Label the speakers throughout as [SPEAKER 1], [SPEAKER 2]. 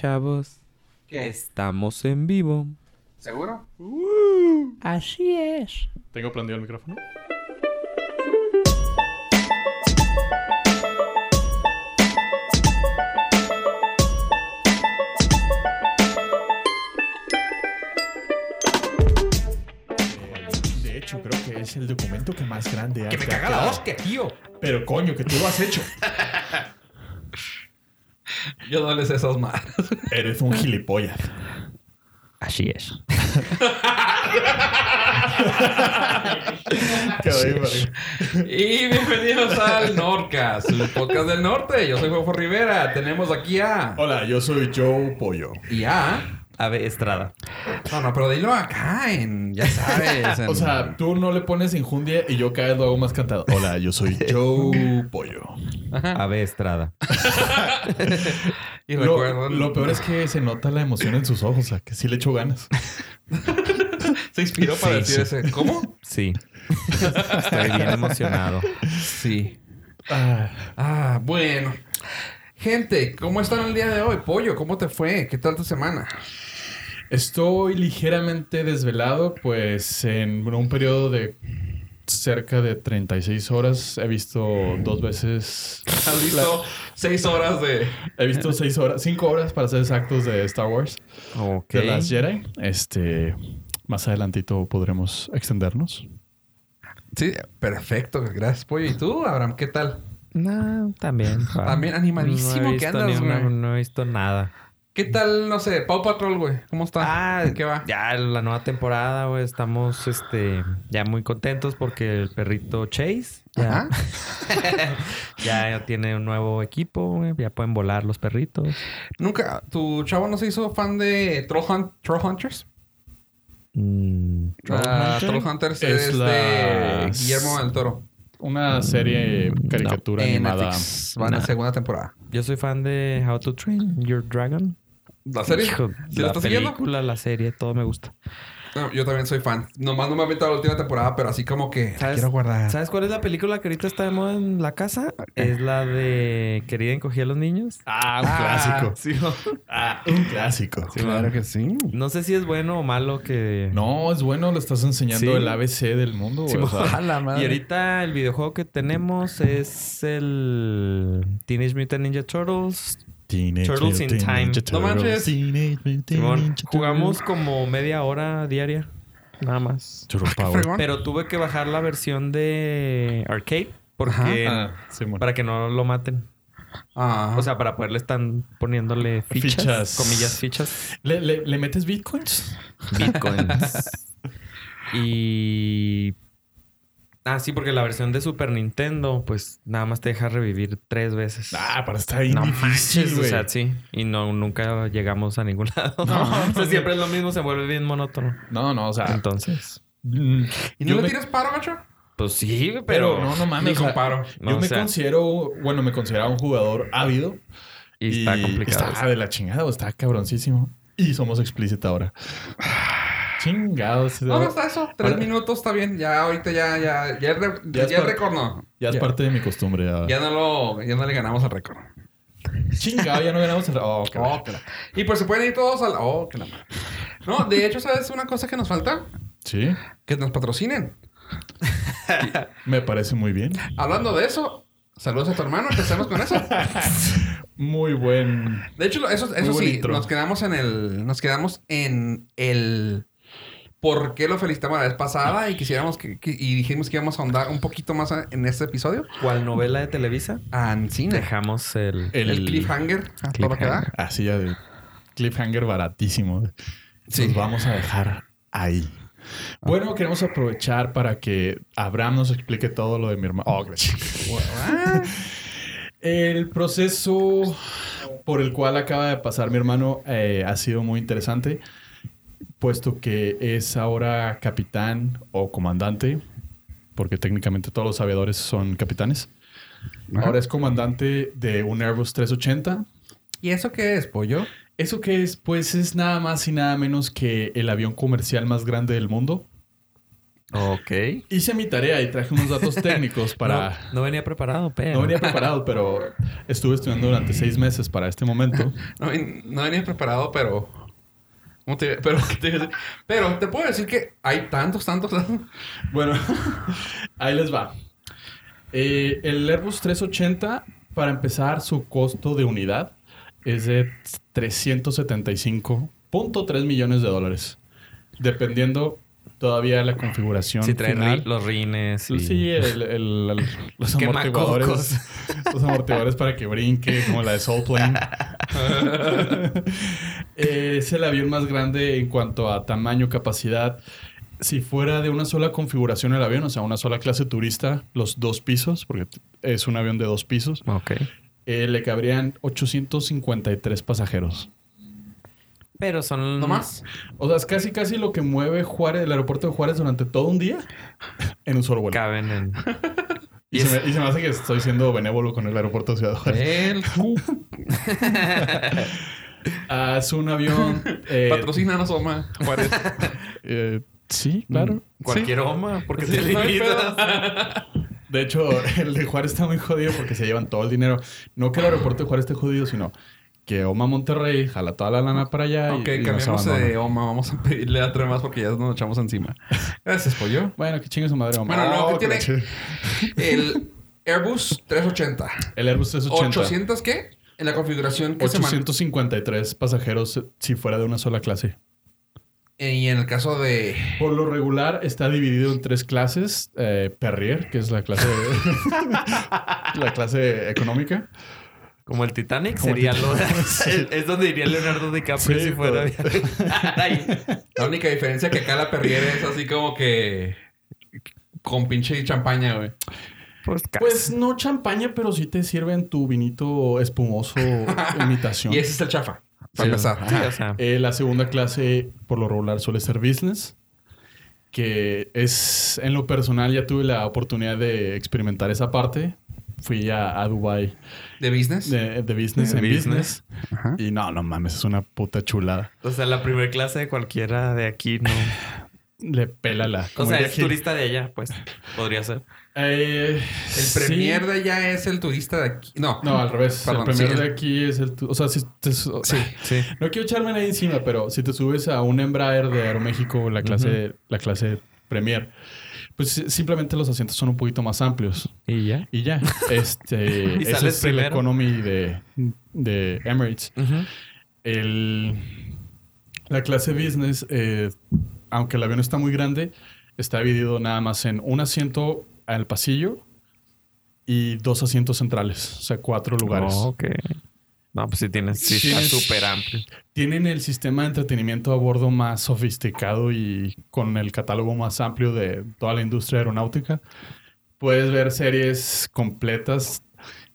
[SPEAKER 1] Pichavos.
[SPEAKER 2] ¿Qué?
[SPEAKER 1] Estamos en vivo.
[SPEAKER 2] ¿Seguro?
[SPEAKER 1] Así es.
[SPEAKER 3] Tengo prendido el micrófono.
[SPEAKER 4] De hecho, creo que es el documento que más grande
[SPEAKER 2] ¡Que me
[SPEAKER 4] ha-
[SPEAKER 2] caga la hostia, tío!
[SPEAKER 4] Pero coño, que tú lo has hecho.
[SPEAKER 2] Yo no les esas más.
[SPEAKER 4] Eres un gilipollas.
[SPEAKER 1] Así es.
[SPEAKER 4] Qué doy, madre.
[SPEAKER 2] y bienvenidos al Norcas, el podcast del norte. Yo soy Juanjo Rivera. Tenemos aquí a...
[SPEAKER 4] Hola, yo soy Joe Pollo.
[SPEAKER 2] Y a...
[SPEAKER 5] Ave Estrada.
[SPEAKER 2] No, no, pero dilo acá en... Ya sabes. en-
[SPEAKER 4] O sea, tú no le pones injundia y yo cada vez lo hago más cantado. Hola, yo soy Joe Pollo.
[SPEAKER 5] Ave Estrada.
[SPEAKER 2] Y
[SPEAKER 4] Lo,
[SPEAKER 2] recuerden...
[SPEAKER 4] lo peor es que se nota la emoción en sus ojos, o sea, que sí le echo ganas.
[SPEAKER 2] Se inspiró para
[SPEAKER 5] Sí,
[SPEAKER 2] decir ese... ¿Cómo?
[SPEAKER 5] Sí. Estoy bien emocionado.
[SPEAKER 2] Sí.
[SPEAKER 4] Ah,
[SPEAKER 2] Ah, bueno. Gente, ¿cómo están el día de hoy? Pollo, ¿cómo te fue? ¿Qué tal tu semana?
[SPEAKER 4] estoy ligeramente desvelado, pues en un periodo de cerca de 36 horas he visto dos veces
[SPEAKER 2] ¿Has visto seis horas de...
[SPEAKER 4] He visto seis horas, cinco horas para ser exactos de Star Wars,
[SPEAKER 5] Ok.
[SPEAKER 4] de las Jedi. Este, más adelantito podremos extendernos.
[SPEAKER 2] Sí, perfecto. Gracias, Pollo. ¿Y tú, Abraham? ¿Qué tal?
[SPEAKER 5] No, también. Juan.
[SPEAKER 2] También animadísimo
[SPEAKER 5] no he
[SPEAKER 2] que
[SPEAKER 5] visto
[SPEAKER 2] andas,
[SPEAKER 5] ni una-
[SPEAKER 2] güey.
[SPEAKER 5] No he visto nada.
[SPEAKER 2] ¿Qué tal, no sé, Pau Patrol, güey? ¿Cómo
[SPEAKER 5] Ah,
[SPEAKER 2] está? ¿De ¿Qué va?
[SPEAKER 5] Ya la nueva temporada, güey. Estamos este, ya muy contentos porque el perrito Chase
[SPEAKER 2] Ajá.
[SPEAKER 5] ya, ya tiene un nuevo equipo, güey. Ya pueden volar los perritos.
[SPEAKER 2] Nunca, ¿tu chavo no se hizo fan de Troll, Hunt- Troll Hunters?
[SPEAKER 5] Mm,
[SPEAKER 2] Ah,
[SPEAKER 4] Hunter
[SPEAKER 2] Troll Hunters es,
[SPEAKER 4] es la-
[SPEAKER 2] de Guillermo del Toro.
[SPEAKER 4] Una serie caricatura
[SPEAKER 2] En
[SPEAKER 4] animada.
[SPEAKER 2] Netflix. Van a
[SPEAKER 5] Nah.
[SPEAKER 2] segunda temporada.
[SPEAKER 5] yo soy fan de How to Train Your Dragon.
[SPEAKER 2] ¿La serie?
[SPEAKER 5] Hijo,
[SPEAKER 2] ¿Ah, ¿Sí la
[SPEAKER 5] la
[SPEAKER 2] estás siguiendo?
[SPEAKER 5] película, la serie, todo me gusta.
[SPEAKER 2] No, yo también soy fan. Nomás no me he aventado la última temporada, pero así como que la
[SPEAKER 5] ¿Sabes?
[SPEAKER 2] quiero guardar.
[SPEAKER 5] ¿Sabes cuál es la película que ahorita está de moda en la casa? Es la de Querida encogí a los niños.
[SPEAKER 4] Ah, un clásico. Ah, un clásico.
[SPEAKER 2] Claro que sí.
[SPEAKER 5] No sé si es bueno o malo que...
[SPEAKER 4] No, es bueno, le estás enseñando
[SPEAKER 5] Sí.
[SPEAKER 4] el ABC del mundo. güey,
[SPEAKER 5] Sí,
[SPEAKER 4] o
[SPEAKER 5] mo-
[SPEAKER 4] sea,
[SPEAKER 2] la
[SPEAKER 5] Y ahorita el videojuego que tenemos es el Teenage Mutant Ninja Turtles.
[SPEAKER 4] Teenage
[SPEAKER 5] Turtles
[SPEAKER 4] Mutant
[SPEAKER 5] in Time.
[SPEAKER 4] Ninja
[SPEAKER 2] No manches.
[SPEAKER 4] Turtles, Teenage Mutant
[SPEAKER 5] Simón,
[SPEAKER 4] Ninja
[SPEAKER 5] jugamos como media hora diaria. Nada más.
[SPEAKER 4] Turtles. Turtle Power.
[SPEAKER 5] Pero tuve que bajar la versión de arcade porque...
[SPEAKER 4] Ah, Simón.
[SPEAKER 5] Para que no lo maten.
[SPEAKER 2] Ah,
[SPEAKER 5] O sea, para poderle están poniéndole fichas.
[SPEAKER 4] Fichas.
[SPEAKER 5] Comillas, fichas.
[SPEAKER 4] ¿Le, le, le metes bitcoins?
[SPEAKER 5] Bitcoins. y. Ah, sí, porque la versión de Super Nintendo, pues nada más te deja revivir tres veces.
[SPEAKER 4] Ah, para estar ahí
[SPEAKER 5] no
[SPEAKER 4] difícil,
[SPEAKER 5] manches, o
[SPEAKER 4] güey.
[SPEAKER 5] sea, sí. Y no, nunca llegamos a ningún lado. o sea, siempre es lo mismo, se vuelve bien monótono.
[SPEAKER 4] No, no, o sea...
[SPEAKER 5] Entonces,
[SPEAKER 4] mm,
[SPEAKER 2] ¿Y
[SPEAKER 4] yo
[SPEAKER 2] no le
[SPEAKER 4] me-
[SPEAKER 2] tiras paro, macho?
[SPEAKER 5] pues sí, pero.
[SPEAKER 4] Pero no, no
[SPEAKER 2] Ni
[SPEAKER 4] mames. o sea,
[SPEAKER 2] comparo.
[SPEAKER 5] No,
[SPEAKER 4] yo
[SPEAKER 5] o
[SPEAKER 4] me
[SPEAKER 5] sea,
[SPEAKER 4] considero, bueno, me consideraba un jugador ávido.
[SPEAKER 5] Y está complicado.
[SPEAKER 4] Está de la chingada, o está cabroncísimo. Y somos explícita ahora.
[SPEAKER 5] Ah.
[SPEAKER 4] Chingados.
[SPEAKER 2] No, no está eso. Tres
[SPEAKER 4] Ahora-
[SPEAKER 2] minutos está bien. Ya ahorita ya, ya, ya, el re-
[SPEAKER 4] Ya es
[SPEAKER 2] ya el
[SPEAKER 4] par-
[SPEAKER 2] récord no.
[SPEAKER 4] Ya es parte de mi costumbre. ahora.
[SPEAKER 2] Ya no lo, ya no le ganamos al récord.
[SPEAKER 4] Chingado, ya no ganamos. el- Oh, qué
[SPEAKER 2] Oh, que la- Y pues se pueden ir todos al. Oh, que la madre. No, de hecho, ¿sabes una cosa que nos falta?
[SPEAKER 4] Sí,
[SPEAKER 2] Que nos patrocinen.
[SPEAKER 4] me parece muy bien.
[SPEAKER 2] Hablando de eso, saludos a tu hermano, empecemos con eso.
[SPEAKER 4] Muy buen.
[SPEAKER 2] De hecho, eso,
[SPEAKER 4] Muy
[SPEAKER 2] eso
[SPEAKER 4] buen
[SPEAKER 2] sí,
[SPEAKER 4] intro.
[SPEAKER 2] nos quedamos en el. Nos quedamos en el. ¿Por qué lo felicitamos la vez pasada? Y quisiéramos que, que- y dijimos que íbamos a ahondar un poquito más a- en este episodio.
[SPEAKER 5] ¿Cuál novela de Televisa?
[SPEAKER 4] Eh.
[SPEAKER 2] Ancina.
[SPEAKER 5] Dejamos el.
[SPEAKER 2] El, cliffhanger. a todo lo que da.
[SPEAKER 4] Así ya de cliffhanger baratísimo.
[SPEAKER 2] Sí.
[SPEAKER 4] Nos vamos a dejar ahí. Bueno, queremos aprovechar para que Abraham nos explique todo lo de mi hermano. Oh, gracias. El proceso por el cual acaba de pasar mi hermano eh, ha sido muy interesante, puesto que es ahora capitán o comandante, porque técnicamente todos los aviadores son capitanes. Ahora es comandante de un Airbus 380,
[SPEAKER 2] ¿Y eso qué es, pollo?
[SPEAKER 4] ¿Eso qué es? Pues es nada más y nada menos que el avión comercial más grande del mundo.
[SPEAKER 5] Ok.
[SPEAKER 4] Hice mi tarea y traje unos datos técnicos para...
[SPEAKER 5] No, no venía preparado, pero.
[SPEAKER 4] No venía preparado, pero estuve estudiando durante seis meses para este momento.
[SPEAKER 2] No, ven- no venía preparado, pero. ¿Cómo te- pero, te, pero te puedo decir que hay tantos, tantos. tantos.
[SPEAKER 4] Bueno, ahí les va. Eh, el Airbus 380, para empezar, su costo de unidad es de 375.3 millones de dólares. Dependiendo todavía la configuración
[SPEAKER 5] Si trae
[SPEAKER 4] final.
[SPEAKER 5] ri- los rines. y-
[SPEAKER 4] Sí, el- el- el- los amortiguadores. Los amortiguadores para que brinque, como la de Soul Plane. Eh, es el avión más grande en cuanto a tamaño, capacidad. Si fuera de una sola configuración el avión, o sea, una sola clase turista, los dos pisos, porque t- es un avión de dos pisos,
[SPEAKER 5] Ok.
[SPEAKER 4] eh, le cabrían 853 pasajeros.
[SPEAKER 5] Pero son.
[SPEAKER 2] ¿No más?
[SPEAKER 4] O sea, es casi casi lo que mueve Juárez, el aeropuerto de Juárez durante todo un día en un solo vuelo.
[SPEAKER 5] Caben en.
[SPEAKER 4] Y, se me, y se me hace que estoy siendo benévolo con el aeropuerto de Ciudad Juárez.
[SPEAKER 2] El Eh.
[SPEAKER 4] Ah, es un avión. eh,
[SPEAKER 2] patrocina no Soma. Juárez.
[SPEAKER 4] eh, sí, claro.
[SPEAKER 2] Mm.
[SPEAKER 5] Cualquier oma, porque te
[SPEAKER 2] No hay
[SPEAKER 5] limitas.
[SPEAKER 2] pedo.
[SPEAKER 4] De hecho, el de Juárez está muy jodido porque se llevan todo el dinero. No que el aeropuerto de Juárez esté jodido, sino que Oma Monterrey jala toda la lana para allá y-
[SPEAKER 2] Ok,
[SPEAKER 4] y, nos
[SPEAKER 2] cambiamos
[SPEAKER 4] abandona.
[SPEAKER 2] de Oma. Vamos a pedirle a tres más porque ya nos echamos encima. Gracias, Pollo.
[SPEAKER 4] Bueno, que chingue su madre, Oma.
[SPEAKER 2] Bueno, no,
[SPEAKER 4] Oh,
[SPEAKER 2] ¿qué
[SPEAKER 4] que la
[SPEAKER 2] tiene?
[SPEAKER 4] chi-
[SPEAKER 2] El Airbus 380.
[SPEAKER 4] El Airbus 380.
[SPEAKER 2] 800 qué? En la configuración que se man-
[SPEAKER 4] 853 pasajeros si fuera de una sola clase.
[SPEAKER 2] Eh, Y en el caso de.
[SPEAKER 4] Por lo regular está dividido en tres clases. Eh, Perrier, que es la clase, la clase económica.
[SPEAKER 5] Como el Titanic
[SPEAKER 4] Como el
[SPEAKER 5] sería lo es, es donde iría Leonardo DiCaprio
[SPEAKER 4] Sí, pues.
[SPEAKER 5] si fuera Ah,
[SPEAKER 4] pero-
[SPEAKER 5] Ay,
[SPEAKER 2] La única diferencia que acá la perrier es así como que. Con pinche champaña, güey.
[SPEAKER 5] Pues casi.
[SPEAKER 4] Pues no champaña, pero sí te sirven tu vinito espumoso imitación.
[SPEAKER 2] Y ese es el chafa. Para
[SPEAKER 4] Sí.
[SPEAKER 2] empezar.
[SPEAKER 5] Sí, o sea,
[SPEAKER 4] Eh, la segunda clase, por lo regular, suele ser business, que es, en lo personal, ya tuve la oportunidad de experimentar esa parte. Fui a, a Dubai
[SPEAKER 2] De business.
[SPEAKER 4] de, de business
[SPEAKER 5] De
[SPEAKER 4] en
[SPEAKER 5] business.
[SPEAKER 4] business.
[SPEAKER 2] Ajá.
[SPEAKER 4] Y no, no mames, es una puta chulada.
[SPEAKER 5] o sea, la primera clase de cualquiera de aquí no.
[SPEAKER 4] Le pela la.
[SPEAKER 5] O
[SPEAKER 4] como
[SPEAKER 5] sea,
[SPEAKER 4] diría
[SPEAKER 5] es
[SPEAKER 4] Gil.
[SPEAKER 5] turista de allá, pues. Podría ser.
[SPEAKER 4] Eh,
[SPEAKER 2] El
[SPEAKER 4] sí.
[SPEAKER 2] premier de allá es el turista de aquí. No.
[SPEAKER 4] No, al revés.
[SPEAKER 2] Perdón,
[SPEAKER 4] el premier
[SPEAKER 2] sí,
[SPEAKER 4] de
[SPEAKER 2] el- Ah,
[SPEAKER 4] aquí es el. tu- O sea, si te- o-
[SPEAKER 2] Sí.
[SPEAKER 5] Sí.
[SPEAKER 4] No quiero echarme nadie encima, pero si te subes a un Embraer de Aeroméxico, la clase, la clase Premier, pues si- simplemente los asientos son un poquito más amplios.
[SPEAKER 5] ¿Y ya?
[SPEAKER 4] Y ya. Este,
[SPEAKER 5] Y
[SPEAKER 4] ese
[SPEAKER 5] sales
[SPEAKER 4] es el
[SPEAKER 5] primero.
[SPEAKER 4] economy de, de Emirates. El, la clase business, eh, aunque el avión está muy grande, está dividido nada más en un asiento al pasillo y dos asientos centrales, o sea, cuatro lugares.
[SPEAKER 5] Oh, ok. No, pues sí tienes. Sí, está
[SPEAKER 4] Tienes-
[SPEAKER 5] súper amplio.
[SPEAKER 4] Tienen el sistema de entretenimiento a bordo más sofisticado y con el catálogo más amplio de toda la industria aeronáutica. Puedes ver series completas.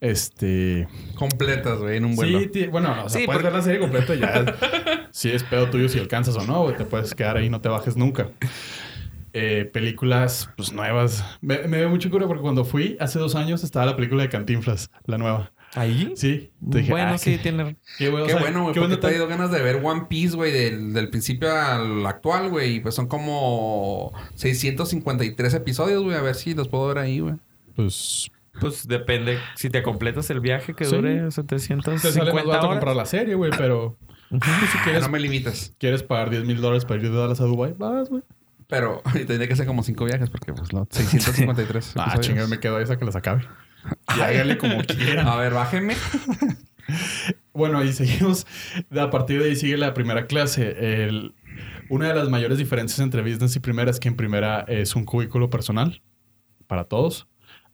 [SPEAKER 4] Este.
[SPEAKER 2] Completas, güey, en un vuelo.
[SPEAKER 4] Sí, ti- bueno, o sea,
[SPEAKER 5] Sí, porque-
[SPEAKER 4] puedes ver la serie completa ya. si es pedo tuyo si alcanzas o no, güey, te puedes quedar ahí y no te bajes nunca. Eh, películas pues nuevas. Me, me dio mucho cura porque cuando fui hace dos años estaba la película de Cantinflas, la nueva.
[SPEAKER 5] ¿Ahí?
[SPEAKER 4] Sí, te dije,
[SPEAKER 5] bueno,
[SPEAKER 4] ah,
[SPEAKER 5] sí,
[SPEAKER 4] qué-
[SPEAKER 5] tiene.
[SPEAKER 4] Qué, bueno, o
[SPEAKER 2] Qué
[SPEAKER 4] sea,
[SPEAKER 2] bueno, güey,
[SPEAKER 4] qué
[SPEAKER 2] porque
[SPEAKER 4] bueno
[SPEAKER 2] te ha
[SPEAKER 4] tan-
[SPEAKER 2] ido ganas de ver One Piece, güey, del, del principio al actual, güey. Y pues son como 653 episodios, güey. A ver si los puedo ver ahí, güey.
[SPEAKER 4] Pues
[SPEAKER 5] Pues depende. Si te completas el viaje que
[SPEAKER 4] Sí.
[SPEAKER 5] dure
[SPEAKER 4] Te sale más
[SPEAKER 5] 750
[SPEAKER 4] barato
[SPEAKER 5] horas.
[SPEAKER 4] comprar la serie, güey, pero... pues, si
[SPEAKER 2] Ah,
[SPEAKER 4] quieres,
[SPEAKER 2] No me limitas.
[SPEAKER 4] quieres pagar 10 mil dólares para ir de Dallas a Dubai, vas, güey.
[SPEAKER 2] Pero tendría que hacer como cinco viajes porque, pues, no. 653
[SPEAKER 4] Ah,
[SPEAKER 2] episodios.
[SPEAKER 4] chingada, me quedo ahí hasta que las acabe. Y hágale como quiera.
[SPEAKER 2] A ver, bájenme.
[SPEAKER 4] Bueno, y seguimos. A partir de ahí sigue la primera clase. El- una de las mayores diferencias entre business y primera es que en primera es un cubículo personal para todos,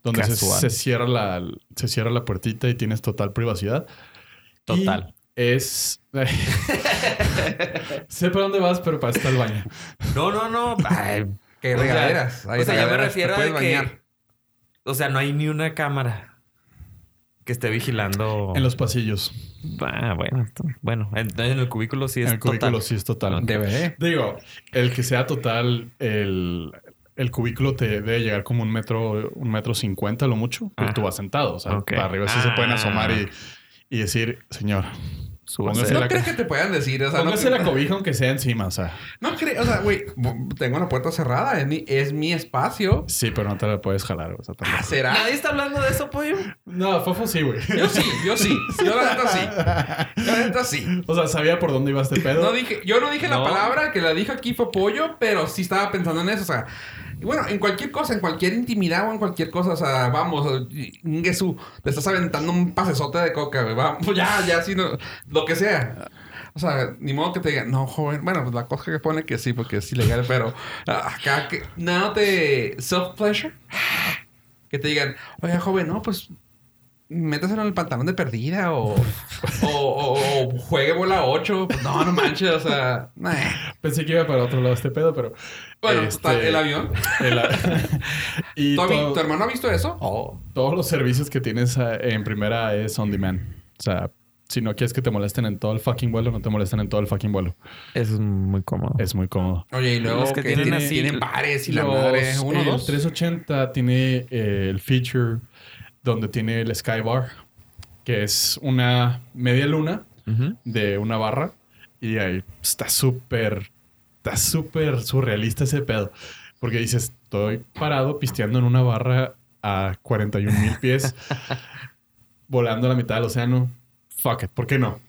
[SPEAKER 4] donde se,
[SPEAKER 5] Casual.
[SPEAKER 4] se cierra la, se cierra la puertita y tienes total privacidad.
[SPEAKER 5] Total.
[SPEAKER 4] Y es... sé para dónde vas, pero para estar al baño.
[SPEAKER 5] No, no, no. Ay,
[SPEAKER 2] Que
[SPEAKER 5] O sea,
[SPEAKER 2] regaderas. Hay
[SPEAKER 5] o sea, yo me
[SPEAKER 2] regaderas, te
[SPEAKER 5] refiero a
[SPEAKER 2] puedes
[SPEAKER 5] que-
[SPEAKER 2] bañar.
[SPEAKER 5] o sea, no hay ni una cámara que esté vigilando.
[SPEAKER 4] En los pasillos.
[SPEAKER 5] Ah, bueno. t- Bueno, entonces en el cubículo sí es
[SPEAKER 4] en el cubículo
[SPEAKER 5] total.
[SPEAKER 4] sí es total.
[SPEAKER 2] Deberé.
[SPEAKER 4] Digo, el que sea total, el, el cubículo te debe llegar como un metro, un metro cincuenta, lo mucho, pero
[SPEAKER 5] Ajá.
[SPEAKER 4] tú vas sentado. O sea,
[SPEAKER 5] Ok.
[SPEAKER 4] para arriba sí se pueden
[SPEAKER 5] Ah.
[SPEAKER 4] asomar y, y decir, señor,
[SPEAKER 5] Súbanse
[SPEAKER 4] Póngase
[SPEAKER 2] No
[SPEAKER 4] la
[SPEAKER 2] creo que te puedan decir. O sea, no,
[SPEAKER 4] Póngase la cobija aunque sea encima, o sea.
[SPEAKER 2] no creo. O sea, güey, bu- tengo la puerta cerrada. Es mi, es mi espacio.
[SPEAKER 4] Sí, pero no te la puedes jalar, o sea, tampoco.
[SPEAKER 2] Ah, ¿Será?
[SPEAKER 5] Nadie está hablando de eso, pollo.
[SPEAKER 4] No, Fofo sí, güey.
[SPEAKER 2] Yo sí, yo sí. Yo la neta sí. Yo la neta sí.
[SPEAKER 4] O sea, sabía por dónde iba este pedo.
[SPEAKER 2] No dije, yo no dije
[SPEAKER 5] No.
[SPEAKER 2] la palabra, que la dijo aquí fue pollo, pero sí estaba pensando en eso. O sea, y bueno, en cualquier cosa, en cualquier intimidad o en cualquier cosa, o sea, vamos, Jesús, te estás aventando un pasesote de coca, güey. Vamos, ya, ya, sí, no, lo que sea. O sea, ni modo que te digan, no, joven. Bueno, pues la cosa que pone que sí, porque es ilegal, pero ah, acá que. Nada te. Self-pleasure. Que te digan, oye, joven, no, pues métaselo en el pantalón de perdida o, o, o- o juegue bola 8. No, no manches, o sea. nah.
[SPEAKER 4] Pensé que iba para otro lado este pedo, pero.
[SPEAKER 2] Bueno,
[SPEAKER 4] este,
[SPEAKER 2] está el avión.
[SPEAKER 4] el a- y
[SPEAKER 2] ¿Tu, ami-
[SPEAKER 4] todo-
[SPEAKER 2] tu hermano ha visto eso?
[SPEAKER 4] Oh, todos los servicios que tienes eh, en primera es on demand. O sea, si no quieres que te molesten en todo el fucking vuelo, no te molestan en todo el fucking vuelo.
[SPEAKER 5] Eso es muy cómodo.
[SPEAKER 4] Es muy cómodo.
[SPEAKER 2] Oye, y luego
[SPEAKER 5] Los
[SPEAKER 2] que,
[SPEAKER 5] que
[SPEAKER 2] tienen,
[SPEAKER 5] tienen
[SPEAKER 2] tienen,
[SPEAKER 5] así-
[SPEAKER 2] pares y la
[SPEAKER 4] Los-
[SPEAKER 2] madre. Uno,
[SPEAKER 4] el
[SPEAKER 2] dos.
[SPEAKER 4] 380 tiene eh, el feature donde tiene el Skybar, que es una media luna
[SPEAKER 5] Ujú.
[SPEAKER 4] de una barra. Y ahí está súper, está súper surrealista ese pedo. Porque dices, estoy parado pisteando en una barra a 41 mil pies, volando a la mitad del océano. Fuck it, ¿por qué no?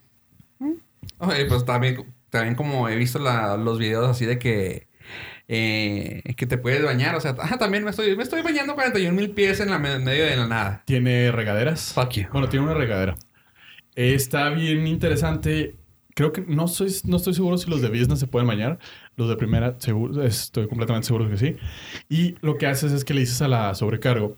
[SPEAKER 2] Oye, pues también, también como he visto la- los videos así de que. eh, que te puedes bañar, o sea, ah, también me estoy, me estoy bañando 41 mil pies en la me- medio de la nada.
[SPEAKER 4] Tiene regaderas.
[SPEAKER 2] Fuck you.
[SPEAKER 4] Bueno, tiene una regadera. Está bien interesante. Creo que no, soy, no estoy seguro si los de business se pueden bañar. Los de primera, seguro, estoy completamente seguro que sí. Y lo que haces es que le dices a la sobrecargo,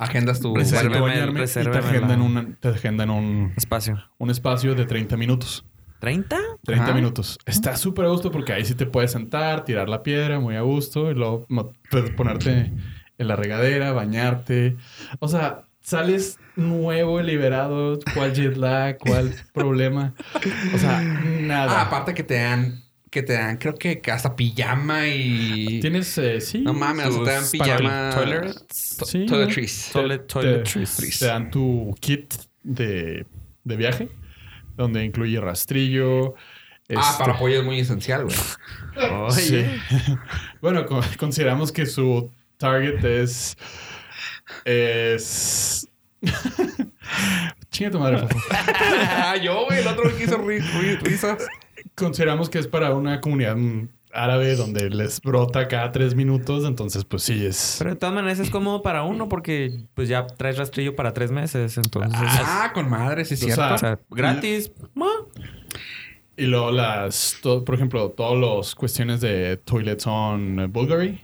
[SPEAKER 2] Agendas tu
[SPEAKER 5] Reserva.
[SPEAKER 4] "Necesito
[SPEAKER 5] Resérveme,
[SPEAKER 4] bañarme", y te
[SPEAKER 5] resérveme
[SPEAKER 4] agendan,
[SPEAKER 5] la-
[SPEAKER 4] una- te agendan un,
[SPEAKER 5] Espacio.
[SPEAKER 4] un espacio de 30 minutos.
[SPEAKER 5] ¿30?
[SPEAKER 4] 30
[SPEAKER 2] Ajá.
[SPEAKER 4] minutos. Está súper a gusto porque ahí sí te puedes sentar, tirar la piedra muy a gusto y luego mo- puedes ponerte en la regadera, bañarte. O sea, sales nuevo, liberado, cuál jet lag, cuál problema. O sea,
[SPEAKER 2] Ah,
[SPEAKER 4] nada.
[SPEAKER 2] aparte que te dan, que te dan, creo que hasta pijama y.
[SPEAKER 4] Tienes, eh, sí.
[SPEAKER 2] No mames, o sea, te dan
[SPEAKER 4] sus
[SPEAKER 2] pijama.
[SPEAKER 4] toilet-
[SPEAKER 2] to-
[SPEAKER 4] Sí.
[SPEAKER 2] Toiletries.
[SPEAKER 5] Toilet,
[SPEAKER 4] Te, te dan tu kit de, de viaje, donde incluye rastrillo.
[SPEAKER 2] Ah,
[SPEAKER 4] este,
[SPEAKER 2] para pollo es muy esencial, güey.
[SPEAKER 4] Sí. bueno, co- consideramos que su target es. Es. Chinga tu madre, Fofo.
[SPEAKER 2] Ah, yo, güey, el otro que hizo ri- ri- risas.
[SPEAKER 4] Consideramos que es para una comunidad mm, árabe donde les brota cada tres minutos, entonces, pues sí, es.
[SPEAKER 5] Pero de todas maneras es cómodo para uno porque pues ya traes rastrillo para tres meses, entonces...
[SPEAKER 2] Ah, con madre, sí, es
[SPEAKER 4] O
[SPEAKER 2] cierto.
[SPEAKER 4] sea,
[SPEAKER 5] o sea, gratis. ma.
[SPEAKER 4] Y luego las. to- por ejemplo, todas las cuestiones de toilets on eh, Bulgari.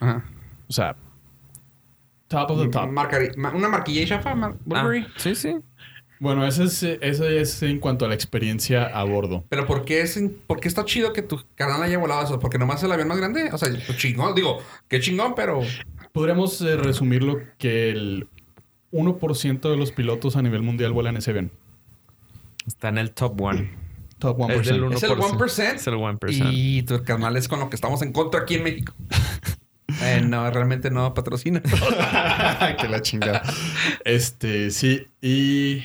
[SPEAKER 2] Ajá.
[SPEAKER 4] O sea, top of the top.
[SPEAKER 2] Marcari- ma- una marquilla y chafa, mar- Burberry.
[SPEAKER 5] Ah, sí, sí.
[SPEAKER 4] Bueno, eso es, eso es en cuanto a la experiencia a bordo.
[SPEAKER 2] Pero ¿por qué, es, in- ¿por qué está chido que tu canal haya volado eso? ¿Porque nomás el avión más grande? O sea, pues, chingón. Digo, qué chingón, pero...
[SPEAKER 4] Podríamos eh, resumirlo que el 1% de los pilotos a nivel mundial vuelan ese avión.
[SPEAKER 5] Está en el top one.
[SPEAKER 4] Top 1%.
[SPEAKER 5] Es del uno.
[SPEAKER 2] Es el
[SPEAKER 4] ¿Eh?
[SPEAKER 2] 1%.
[SPEAKER 5] Es el 1%.
[SPEAKER 2] Y tu canal es con lo que estamos en contra aquí en México. Eh, no, realmente no patrocina.
[SPEAKER 4] que la chingada. Este, sí. Y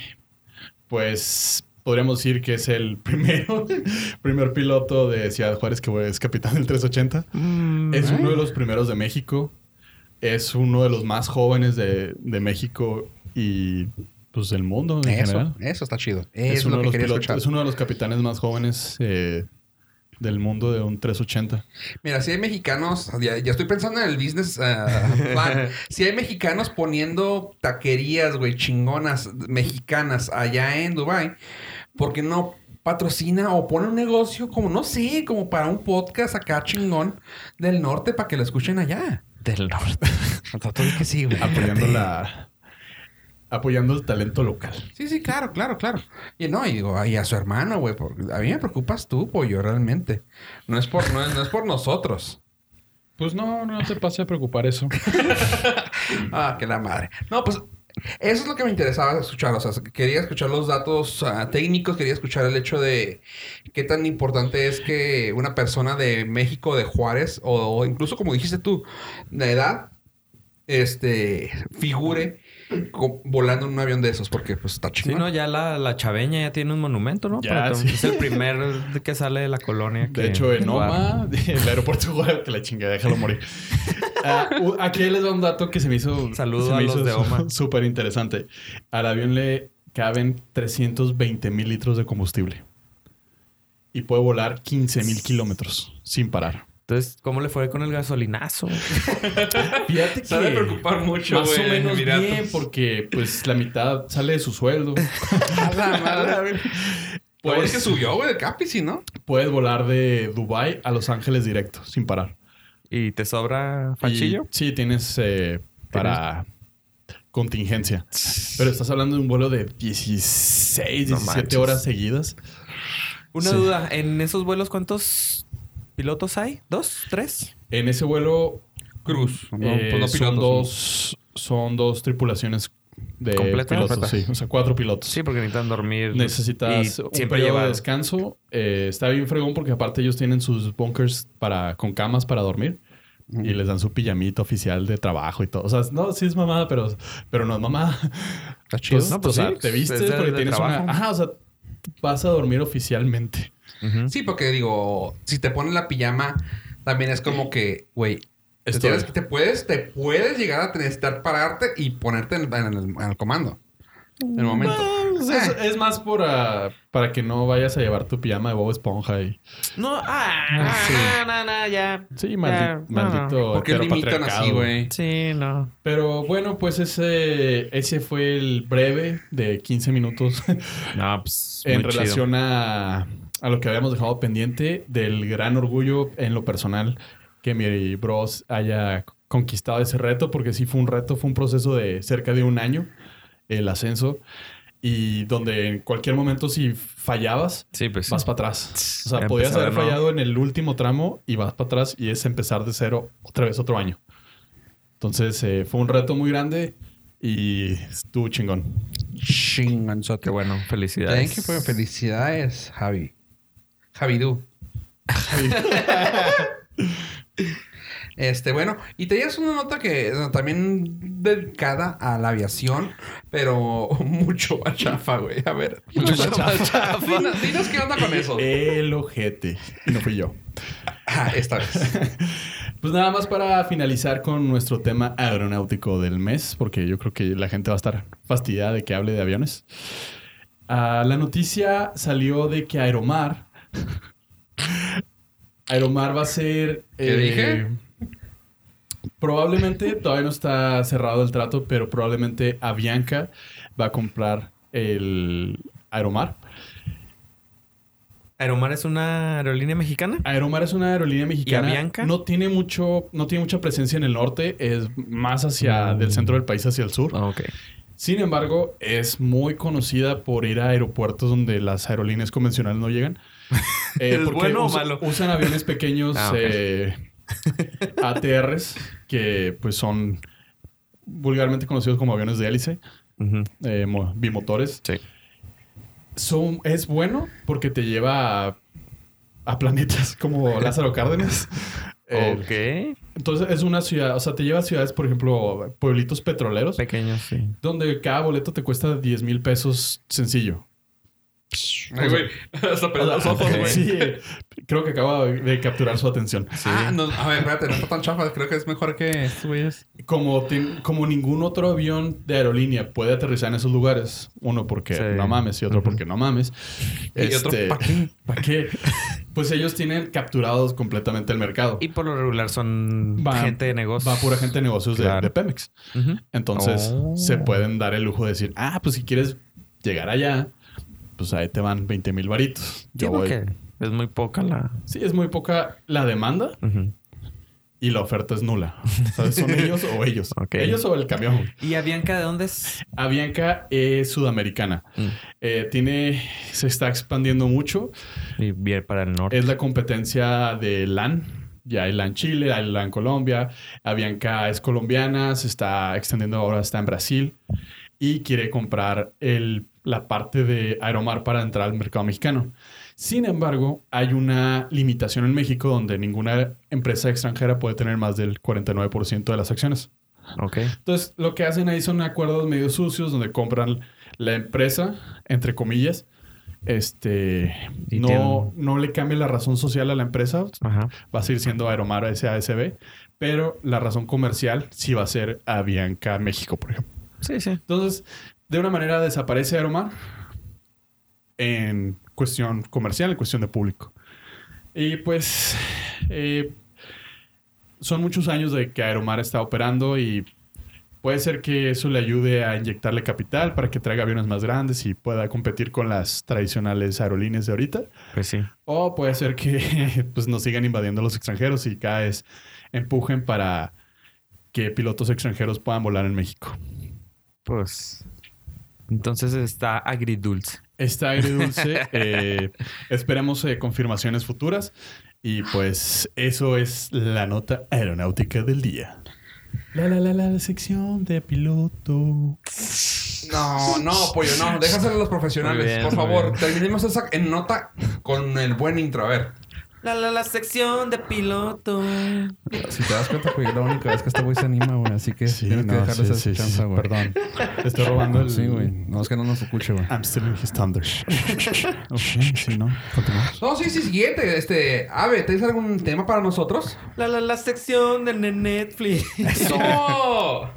[SPEAKER 4] pues podríamos decir que es el primero, primer piloto de Ciudad Juárez que es capitán del 380.
[SPEAKER 5] Mm,
[SPEAKER 4] Es uno de los primeros de México. Es uno de los más jóvenes de, de México y pues del mundo en general.
[SPEAKER 2] Eso, eso está chido.
[SPEAKER 4] es,
[SPEAKER 2] es
[SPEAKER 4] uno
[SPEAKER 2] lo
[SPEAKER 4] de
[SPEAKER 2] que
[SPEAKER 4] los
[SPEAKER 2] quería
[SPEAKER 4] pilotos-
[SPEAKER 2] escuchar.
[SPEAKER 4] es uno de los capitanes más jóvenes eh, del mundo de un 380.
[SPEAKER 2] Mira, si hay mexicanos, ya, ya estoy pensando en el business ah, plan. si hay mexicanos poniendo taquerías, güey, chingonas mexicanas allá en Dubai, ¿por qué no patrocina o pone un negocio como, no sé, como para un podcast acá chingón del norte para que lo escuchen allá?
[SPEAKER 5] Del norte.
[SPEAKER 2] Entonces, que sí, güey.
[SPEAKER 4] Apoyando la. Apoyando el talento local.
[SPEAKER 2] Sí, sí, claro, claro, claro. Y no, y digo, y a su hermano, güey, por- a mí me preocupas tú, pollo, realmente. No es por, no es- no es por nosotros.
[SPEAKER 4] Pues no, no te pase a preocupar eso.
[SPEAKER 2] Ah, que la madre. No, pues eso es lo que me interesaba escuchar. O sea, quería escuchar los datos ah, técnicos, quería escuchar el hecho de qué tan importante es que una persona de México, de Juárez, o, o incluso como dijiste tú, de edad, este, figure co- volando en un avión de esos, porque pues está
[SPEAKER 5] Sí,
[SPEAKER 2] chingón.
[SPEAKER 5] no, ya la, la chaveña ya tiene un monumento, ¿no?
[SPEAKER 4] Ya,
[SPEAKER 5] Para todo-
[SPEAKER 4] sí.
[SPEAKER 5] Es el primer que sale de la colonia.
[SPEAKER 4] De
[SPEAKER 5] que-
[SPEAKER 4] hecho,
[SPEAKER 5] que
[SPEAKER 4] en
[SPEAKER 5] guarda.
[SPEAKER 4] Oma, el aeropuerto Guadalajara, que la chingada, déjalo morir. Ah, u- aquí les da un dato que se me hizo.
[SPEAKER 5] Saludo
[SPEAKER 4] se me
[SPEAKER 5] a los
[SPEAKER 4] hizo
[SPEAKER 5] de Oma.
[SPEAKER 4] su- Súper interesante. Al avión le caben 320 mil litros de combustible. Y puede volar 15 mil kilómetros sin parar.
[SPEAKER 5] Entonces, ¿cómo le fue con el gasolinazo?
[SPEAKER 4] Fíjate
[SPEAKER 2] Se ha de preocupar mucho,
[SPEAKER 4] Más o
[SPEAKER 2] güey,
[SPEAKER 4] menos
[SPEAKER 2] Emiratos.
[SPEAKER 4] bien, porque pues la mitad sale de su sueldo.
[SPEAKER 2] A la madre. Lo bueno es
[SPEAKER 4] Puedes,
[SPEAKER 2] que subió, güey, de Capici, ¿no?
[SPEAKER 4] puedes volar de Dubai a Los Ángeles directo, sin parar.
[SPEAKER 5] ¿Y te sobra
[SPEAKER 4] Y
[SPEAKER 5] fachillo?
[SPEAKER 4] sí, tienes eh, para contingencia. Pero estás hablando de un vuelo de 16,
[SPEAKER 5] No
[SPEAKER 4] 17
[SPEAKER 5] manches.
[SPEAKER 4] horas seguidas.
[SPEAKER 5] Una
[SPEAKER 4] Sí.
[SPEAKER 5] duda, ¿en esos vuelos cuántos pilotos hay? ¿Dos? ¿Tres?
[SPEAKER 4] En ese vuelo
[SPEAKER 2] Cruz. No,
[SPEAKER 4] eh,
[SPEAKER 2] pues no
[SPEAKER 4] son,
[SPEAKER 2] pilotos.
[SPEAKER 4] dos, son dos tripulaciones de
[SPEAKER 5] ¿Completas?
[SPEAKER 4] pilotos.
[SPEAKER 5] Completas.
[SPEAKER 4] Sí, o sea, cuatro pilotos.
[SPEAKER 5] Sí, porque necesitan dormir.
[SPEAKER 4] Necesitas
[SPEAKER 5] y
[SPEAKER 4] un
[SPEAKER 5] siempre
[SPEAKER 4] periodo
[SPEAKER 5] llevado.
[SPEAKER 4] de descanso. Eh, está bien fregón porque aparte ellos tienen sus bunkers para, con camas para dormir. Y les dan su pijamita oficial de trabajo y todo. O sea, no, sí es mamada, pero, pero no es mamada.
[SPEAKER 2] Está chido.
[SPEAKER 4] Entonces,
[SPEAKER 5] No, pues
[SPEAKER 4] o sea,
[SPEAKER 5] sí,
[SPEAKER 4] ah, te vistes
[SPEAKER 5] es de-
[SPEAKER 4] porque
[SPEAKER 5] de
[SPEAKER 4] tienes
[SPEAKER 5] trabajo.
[SPEAKER 4] una... Ajá, o sea, vas a dormir oficialmente.
[SPEAKER 5] Ujú.
[SPEAKER 2] Sí, porque digo, si te pones la pijama, también es como que, güey, te
[SPEAKER 4] Estoy.
[SPEAKER 2] tienes que- te puedes, te puedes llegar a necesitar pararte y ponerte en, en el, en el comando. En el momento.
[SPEAKER 4] Pues es, es más por, ah, para que no vayas a llevar tu pijama de Bob Esponja y...
[SPEAKER 5] No, ah,
[SPEAKER 4] Sí.
[SPEAKER 5] no, no, no, ya.
[SPEAKER 4] Sí,
[SPEAKER 5] Ya,
[SPEAKER 4] maldi-
[SPEAKER 5] no, no.
[SPEAKER 4] maldito
[SPEAKER 2] porque limitan
[SPEAKER 4] heteropatriarcado,
[SPEAKER 2] así, güey.
[SPEAKER 5] Sí, no.
[SPEAKER 4] Pero bueno, pues ese, ese fue el breve de 15 minutos
[SPEAKER 5] No, pues.
[SPEAKER 4] en
[SPEAKER 5] muy chido.
[SPEAKER 4] relación a, a lo que habíamos dejado pendiente del gran orgullo en lo personal que mi bros haya conquistado ese reto, porque sí fue un reto, fue un proceso de cerca de un año, el ascenso, y donde en cualquier momento si fallabas,
[SPEAKER 5] Sí, pues. sí.
[SPEAKER 4] vas para atrás. O sea,
[SPEAKER 5] Empezar
[SPEAKER 4] podías
[SPEAKER 5] de
[SPEAKER 4] haber
[SPEAKER 5] nuevo.
[SPEAKER 4] fallado en el último tramo y vas para atrás y es empezar de cero otra vez otro año. Entonces eh, fue un reto muy grande y estuvo chingón.
[SPEAKER 2] Chinganzote.
[SPEAKER 5] Qué bueno, felicidades.
[SPEAKER 2] Thank you for- felicidades, Javi. Javidú. Este, bueno, y tenías una nota que eh, también dedicada a la aviación, pero mucho a chafa, güey. A ver,
[SPEAKER 4] Mucho
[SPEAKER 2] mucho
[SPEAKER 4] a Eh,
[SPEAKER 2] a chafa. Dinos, dinos qué onda con eso.
[SPEAKER 4] El ojete. Y no fui yo.
[SPEAKER 2] Ah, esta vez.
[SPEAKER 4] Pues nada más para finalizar con nuestro tema aeronáutico del mes, porque yo creo que la gente va a estar fastidiada de que hable de aviones. Ah, la noticia salió de que Aeromar. Aeromar va a ser. eh,
[SPEAKER 2] ¿Qué dije?
[SPEAKER 4] Probablemente, todavía no está cerrado el trato, pero probablemente Avianca va a comprar el Aeromar.
[SPEAKER 5] ¿Aeromar es una aerolínea mexicana?
[SPEAKER 4] Aeromar es una aerolínea mexicana.
[SPEAKER 5] ¿Y Avianca?
[SPEAKER 4] No tiene mucho, no tiene mucha presencia en el norte, es más hacia
[SPEAKER 5] Mm.
[SPEAKER 4] del centro del país hacia el sur.
[SPEAKER 5] Ah, ok.
[SPEAKER 4] Sin embargo, es muy conocida por ir a aeropuertos donde las aerolíneas convencionales no llegan. Eh,
[SPEAKER 5] ¿Es bueno o
[SPEAKER 4] usa-
[SPEAKER 5] malo?
[SPEAKER 4] Usan aviones pequeños
[SPEAKER 5] Ah, ok.
[SPEAKER 4] eh, ATRs que pues son vulgarmente conocidos como aviones de hélice,
[SPEAKER 5] Ujú.
[SPEAKER 4] eh, mo- bimotores.
[SPEAKER 5] Sí.
[SPEAKER 4] Son- es bueno porque te lleva a, a planetas como Lázaro Cárdenas. Eh,
[SPEAKER 5] Ok.
[SPEAKER 4] Entonces es una ciudad, o sea, te lleva a ciudades, por ejemplo, pueblitos petroleros,
[SPEAKER 5] Pequeños, sí.
[SPEAKER 4] donde cada boleto te cuesta 10 mil pesos sencillo.
[SPEAKER 2] Ay, güey. Hasta perdí
[SPEAKER 4] O sea,
[SPEAKER 2] los ojos, güey.
[SPEAKER 4] sí, eh, creo que acaba de capturar su atención.
[SPEAKER 2] Ah, no, a ver, espérate, no está tan chafa. Creo que es mejor que
[SPEAKER 3] Este
[SPEAKER 2] estos güeyes.
[SPEAKER 4] Como, te- como ningún otro avión de aerolínea puede aterrizar en esos lugares, uno porque
[SPEAKER 5] Sí.
[SPEAKER 4] no mames y otro porque no mames.
[SPEAKER 2] Y otro, ¿pa' qué?
[SPEAKER 4] ¿Para qué? Pues ellos tienen capturados completamente el mercado.
[SPEAKER 5] Y por lo regular son
[SPEAKER 4] Va-
[SPEAKER 5] gente de negocios.
[SPEAKER 4] Va pura gente de negocios de-
[SPEAKER 5] Claro.
[SPEAKER 4] de Pemex.
[SPEAKER 5] Ujú.
[SPEAKER 4] Entonces
[SPEAKER 5] Oh.
[SPEAKER 4] se pueden dar el lujo de decir, ah, pues si quieres llegar allá, pues ahí te van 20 mil varitos.
[SPEAKER 5] Sí,
[SPEAKER 4] Yo voy.
[SPEAKER 5] porque es muy poca la.
[SPEAKER 4] Sí, es muy poca la demanda
[SPEAKER 5] Ujú.
[SPEAKER 4] y la oferta es nula. O sea, Son ellos o ellos.
[SPEAKER 5] Ok.
[SPEAKER 4] Ellos o el camión.
[SPEAKER 5] ¿Y Avianca de dónde es?
[SPEAKER 4] Avianca es sudamericana.
[SPEAKER 5] Mm.
[SPEAKER 4] Eh, tiene, se está expandiendo mucho.
[SPEAKER 5] Y bien para el norte.
[SPEAKER 4] Es la competencia de LAN. Ya hay LAN Chile, hay LAN Colombia. Avianca es colombiana, se está extendiendo ahora, está en Brasil. Y quiere comprar el, la parte de Aeromar para entrar al mercado mexicano. Sin embargo, hay una limitación en México donde ninguna empresa extranjera puede tener más del 49% de las acciones.
[SPEAKER 5] Ok.
[SPEAKER 4] Entonces, lo que hacen ahí son acuerdos medio sucios donde compran la empresa, entre comillas. Este
[SPEAKER 5] Y
[SPEAKER 4] no,
[SPEAKER 5] tienen-
[SPEAKER 4] no le cambia la razón social a la empresa,
[SPEAKER 5] Ajá.
[SPEAKER 4] va a seguir siendo Aeromar SASB, pero la razón comercial sí va a ser Avianca México, por ejemplo.
[SPEAKER 5] Sí, sí.
[SPEAKER 4] Entonces, de una manera desaparece Aeromar en cuestión comercial, en cuestión de público. Y pues eh, son muchos años de que Aeromar está operando y puede ser que eso le ayude a inyectarle capital para que traiga aviones más grandes y pueda competir con las tradicionales aerolíneas de ahorita.
[SPEAKER 5] Pues sí.
[SPEAKER 4] O puede ser que pues, nos sigan invadiendo los extranjeros y cada vez empujen para que pilotos extranjeros puedan volar en México.
[SPEAKER 5] Pues. Entonces está agridulce.
[SPEAKER 4] Está agridulce. eh, esperemos eh, confirmaciones futuras. Y pues eso es la nota aeronáutica del día. La la la la, la sección de piloto.
[SPEAKER 2] No, no, pollo, no. Déjaselo a los profesionales,
[SPEAKER 5] Muy bien,
[SPEAKER 2] por
[SPEAKER 5] muy
[SPEAKER 2] favor.
[SPEAKER 5] bien.
[SPEAKER 2] Terminemos esa en nota con el buen intro. A ver.
[SPEAKER 5] La, la, la sección de piloto.
[SPEAKER 3] Si te das cuenta, güey, la única vez que este güey se anima, güey. Así que
[SPEAKER 4] Sí,
[SPEAKER 3] tienes
[SPEAKER 4] no,
[SPEAKER 3] que dejarle
[SPEAKER 4] sí,
[SPEAKER 3] esa
[SPEAKER 4] sí,
[SPEAKER 3] chance,
[SPEAKER 4] sí,
[SPEAKER 3] güey.
[SPEAKER 4] Perdón. Te estoy robando el...
[SPEAKER 3] Sí, güey. No, es que no nos escuche, güey.
[SPEAKER 4] I'm still in his thunder. ok, sí, ¿no? Continuamos.
[SPEAKER 2] No, sí, sí, siguiente. Este, Ave, ¿tienes algún tema para nosotros?
[SPEAKER 5] La, la, la sección de ne- Netflix.
[SPEAKER 2] ¡No!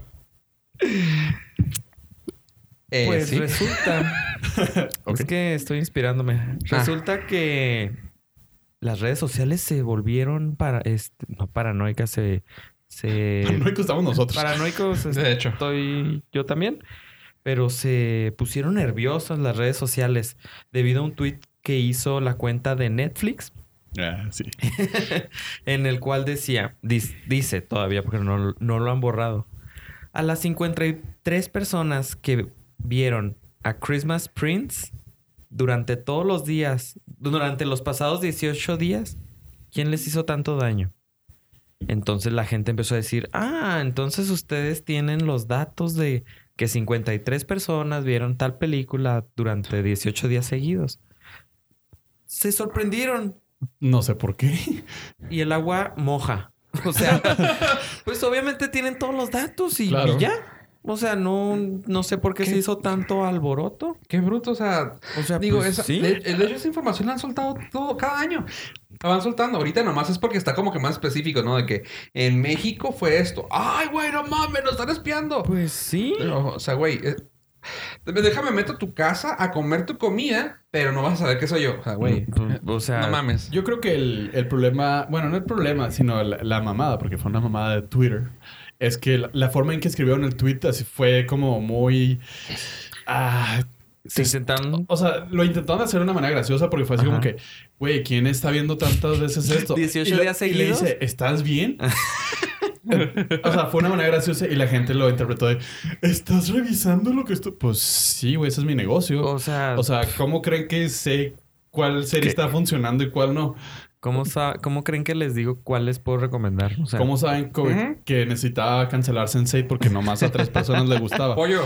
[SPEAKER 1] Eh,
[SPEAKER 5] Pues
[SPEAKER 1] sí.
[SPEAKER 5] resulta. Es que estoy
[SPEAKER 1] Ah.
[SPEAKER 5] inspirándome. Resulta que las redes sociales se volvieron para este, no paranoicas, se. se
[SPEAKER 4] Paranoicos estamos nosotros.
[SPEAKER 5] paranoicos
[SPEAKER 3] este,
[SPEAKER 5] este,
[SPEAKER 2] De hecho.
[SPEAKER 5] estoy yo también. Pero se pusieron nerviosas las redes sociales debido a un tweet que hizo la cuenta de Netflix
[SPEAKER 4] Ah, sí.
[SPEAKER 5] en el cual decía, dis- dice todavía porque no, no lo han borrado, a las 53 personas que vieron a Christmas Prince durante todos los días, durante los pasados 18 días, ¿quién les hizo tanto daño? Entonces la gente empezó a decir, ah, entonces ustedes tienen los datos de que 53 personas vieron tal película durante 18 días seguidos. Se sorprendieron
[SPEAKER 4] No sé por qué.
[SPEAKER 5] y el agua moja. O sea, pues obviamente tienen todos los datos y,
[SPEAKER 4] Claro.
[SPEAKER 5] y ya. O sea, no, no sé por qué, se hizo tanto alboroto.
[SPEAKER 2] Qué bruto, o sea,
[SPEAKER 5] O sea,
[SPEAKER 2] digo,
[SPEAKER 5] pues,
[SPEAKER 2] esa,
[SPEAKER 5] sí.
[SPEAKER 2] de, eh, de hecho esa información la han soltado todo, cada año. La van soltando. Ahorita nomás es porque está como que más específico, ¿no? De que en México fue esto. ¡Ay, güey, no mames! ¡Nos están espiando!
[SPEAKER 5] Pues sí.
[SPEAKER 2] Pero, o sea, güey, eh, déjame meto a tu casa a comer tu comida, pero no vas a saber que soy yo. O sea, güey,
[SPEAKER 5] Mm, pues, O sea,
[SPEAKER 2] no mames.
[SPEAKER 4] Yo creo que el, el problema, bueno, no el problema, sino la, la mamada, porque fue una mamada de Twitter, es que la, la forma en que escribieron el tweet así fue como muy... ah,
[SPEAKER 5] se intentaron
[SPEAKER 4] o sea, lo intentaron hacer de una manera graciosa porque fue así como
[SPEAKER 5] Ajá.
[SPEAKER 4] que, güey, ¿quién está viendo tantas veces esto?
[SPEAKER 5] 18
[SPEAKER 4] Y le-
[SPEAKER 5] días
[SPEAKER 4] Y le
[SPEAKER 5] seguidos.
[SPEAKER 4] dice, ¿estás bien? o sea, fue una manera graciosa y la gente lo interpretó de, ¿estás revisando lo que esto? Pues sí, güey, ese es mi negocio.
[SPEAKER 5] O sea,
[SPEAKER 4] O sea, ¿cómo creen que sé cuál serie está funcionando y cuál no?
[SPEAKER 5] ¿cómo, sa- cómo creen que les digo cuál les puedo recomendar? O sea,
[SPEAKER 4] ¿Cómo saben co-
[SPEAKER 2] Ujú.
[SPEAKER 4] que necesitaba cancelar Sensei porque nomás a tres personas le gustaba?
[SPEAKER 2] Pollo,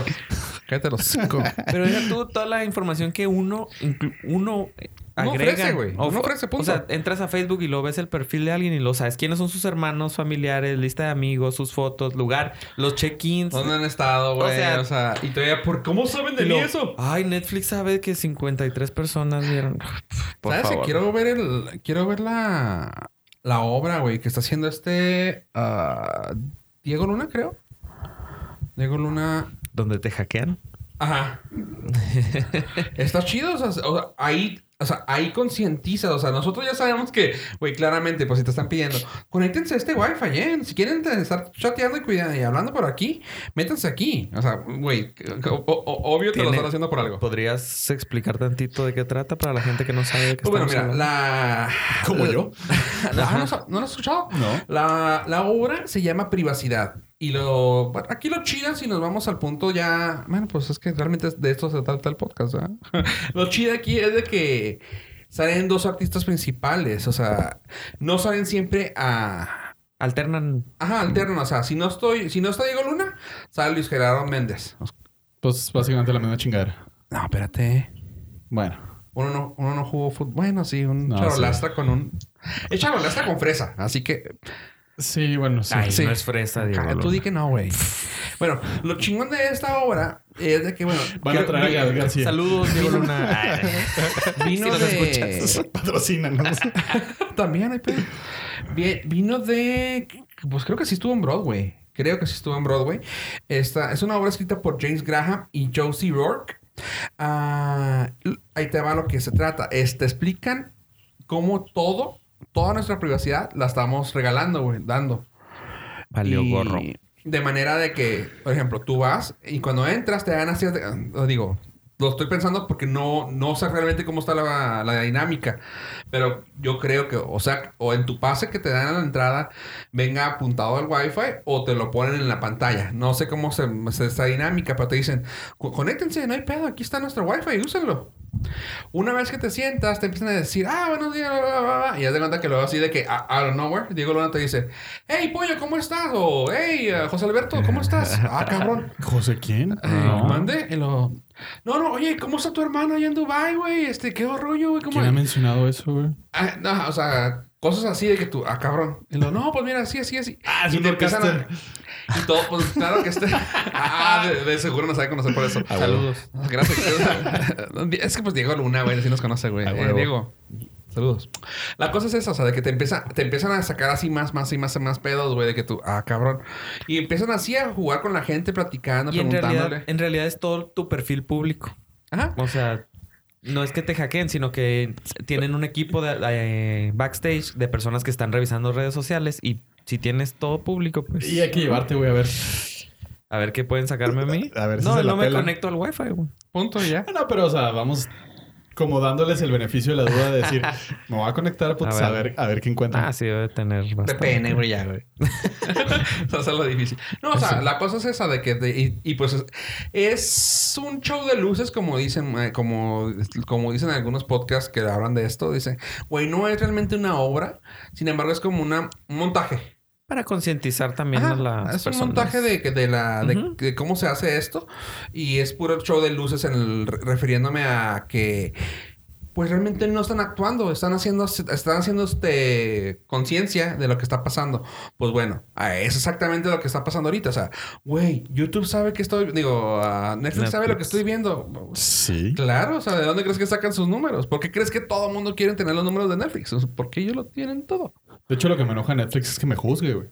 [SPEAKER 2] cállate los cinco.
[SPEAKER 5] Pero deja tú toda la información que uno, inclu- uno eh,
[SPEAKER 2] Uno
[SPEAKER 5] agrega.
[SPEAKER 2] ofrece, güey.
[SPEAKER 5] O-
[SPEAKER 2] Uno ofrece, punto.
[SPEAKER 5] O sea, entras a Facebook y lo ves el perfil de alguien y lo sabes quiénes son sus hermanos, familiares, lista de amigos, sus fotos, lugar, los check-ins.
[SPEAKER 2] ¿Dónde han estado, güey? O
[SPEAKER 5] O
[SPEAKER 2] sea,
[SPEAKER 5] sea-
[SPEAKER 2] y todavía, ¿por cómo saben de
[SPEAKER 5] Y
[SPEAKER 2] mí
[SPEAKER 5] lo-
[SPEAKER 2] eso?
[SPEAKER 5] Ay, Netflix sabe que 53 personas vieron. Por
[SPEAKER 2] ¿Sabes?
[SPEAKER 5] favor.
[SPEAKER 2] que Quiero ver el, quiero ver la, la obra, güey, que está haciendo este ah, Diego Luna, creo. Diego Luna.
[SPEAKER 5] ¿Dónde te hackean?
[SPEAKER 2] Ajá. Está chido, o sea, o sea, ahí, o sea, ahí concientiza, o sea, nosotros ya sabemos que, güey, claramente, pues si te están pidiendo, conéctense a este wifi, ¿eh? Si quieren te- estar chateando y cuidando y hablando por aquí, métanse aquí. O sea, güey, o- o- obvio te lo
[SPEAKER 5] Tiene-
[SPEAKER 2] están haciendo por algo.
[SPEAKER 5] ¿Podrías explicar tantito de qué trata para la gente que no sabe de qué
[SPEAKER 2] Pues bueno,
[SPEAKER 5] estamos
[SPEAKER 2] mira,
[SPEAKER 5] hablando?
[SPEAKER 2] la...
[SPEAKER 4] ¿Como yo?
[SPEAKER 2] Ah, ¿no, sa- ¿No lo has escuchado?
[SPEAKER 4] No.
[SPEAKER 2] La, la obra se llama Privacidad. Y lo... bueno, aquí lo chida si nos vamos al punto ya... Bueno, pues es que realmente de esto se trata el podcast, ¿verdad? lo chida aquí es de que salen dos artistas principales. O sea, no salen siempre a...
[SPEAKER 5] Alternan.
[SPEAKER 2] Ajá, alterno. O sea, si no estoy... Si no está Diego Luna, sale Luis Gerardo Méndez.
[SPEAKER 4] Pues básicamente la misma chingadera.
[SPEAKER 2] No, espérate.
[SPEAKER 4] Bueno.
[SPEAKER 2] Uno no, uno no jugó fútbol. Bueno, sí, un
[SPEAKER 4] No,
[SPEAKER 2] charolastra con un... Es charolastra con fresa. Así que...
[SPEAKER 4] Sí, bueno, sí.
[SPEAKER 5] Ay,
[SPEAKER 2] Sí.
[SPEAKER 5] no es fresa, Diego.
[SPEAKER 2] Ah, tú di que no, güey. Bueno, lo chingón de esta obra es de que, bueno...
[SPEAKER 4] Van a
[SPEAKER 2] creo-
[SPEAKER 4] traer a Gael García.
[SPEAKER 5] Saludos, Diego Luna. Ay,
[SPEAKER 2] Vino
[SPEAKER 5] si nos
[SPEAKER 2] de-
[SPEAKER 5] escuchas.
[SPEAKER 4] Patrocínanos.
[SPEAKER 2] También hay pedo. Vi- Vino de. Pues creo que sí estuvo en Broadway. Creo que sí estuvo en Broadway. Esta es una obra escrita por James Graham y Josie Rourke. Ah, l- ahí te va lo que se trata. Es, te explican cómo todo, toda nuestra privacidad la estamos regalando, güey, dando.
[SPEAKER 5] Ah,
[SPEAKER 1] Valió
[SPEAKER 2] Y
[SPEAKER 1] gorro.
[SPEAKER 2] De manera de que, por ejemplo, tú vas y cuando entras te dan así, os digo, lo estoy pensando porque no, no sé realmente cómo está la, la dinámica, pero yo creo que, o sea, o en tu pase que te dan a la entrada venga apuntado al wifi o te lo ponen en la pantalla. No sé cómo se, se esta dinámica, pero te dicen, "Co- conéctense, no hay pedo, aquí está nuestro wifi, úsenlo. Una vez que te sientas, te empiezan a decir, ah, buenos días, bla, bla, bla, bla", y haz de cuenta que luego así de que, ah, out of nowhere, Diego Luna te dice, hey, pollo, ¿cómo estás? O, hey, eh, José Alberto, ¿cómo estás? Ah, cabrón.
[SPEAKER 4] ¿José quién?
[SPEAKER 2] Eh, Mande, y lo- No, no, oye, ¿cómo está tu hermano allá en Dubai, güey? Este, qué rollo, güey, ¿cómo
[SPEAKER 4] ¿Quién ha mencionado eso, güey?
[SPEAKER 2] Ah, no, o sea, cosas así de que tú, ah, cabrón. Y lo, no, pues mira, así, así, así.
[SPEAKER 4] Ah, es
[SPEAKER 2] y
[SPEAKER 4] un
[SPEAKER 2] te empiezan
[SPEAKER 4] orcaster.
[SPEAKER 2] a- Y todo, pues claro que este. Ah, de, de seguro nos sabe conocer por eso.
[SPEAKER 5] Ah, Saludos.
[SPEAKER 2] Gracias. es que pues Diego Luna, güey, así nos conoce, güey.
[SPEAKER 5] Ah,
[SPEAKER 4] A
[SPEAKER 2] Eh,
[SPEAKER 4] huevo.
[SPEAKER 2] Diego. Saludos. La cosa es esa, o sea, de que te, empieza, te empiezan a sacar así más, más y más, más pedos, güey, de que tú, ah, cabrón. Y empiezan así a jugar con la gente, platicando,
[SPEAKER 5] Y en realidad,
[SPEAKER 2] preguntándole.
[SPEAKER 5] en realidad es todo tu perfil público.
[SPEAKER 2] Ajá.
[SPEAKER 5] O sea, no es que te hackeen, sino que tienen un equipo de eh, backstage de personas que están revisando redes sociales y si tienes todo público, pues
[SPEAKER 4] Y hay que llevarte, güey, a ver.
[SPEAKER 5] a ver qué pueden sacarme a mí.
[SPEAKER 4] A ver si
[SPEAKER 5] no,
[SPEAKER 4] se la
[SPEAKER 5] no me
[SPEAKER 4] pelan.
[SPEAKER 5] conecto al wifi, güey.
[SPEAKER 2] Punto y ya.
[SPEAKER 4] Ah, No, pero, o sea, vamos como dándoles el beneficio de la duda de decir, me voy a conectar pues,
[SPEAKER 5] A
[SPEAKER 4] a,
[SPEAKER 5] ver.
[SPEAKER 4] ver. a ver qué encuentran.
[SPEAKER 5] Ah, sí, debe tener bastante.
[SPEAKER 2] Depende, güey, ya, güey. o sea, eso es lo difícil. No, o sea, la cosa es esa de que... de- y, y pues es, es un show de luces, como dicen eh, como, como dicen algunos podcasts que hablan de esto. Dicen, güey, no es realmente una obra. Sin embargo, es como una, un montaje.
[SPEAKER 5] Para concientizar también
[SPEAKER 2] Ajá,
[SPEAKER 5] a las
[SPEAKER 2] es
[SPEAKER 5] personas.
[SPEAKER 2] un montaje de, que- de la, de,
[SPEAKER 5] Ujú.
[SPEAKER 2] de cómo se hace esto. Y es puro show de luces en el- re- refiriéndome a que... Pues realmente no están actuando, están haciendo, están haciendo este conciencia de lo que está pasando. Pues bueno, ah, es exactamente lo que está pasando ahorita. O sea, güey, YouTube sabe que estoy, digo, ah, Netflix, sabe
[SPEAKER 5] Netflix.
[SPEAKER 2] lo que estoy viendo.
[SPEAKER 4] Sí.
[SPEAKER 2] Claro, o sea, ¿de dónde crees que sacan sus números? ¿Por qué crees que todo el mundo quiere tener los números de Netflix? ¿Por qué ellos lo tienen todo?
[SPEAKER 4] De hecho, lo que me enoja de Netflix es que me juzgue, güey.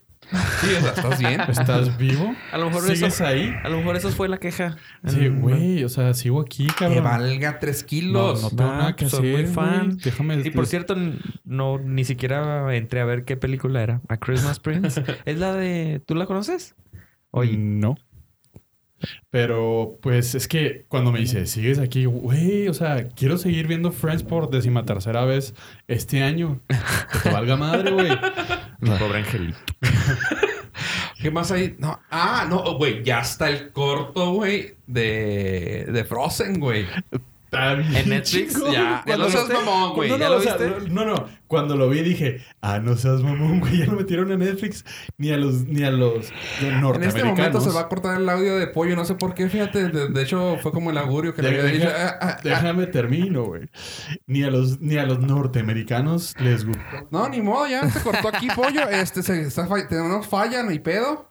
[SPEAKER 2] Sí, o sea, estás bien.
[SPEAKER 5] Pues,
[SPEAKER 4] ¿Estás vivo?
[SPEAKER 5] A lo mejor
[SPEAKER 4] ¿Sigues
[SPEAKER 5] eso-
[SPEAKER 4] ahí?
[SPEAKER 5] A lo mejor eso fue la queja.
[SPEAKER 4] Sí,
[SPEAKER 5] Mm,
[SPEAKER 4] güey, o sea, sigo aquí,
[SPEAKER 2] Que
[SPEAKER 4] cabrón.
[SPEAKER 2] valga tres
[SPEAKER 4] No,
[SPEAKER 2] kilos.
[SPEAKER 4] no tengo
[SPEAKER 5] Ah,
[SPEAKER 4] nada que
[SPEAKER 5] soy
[SPEAKER 4] hacer,
[SPEAKER 5] muy
[SPEAKER 4] güey.
[SPEAKER 5] fan.
[SPEAKER 4] Déjame
[SPEAKER 5] Y por cierto, n- no ni siquiera entré a ver qué película era. A Christmas Prince. es la de. ¿Tú la conoces?
[SPEAKER 2] Mm,
[SPEAKER 5] Oye.
[SPEAKER 4] No. Pero, pues, es que cuando me dice, sigues aquí, güey, o sea, quiero seguir viendo Friends por décima tercera vez este año. Que te valga madre, güey.
[SPEAKER 5] Mi pobre angelito.
[SPEAKER 2] ¿Qué más hay? No. Ah, no, güey, ya está el corto, güey, de, de Frozen, güey.
[SPEAKER 4] Está bien
[SPEAKER 5] ¿En Netflix?
[SPEAKER 4] chingón.
[SPEAKER 2] Ya,
[SPEAKER 4] Cuando
[SPEAKER 2] no
[SPEAKER 4] lo-
[SPEAKER 2] seas mamón, güey.
[SPEAKER 4] No, no,
[SPEAKER 5] ¿Ya lo
[SPEAKER 4] o sea,
[SPEAKER 5] viste?
[SPEAKER 4] no, no. Cuando lo vi dije, ah, no seas mamón, güey. Ya lo metieron a Netflix. Ni a los, ni a los
[SPEAKER 2] En este
[SPEAKER 4] norteamericanos.
[SPEAKER 2] momento se va a cortar el audio de pollo, no sé por qué, fíjate, de, de hecho fue como el augurio que le
[SPEAKER 4] Deja-
[SPEAKER 2] había dicho.
[SPEAKER 4] deja-
[SPEAKER 2] ah, ah, ah.
[SPEAKER 4] déjame termino, güey. Ni a los, ni a los norteamericanos les gustó.
[SPEAKER 2] ah, No, ni modo, ya se cortó aquí pollo, este se está fall- tenemos falla, no hay pedo.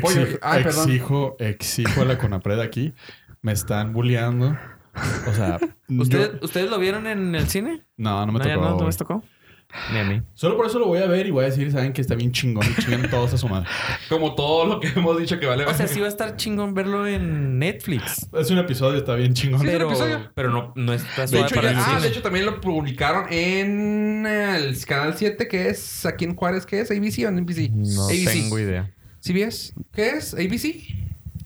[SPEAKER 2] Pollo,
[SPEAKER 4] Exijo,
[SPEAKER 2] ay, perdón.
[SPEAKER 4] exijo, exijo a la Conapred aquí. Me están bulleando. O sea,
[SPEAKER 5] ¿Ustedes,
[SPEAKER 4] yo-
[SPEAKER 5] ¿Ustedes lo vieron en el cine?
[SPEAKER 4] no, no me
[SPEAKER 5] no, ya
[SPEAKER 4] tocó.
[SPEAKER 5] no, no
[SPEAKER 4] güey.
[SPEAKER 5] les tocó. Ni a mí.
[SPEAKER 4] Solo por eso lo voy a ver y voy a decir, saben que está bien chingón y chingan todos a su madre.
[SPEAKER 2] Como todo lo que hemos dicho que vale.
[SPEAKER 5] O sea, sí va a estar chingón verlo en Netflix.
[SPEAKER 4] Es un episodio, está bien chingón.
[SPEAKER 2] Sí, es un
[SPEAKER 5] Pero,
[SPEAKER 2] episodio.
[SPEAKER 5] pero no, no está
[SPEAKER 2] de
[SPEAKER 5] suave
[SPEAKER 2] hecho,
[SPEAKER 5] para
[SPEAKER 2] ya-
[SPEAKER 5] el
[SPEAKER 2] ah,
[SPEAKER 5] cine.
[SPEAKER 2] de hecho también lo publicaron en el canal 7 que es aquí en Juárez, ¿qué es? ABC o en NBC?
[SPEAKER 5] No
[SPEAKER 2] ABC.
[SPEAKER 5] tengo idea.
[SPEAKER 2] ¿CBS? ¿Qué es? ¿ABC?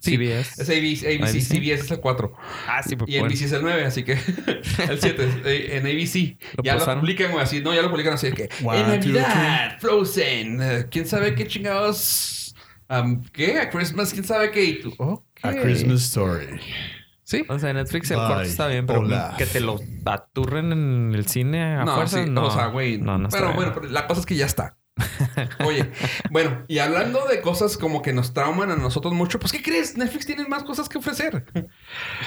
[SPEAKER 2] Sí,
[SPEAKER 5] CBS.
[SPEAKER 2] Es ABC, ABC,
[SPEAKER 5] ABC.
[SPEAKER 2] CBS es el 4.
[SPEAKER 5] Ah, sí,
[SPEAKER 2] Y
[SPEAKER 5] porque
[SPEAKER 2] en NBC es el 9, así que el 7 es, eh, en ABC.
[SPEAKER 5] Lo
[SPEAKER 2] ya
[SPEAKER 5] pasaron.
[SPEAKER 2] lo publican güey, así, no, ya lo publican así de que
[SPEAKER 4] One,
[SPEAKER 2] en
[SPEAKER 4] two,
[SPEAKER 2] Navidad, Frozen, eh, quién sabe qué chingados am, ¿Qué? A Christmas, quién sabe qué. Y tú, ok.
[SPEAKER 4] A Christmas Story.
[SPEAKER 2] Sí.
[SPEAKER 5] O sea, en Netflix el
[SPEAKER 4] Bye.
[SPEAKER 5] corto está bien, pero
[SPEAKER 4] Hola.
[SPEAKER 5] que te lo aturren en el cine a
[SPEAKER 2] No,
[SPEAKER 5] fuerza,
[SPEAKER 2] sí,
[SPEAKER 5] no.
[SPEAKER 2] o sea, güey.
[SPEAKER 5] No, no está
[SPEAKER 2] pero
[SPEAKER 5] bien.
[SPEAKER 2] bueno, pero la cosa es que ya está. Oye, bueno, y hablando de cosas como que nos trauman a nosotros mucho, pues ¿qué crees? Netflix tiene más cosas que ofrecer.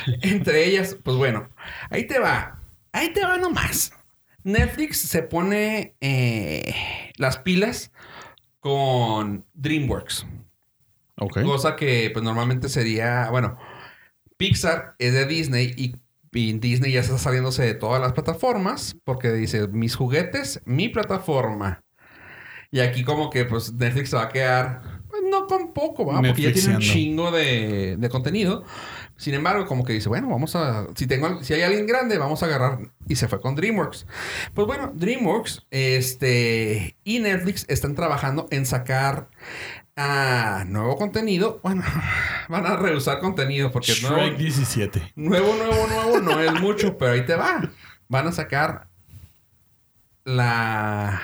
[SPEAKER 2] Entre ellas, pues bueno, ahí te va. Ahí te va nomás. Netflix se pone eh, las pilas con DreamWorks.
[SPEAKER 4] Ok.
[SPEAKER 2] Cosa que pues normalmente sería, bueno, Pixar es de Disney y, y Disney ya está saliéndose de todas las plataformas porque dice mis juguetes, mi plataforma. Y aquí como que pues Netflix se va a quedar, pues no con poco, ¿va? porque ya tiene un
[SPEAKER 4] Netflixiando.
[SPEAKER 2] chingo de, de contenido. Sin embargo, como que dice, bueno, vamos a, si tengo, si hay alguien grande, vamos a agarrar. Y se fue con DreamWorks. Pues bueno, DreamWorks, este, y Netflix están trabajando en sacar Ah, nuevo contenido. Bueno, van a rehusar contenido porque
[SPEAKER 4] Shrek 17.
[SPEAKER 2] nuevo, nuevo, nuevo, nuevo no es mucho, pero ahí te va. Van a sacar la.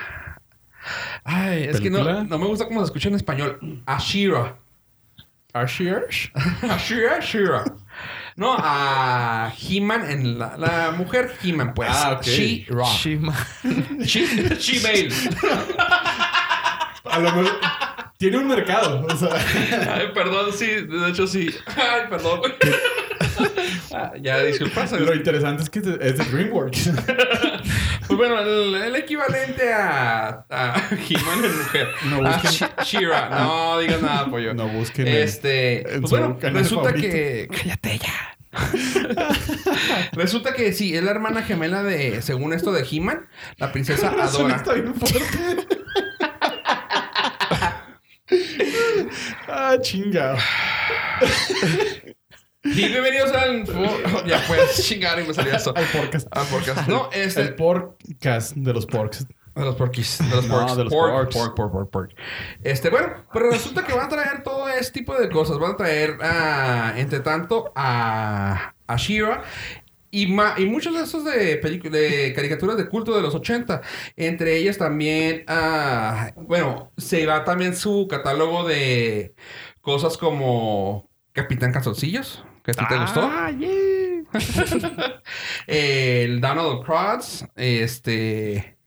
[SPEAKER 2] Ay, es que
[SPEAKER 4] ¿Película?
[SPEAKER 2] no, no me gusta cómo se escucha en español. Ashira.
[SPEAKER 4] Archie Arch.
[SPEAKER 2] Ashira, Ashira. No, a He-Man en la, la mujer He-Man, pues.
[SPEAKER 4] Ah, ok.
[SPEAKER 2] She-Ra.
[SPEAKER 5] Shima.
[SPEAKER 2] She- She-Male.
[SPEAKER 4] A lo mejor tiene un mercado. O sea,
[SPEAKER 2] Ay, perdón, sí, de hecho sí. Ay, perdón. Ah, ya, disculpa. ¿sabes?
[SPEAKER 4] lo interesante es que es de es de DreamWorks.
[SPEAKER 2] Pues bueno, el, el equivalente a, a He-Man en mujer.
[SPEAKER 4] No
[SPEAKER 2] a
[SPEAKER 4] busquen-
[SPEAKER 2] Shi- She-Ra. No digas nada, pollo.
[SPEAKER 4] No busquen en-
[SPEAKER 2] Este.
[SPEAKER 4] en
[SPEAKER 2] pues
[SPEAKER 4] su
[SPEAKER 2] bueno,
[SPEAKER 4] canal
[SPEAKER 2] resulta
[SPEAKER 4] favorito.
[SPEAKER 2] que. Cállate ya. resulta que sí, es la hermana gemela de, según esto, de He-Man, la princesa
[SPEAKER 4] Eso no
[SPEAKER 2] Adora.
[SPEAKER 4] está bien fuerte. ah, chinga.
[SPEAKER 2] Y bienvenidos al. ya puedes chingar y me salió eso.
[SPEAKER 4] Al podcast.
[SPEAKER 2] Ah, porque no, este.
[SPEAKER 4] El podcast de los porcs.
[SPEAKER 2] De los porquis. De los
[SPEAKER 4] No,
[SPEAKER 2] porks.
[SPEAKER 4] de los
[SPEAKER 2] pork,
[SPEAKER 4] porks.
[SPEAKER 2] pork, pork, pork, pork. Este, bueno, pero resulta que van a traer todo este tipo de cosas. Van a traer, ah, entre tanto, a, a Shira. Y, ma- y muchos de esos de, pelicu- de caricaturas de culto de los 80. Entre ellas también, ah, bueno, se va también su catálogo de cosas como Capitán Calzoncillos, que a ti
[SPEAKER 5] Ah,
[SPEAKER 4] Ah,
[SPEAKER 2] te gustó. El Donald Cruz, este.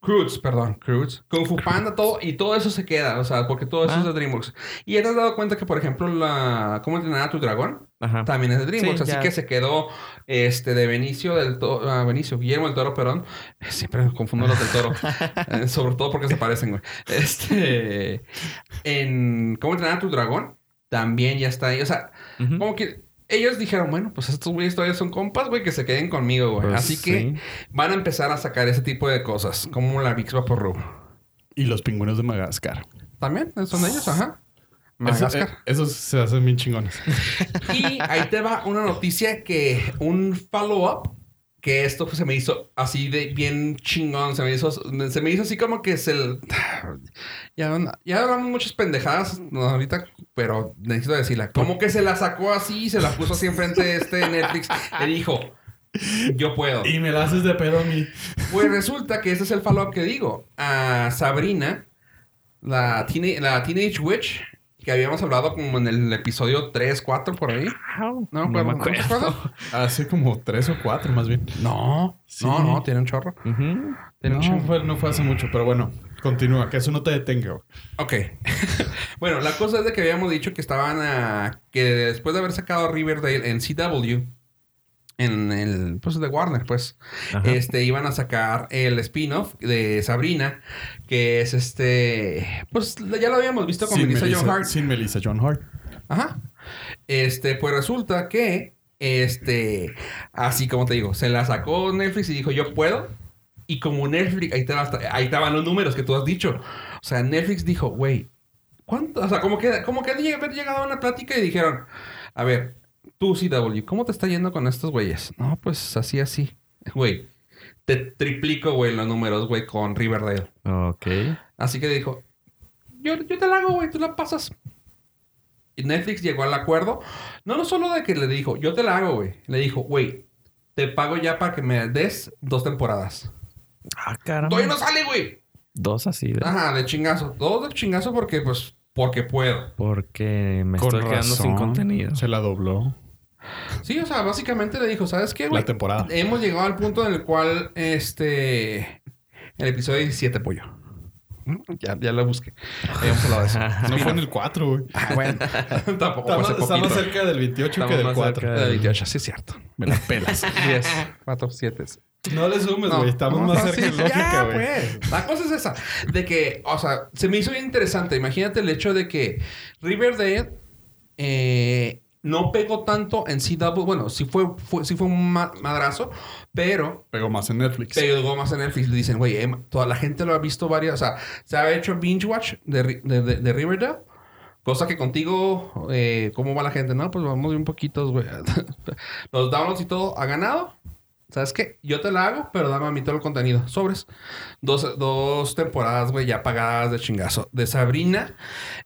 [SPEAKER 2] Cruz, perdón, Cruz. Kung Fu Panda, todo, y todo eso se queda, o sea, porque todo eso
[SPEAKER 5] Ah.
[SPEAKER 2] es de DreamWorks. Y ya te has dado cuenta que, por ejemplo, la. ¿Cómo entrenar a tu dragón?
[SPEAKER 5] Ajá.
[SPEAKER 2] También es de DreamWorks,
[SPEAKER 5] Sí,
[SPEAKER 2] así
[SPEAKER 5] ya.
[SPEAKER 2] que se quedó este de Benicio del Toro, Benicio, Guillermo del Toro, perdón. Siempre confundo los del Toro, Eh, sobre todo porque se parecen, güey. Este. En ¿Cómo entrenar a tu dragón? También ya está ahí, o sea,
[SPEAKER 5] Ujú.
[SPEAKER 2] como que ellos dijeron, bueno, pues estos güeyes todavía son compas, güey, que se queden conmigo, güey.
[SPEAKER 5] Pues
[SPEAKER 2] Así que
[SPEAKER 5] sí.
[SPEAKER 2] van a empezar a sacar ese tipo de cosas, como la Vix Vaporru.
[SPEAKER 4] Y los pingüinos de Madagascar.
[SPEAKER 2] También son de ellos, ajá.
[SPEAKER 4] Eso-
[SPEAKER 2] Madagascar.
[SPEAKER 4] eh, Esos se hacen bien chingones.
[SPEAKER 2] Y ahí te va una noticia que un follow-up que esto pues, se me hizo así de bien chingón, se me hizo, se me hizo así como que se... l- Ya, ya hablamos muchas pendejadas ahorita, pero necesito decirla. Como que se la sacó así y se la puso así enfrente de este Netflix y dijo, yo puedo.
[SPEAKER 4] Y me la haces de pedo a mí.
[SPEAKER 2] Pues resulta que este es el follow-up que digo. A Sabrina, la, teena- la Teenage Witch, que habíamos hablado como en el episodio 3, 4 por ahí.
[SPEAKER 5] No,
[SPEAKER 2] ah, No,
[SPEAKER 5] me
[SPEAKER 2] ¿no te
[SPEAKER 5] acuerdo.
[SPEAKER 2] acuerdas?
[SPEAKER 4] Hace como tres o cuatro más bien.
[SPEAKER 2] No,
[SPEAKER 4] Sí.
[SPEAKER 2] no, no, tiene un chorro.
[SPEAKER 5] Ujú.
[SPEAKER 2] Tiene
[SPEAKER 4] No,
[SPEAKER 2] un chorro.
[SPEAKER 4] fue, no fue hace mucho, pero bueno. Continúa, que eso no te detenga.
[SPEAKER 2] Ok. bueno, la cosa es de que habíamos dicho que estaban a... que después de haber sacado Riverdale en CW, en el... pues de Warner, pues,
[SPEAKER 5] Ajá.
[SPEAKER 2] este, iban a sacar el spin-off de Sabrina, que es este... pues ya lo habíamos visto con Melissa John Hart.
[SPEAKER 4] Sin Melissa John Hart.
[SPEAKER 2] Ajá. Este, pues resulta que, este, así como te digo, se la sacó Netflix y dijo, yo puedo. Y como Netflix, ahí, te va- ahí estaban los números que tú has dicho. O sea, Netflix dijo, güey, ¿cuánto? O sea, como que, como que han de haber llegado a una plática y dijeron, a ver, tú CW, ¿cómo te está yendo con estos güeyes? No, pues así, así. Güey, te triplico, güey, los números, güey, con Riverdale.
[SPEAKER 5] Ok.
[SPEAKER 2] Así que dijo, yo, yo te la hago, güey, tú la pasas. Y Netflix llegó al acuerdo, no, no solo de que le dijo, yo te la hago, güey. Le dijo, güey, te pago ya para que me des dos temporadas.
[SPEAKER 5] Ah, caramba.
[SPEAKER 2] Todavía no sale, güey.
[SPEAKER 5] Dos así de...
[SPEAKER 2] Ajá, de chingazo. Todo de chingazo porque, pues, porque puedo.
[SPEAKER 5] Porque me estoy quedando sin contenido.
[SPEAKER 4] Se la dobló
[SPEAKER 2] Sí, o sea, básicamente le dijo, ¿sabes qué,
[SPEAKER 4] la
[SPEAKER 2] güey?
[SPEAKER 4] temporada.
[SPEAKER 2] Hemos llegado al punto en el cual, este, el episodio 17, pollo. Mm, Ya, ya la busqué. Habíamos hablado de eso.
[SPEAKER 4] No fue en el 4, güey.
[SPEAKER 2] Ah, bueno, tampoco fue
[SPEAKER 4] Está más,
[SPEAKER 2] hace
[SPEAKER 4] está más
[SPEAKER 2] poquito.
[SPEAKER 4] cerca del 28
[SPEAKER 5] Estamos
[SPEAKER 4] que del
[SPEAKER 5] más
[SPEAKER 4] 4.
[SPEAKER 5] cerca.
[SPEAKER 2] La de 28, sí es cierto.
[SPEAKER 4] Me la pelas.
[SPEAKER 2] 10, 4, 7.
[SPEAKER 4] No le sumes, Pues, güey. Estamos
[SPEAKER 2] No,
[SPEAKER 4] más
[SPEAKER 2] no,
[SPEAKER 4] cerca
[SPEAKER 2] sí,
[SPEAKER 4] de lógica,
[SPEAKER 2] ya,
[SPEAKER 4] güey.
[SPEAKER 2] pues. La cosa es esa. De que, o sea, se me hizo bien interesante. Imagínate el hecho de que Riverdale eh, no pegó tanto en CW. Bueno, sí fue, fue, sí fue un ma- madrazo, pero
[SPEAKER 4] Pegó más en Netflix.
[SPEAKER 2] pegó más en Netflix. Dicen, güey, em, toda la gente lo ha visto varias. O sea, se ha hecho binge watch de, Ri- de, de- de Riverdale. Cosa que contigo, eh, ¿cómo va la gente? No, pues vamos bien poquitos, güey. Los downloads y todo ha ganado. ¿Sabes qué? Yo te la hago, pero dame a mí todo el contenido. Sobres. Dos, dos temporadas, güey, ya pagadas de chingazo. De Sabrina,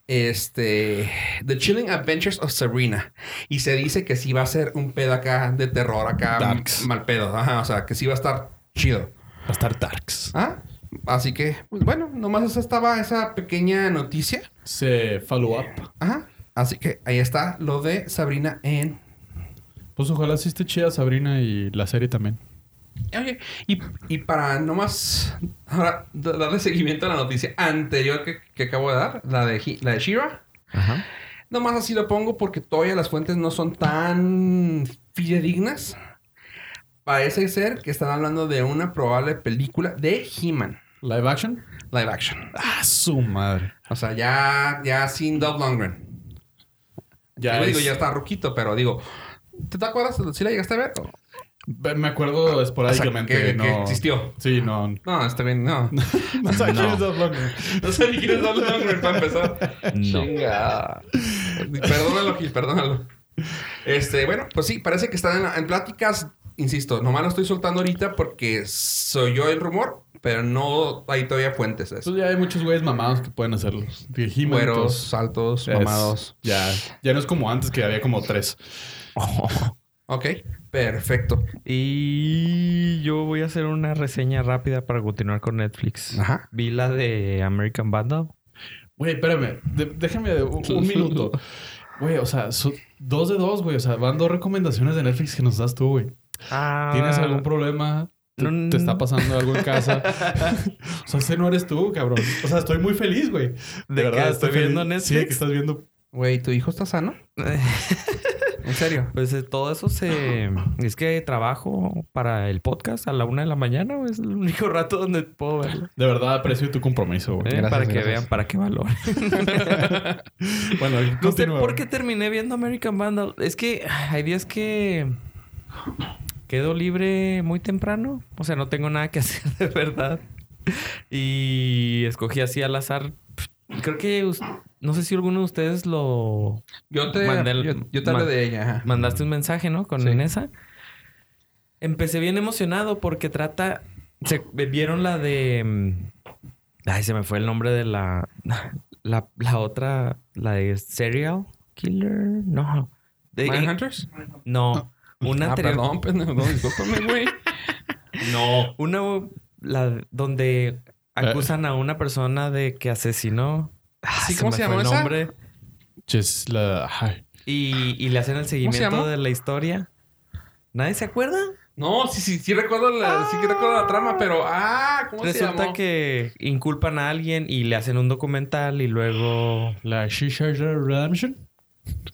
[SPEAKER 2] este... The Chilling Adventures of Sabrina. Y se dice que sí va a ser un pedo acá de terror, acá
[SPEAKER 4] Darks.
[SPEAKER 2] mal pedo. Ajá, o sea, que sí va a estar chido.
[SPEAKER 4] Va a estar Darks.
[SPEAKER 2] ¿Ah? Así que, pues, bueno, nomás esa estaba esa pequeña noticia.
[SPEAKER 4] Se follow up.
[SPEAKER 2] Ajá. Así que ahí está lo de Sabrina en...
[SPEAKER 4] Pues ojalá sí esté chida Sabrina y la serie también.
[SPEAKER 2] Oye, y, y para nomás ahora da- darle seguimiento a la noticia anterior que, que acabo de dar, la de, He- la de Shira,
[SPEAKER 1] Ajá.
[SPEAKER 2] nomás así lo pongo porque todavía las fuentes no son tan fidedignas. Parece ser que están hablando de una probable película de He-Man,
[SPEAKER 4] ¿Live action?
[SPEAKER 2] live action.
[SPEAKER 4] Ah, su madre.
[SPEAKER 2] O sea, ya, ya sin Doug Lundgren.
[SPEAKER 4] Ya
[SPEAKER 2] Yo
[SPEAKER 4] es-
[SPEAKER 2] digo, ya está ruquito, pero digo, ¿te, te acuerdas? ¿Sí la llegaste a ver?
[SPEAKER 4] Ve- Me acuerdo esporádicamente.
[SPEAKER 2] que- que
[SPEAKER 4] no...
[SPEAKER 2] existió. Ah.
[SPEAKER 4] Sí, no.
[SPEAKER 2] No, está bien, no.
[SPEAKER 4] No sabía quién es Dolph Lundgren.
[SPEAKER 2] No sé ni quién es Donald Lundgren para empezar.
[SPEAKER 1] No.
[SPEAKER 2] Chinga. Perdónalo, Gil, perdónalo. Este, bueno, pues sí, parece que están en, en pláticas. Insisto, nomás lo estoy soltando ahorita porque soy yo el rumor, pero no hay todavía fuentes. Es.
[SPEAKER 4] Entonces ya hay muchos güeyes mamados que pueden hacerlo. Dijimos.
[SPEAKER 2] Güeros, saltos, mamados.
[SPEAKER 4] Ya, ya no es como antes que había como tres.
[SPEAKER 2] Ok, perfecto.
[SPEAKER 5] Y yo voy a hacer una reseña rápida para continuar con Netflix.
[SPEAKER 2] Ajá.
[SPEAKER 5] Vi la de American Vandal.
[SPEAKER 4] Güey, espérame. de- déjame de- un, un minuto. Güey, o sea, so- dos de dos, güey. O sea, van dos recomendaciones de Netflix que nos das tú, güey.
[SPEAKER 5] Ah,
[SPEAKER 4] ¿Tienes algún problema? ¿Te,
[SPEAKER 5] No,
[SPEAKER 4] te está
[SPEAKER 5] no.
[SPEAKER 4] pasando algo en casa? o sea, ese no eres tú, cabrón. O sea, estoy muy feliz, güey. De,
[SPEAKER 5] ¿De que estoy
[SPEAKER 4] feliz.
[SPEAKER 5] viendo
[SPEAKER 4] Sí, de
[SPEAKER 5] Netflix?
[SPEAKER 4] que estás viendo.
[SPEAKER 2] Güey, ¿tu hijo está sano? ¿En serio?
[SPEAKER 5] Pues eh, todo eso se... Es que trabajo para el podcast a la una de la mañana. güey, Es el único rato donde puedo verlo.
[SPEAKER 4] De verdad aprecio tu compromiso,
[SPEAKER 5] Eh,
[SPEAKER 4] güey.
[SPEAKER 3] Gracias,
[SPEAKER 5] para que
[SPEAKER 3] gracias.
[SPEAKER 5] vean, para que valoren.
[SPEAKER 4] Bueno,
[SPEAKER 5] No sé
[SPEAKER 4] continúa,
[SPEAKER 5] por
[SPEAKER 4] güey.
[SPEAKER 5] qué terminé viendo American Vandal. Es que ay, hay días que quedo libre muy temprano. O sea, no tengo nada que hacer de verdad. Y escogí así al azar. Creo que us- no sé si alguno de ustedes lo
[SPEAKER 2] Yo te,
[SPEAKER 5] Mandel-
[SPEAKER 2] yo, yo te hablé
[SPEAKER 5] man-
[SPEAKER 2] de ella. ajá.
[SPEAKER 5] mandaste un mensaje, ¿no? Con
[SPEAKER 2] Sí.
[SPEAKER 5] Inesa. Empecé bien emocionado porque trata. Se vieron la de. mm, Ay, se me fue el nombre de la. La, la otra. La de Serial Killer. No. De,
[SPEAKER 2] ¿Manhunters?
[SPEAKER 5] no. Una
[SPEAKER 2] Ah,
[SPEAKER 5] anterior-
[SPEAKER 2] perdón, pendejo, discúlpame, güey.
[SPEAKER 5] No. Una la,
[SPEAKER 2] Eh.
[SPEAKER 5] donde acusan a una persona de que asesinó. Ah,
[SPEAKER 2] Sí, ¿cómo se
[SPEAKER 5] fue
[SPEAKER 2] llamó esa?
[SPEAKER 5] nombre.
[SPEAKER 4] Ches, la- ay.
[SPEAKER 5] Y, y le hacen el seguimiento
[SPEAKER 2] llamó?
[SPEAKER 5] de la historia. ¿Nadie se acuerda?
[SPEAKER 2] No, sí, sí, sí recuerdo la, sí que recuerdo la trama, pero ah, ¿cómo se
[SPEAKER 5] Resulta
[SPEAKER 2] llamó?
[SPEAKER 5] que inculpan a alguien y le hacen un documental y luego...
[SPEAKER 4] La Shisha Redemption.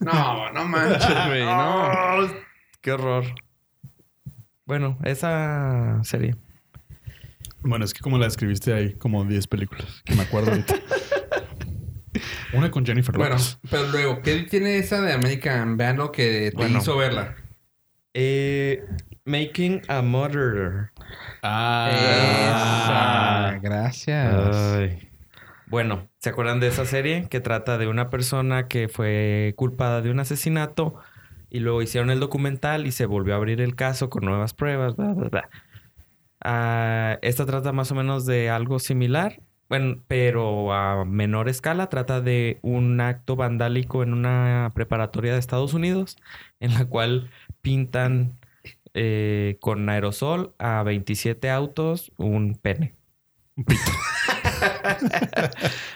[SPEAKER 2] No, no manches, güey, no.
[SPEAKER 5] ¡Ah! ¡Qué horror! Bueno, esa serie.
[SPEAKER 4] Bueno, es que como la describiste hay como 10 películas que me acuerdo ahorita. Una con Jennifer
[SPEAKER 2] Bueno,
[SPEAKER 4] Lopez.
[SPEAKER 2] pero luego, ¿qué tiene esa de American Vandal que te
[SPEAKER 5] Bueno.
[SPEAKER 2] hizo verla?
[SPEAKER 5] Eh, Making a Murderer.
[SPEAKER 4] Ah,
[SPEAKER 3] gracias.
[SPEAKER 5] Bueno, ¿se acuerdan de esa serie que trata de una persona que fue culpada de un asesinato y luego hicieron el documental y se volvió a abrir el caso con nuevas pruebas, bla, bla, bla? Ah, esta trata más o menos de algo similar, bueno, pero a menor escala. Trata de un acto vandálico en una preparatoria de Estados Unidos en la cual pintan eh, con aerosol a 27 autos un pene.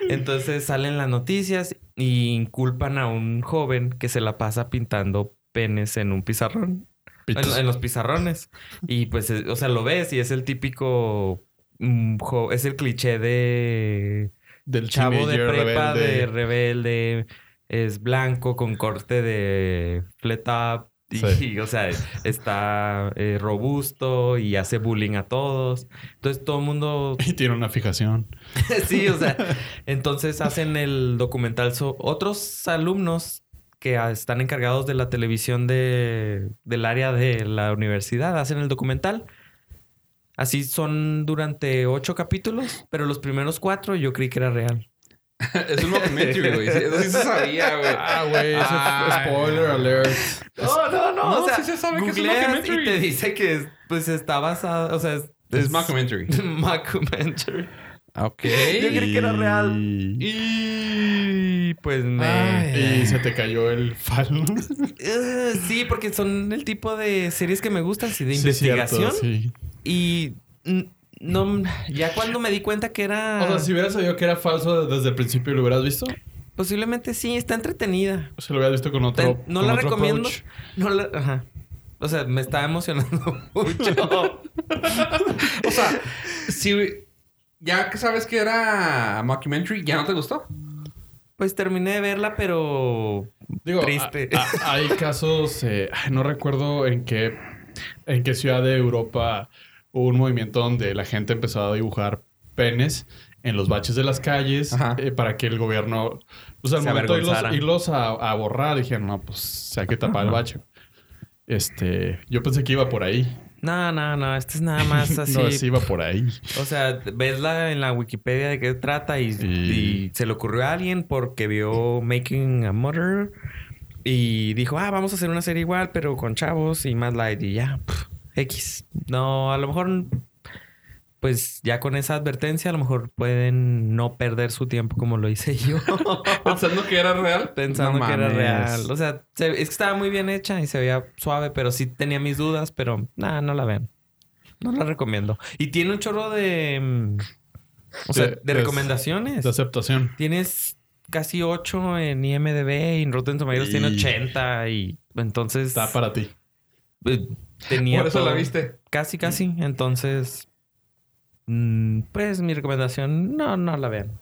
[SPEAKER 5] Entonces salen las noticias y inculpan a un joven que se la pasa pintando penes en un pizarrón, en,
[SPEAKER 4] Pitos.
[SPEAKER 5] en los pizarrones. Y pues, es- o sea, lo ves y es el típico, mm, jo- es el cliché de
[SPEAKER 4] Del
[SPEAKER 5] chavo de
[SPEAKER 4] teenager
[SPEAKER 5] prepa, de
[SPEAKER 4] rebelde.
[SPEAKER 5] rebelde, es blanco con corte de flat up Y,
[SPEAKER 4] Sí.
[SPEAKER 5] o sea, está eh, robusto y hace bullying a todos. Entonces todo el mundo
[SPEAKER 4] Y tiene una fijación.
[SPEAKER 5] sí, o sea, entonces hacen el documental. So- otros alumnos que ah, están encargados de la televisión de, del área de la universidad hacen el documental. Así son durante ocho capítulos, pero los primeros cuatro yo creí que era real.
[SPEAKER 2] es un documentary, güey. Sí, Eso sí se sabía, güey.
[SPEAKER 4] Ah, güey, eso
[SPEAKER 2] Ah.
[SPEAKER 4] es spoiler alert.
[SPEAKER 5] No, no, no.
[SPEAKER 2] No, sí se sabe que es un
[SPEAKER 5] googleas
[SPEAKER 2] documentary.
[SPEAKER 5] y te dice que es- pues está basado, o sea, es,
[SPEAKER 2] Es documentary.
[SPEAKER 5] documentary.
[SPEAKER 2] Ok.
[SPEAKER 5] Yo creí que era real.
[SPEAKER 4] Y,
[SPEAKER 5] Y pues me...
[SPEAKER 4] y se te cayó el falo.
[SPEAKER 5] Eh, sí, porque son el tipo de series que me gustan, sí, de
[SPEAKER 4] Sí,
[SPEAKER 5] investigación.
[SPEAKER 4] cierto, sí.
[SPEAKER 5] Y mm, no, ya cuando me di cuenta que era.
[SPEAKER 4] O sea, si hubieras sabido que era falso desde el principio y lo hubieras visto,
[SPEAKER 5] Posiblemente sí, está entretenida.
[SPEAKER 4] o sea, lo hubieras visto con
[SPEAKER 5] Está-
[SPEAKER 4] otro.
[SPEAKER 5] no
[SPEAKER 4] con
[SPEAKER 5] la
[SPEAKER 4] otro
[SPEAKER 5] recomiendo.
[SPEAKER 4] approach.
[SPEAKER 5] No la. Ajá. O sea, me está emocionando mucho.
[SPEAKER 2] O sea, si ya que sabes que era mockumentary, ¿ya no te gustó?
[SPEAKER 5] pues terminé de verla, pero.
[SPEAKER 4] Digo,
[SPEAKER 5] Triste.
[SPEAKER 4] a- a- hay casos, eh, ay, no recuerdo en qué, en qué ciudad de Europa hubo un movimiento donde la gente empezó a dibujar penes en los baches de las calles
[SPEAKER 2] Ajá.
[SPEAKER 4] eh, para que el gobierno, pues al
[SPEAKER 5] Se
[SPEAKER 4] momento de irlos,
[SPEAKER 5] avergonzara.
[SPEAKER 4] irlos a, a borrar, dijeron, no, pues hay que tapar el bache. Este, yo pensé que iba por ahí.
[SPEAKER 5] No, no, no. Esto es nada más así.
[SPEAKER 4] No, sí iba por ahí.
[SPEAKER 5] O sea, ves la, en la Wikipedia de qué trata y,
[SPEAKER 4] Y-
[SPEAKER 5] y se le ocurrió a alguien porque vio Making a Murder y dijo, ah, vamos a hacer una serie igual, pero con chavos y más light y ya, pf, X. No, a lo mejor, pues ya con esa advertencia, a lo mejor pueden no perder su tiempo como lo hice yo,
[SPEAKER 2] Pensando que era real.
[SPEAKER 5] pensando
[SPEAKER 2] No
[SPEAKER 5] que era
[SPEAKER 2] mames.
[SPEAKER 5] real. O sea, se- es que estaba muy bien hecha y se veía suave, pero sí tenía mis dudas, pero nada, no la vean. No la recomiendo. Y tiene un chorro de... mm, o sea, de,
[SPEAKER 4] de-
[SPEAKER 5] recomendaciones.
[SPEAKER 4] De aceptación.
[SPEAKER 5] Tienes casi 8 en IMDB y en Rotten Tomatoes
[SPEAKER 4] Y-
[SPEAKER 5] tiene 80 y entonces
[SPEAKER 4] Está para ti.
[SPEAKER 5] eh, tenía
[SPEAKER 2] Por eso
[SPEAKER 5] todo.
[SPEAKER 2] la viste.
[SPEAKER 5] Casi, casi. Entonces, mm, pues mi recomendación, no, no la vean.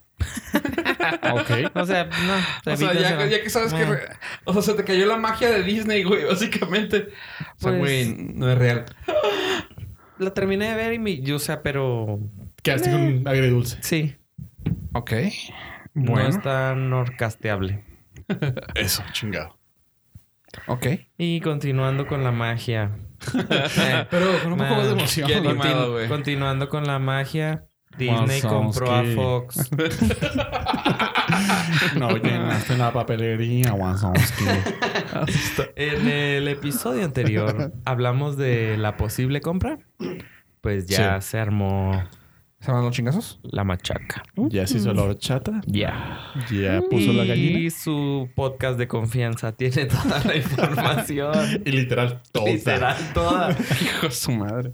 [SPEAKER 4] Ok.
[SPEAKER 5] O sea, no.
[SPEAKER 2] O sea, ya,
[SPEAKER 5] evítense-
[SPEAKER 2] que- ya que sabes que...
[SPEAKER 5] Eh.
[SPEAKER 2] re- O sea, se te cayó la magia de Disney, güey, básicamente. O sea,
[SPEAKER 5] Pues-
[SPEAKER 2] güey, no es real.
[SPEAKER 5] La terminé de ver y mi, yo, o sea, pero
[SPEAKER 4] Quedaste con un agridulce.
[SPEAKER 5] sí,
[SPEAKER 2] Ok.
[SPEAKER 5] no es tan orcasteable.
[SPEAKER 4] Eso, chingado.
[SPEAKER 2] Ok.
[SPEAKER 5] Y continuando con la magia.
[SPEAKER 4] Pero con un poco
[SPEAKER 5] Man,
[SPEAKER 4] más de emoción.
[SPEAKER 2] qué
[SPEAKER 5] Continu-
[SPEAKER 2] animado, güey.
[SPEAKER 5] continuando con la magia, Disney
[SPEAKER 4] Wazowski.
[SPEAKER 5] compró a Fox.
[SPEAKER 4] No llenaste la papelería, Wazowski.
[SPEAKER 5] En el episodio anterior hablamos de la posible compra. Pues ya se armó
[SPEAKER 2] ¿Se van los chingazos?
[SPEAKER 5] la machaca.
[SPEAKER 4] Ya se hizo la horchata.
[SPEAKER 5] Ya.
[SPEAKER 4] Ya puso la
[SPEAKER 5] Y
[SPEAKER 4] gallina.
[SPEAKER 5] su podcast de confianza tiene toda la información.
[SPEAKER 4] Y literal, todo.
[SPEAKER 5] Literal, toda.
[SPEAKER 2] Hijo de su madre.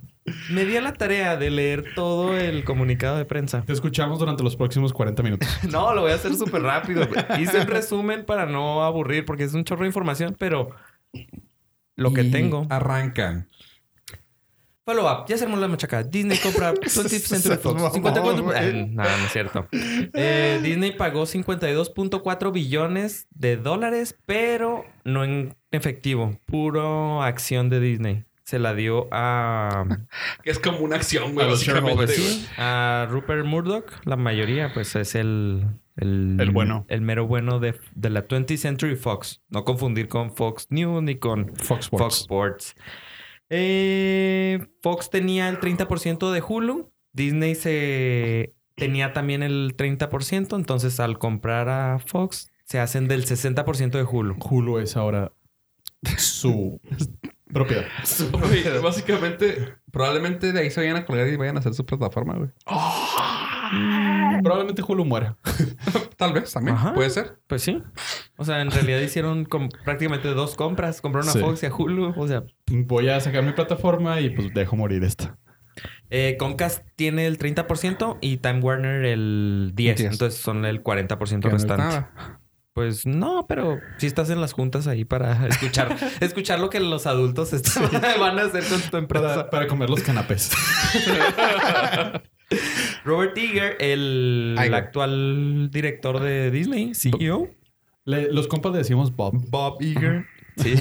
[SPEAKER 5] Me di a la tarea de leer todo el comunicado de prensa.
[SPEAKER 4] Te escuchamos durante los próximos 40 minutos.
[SPEAKER 5] No, lo voy a hacer súper rápido. Hice un resumen para no aburrir, porque es un chorro de información, pero lo que
[SPEAKER 2] Y
[SPEAKER 5] tengo.
[SPEAKER 2] Arrancan.
[SPEAKER 5] Follow up. Ya se armó la machaca. Disney compra 20th Century Fox. 54... Eh, no, no es cierto. Eh, Disney pagó 52.4 billones de dólares, pero no en efectivo. Puro acción de Disney. Se la dio a,
[SPEAKER 2] Que es como una acción, güey,
[SPEAKER 4] A los
[SPEAKER 2] básicamente.
[SPEAKER 4] shareholders.
[SPEAKER 2] güey.
[SPEAKER 5] a Rupert Murdoch. La mayoría, pues, es el... El,
[SPEAKER 4] El bueno.
[SPEAKER 5] El mero bueno de, de la 20th Century Fox. No confundir con Fox News ni con
[SPEAKER 4] Fox Sports.
[SPEAKER 5] Fox Sports. Eh, Fox tenía el 30% de Hulu. Disney se tenía también el 30%. Entonces, al comprar a Fox, se hacen del 60% de Hulu.
[SPEAKER 4] Hulu es ahora su propiedad.
[SPEAKER 2] Güey, básicamente, probablemente de ahí se vayan a colgar y vayan a hacer su plataforma, güey.
[SPEAKER 4] Probablemente Hulu muera.
[SPEAKER 2] Tal vez también.
[SPEAKER 5] Ajá.
[SPEAKER 2] Puede ser.
[SPEAKER 5] Pues sí. O sea, en realidad hicieron com- prácticamente dos compras. Compraron a
[SPEAKER 4] Sí.
[SPEAKER 5] Fox y a Hulu. O sea,
[SPEAKER 4] Voy a sacar mi plataforma y pues dejo morir esta.
[SPEAKER 5] eh, Comcast tiene el 30% y Time Warner el 10%.
[SPEAKER 2] Diez.
[SPEAKER 5] Entonces, son el 40%
[SPEAKER 2] Que no es
[SPEAKER 5] restante.
[SPEAKER 2] nada.
[SPEAKER 5] Pues no, pero si estás en las juntas ahí para escuchar, escuchar lo que los adultos están- van a hacer con tu empresa.
[SPEAKER 4] Para, para comer los canapés.
[SPEAKER 5] Robert Eager, el
[SPEAKER 2] Iger.
[SPEAKER 5] actual director de Disney, E CEO,
[SPEAKER 4] Le- los compas le decimos Bob.
[SPEAKER 5] Bob Eager, Sí.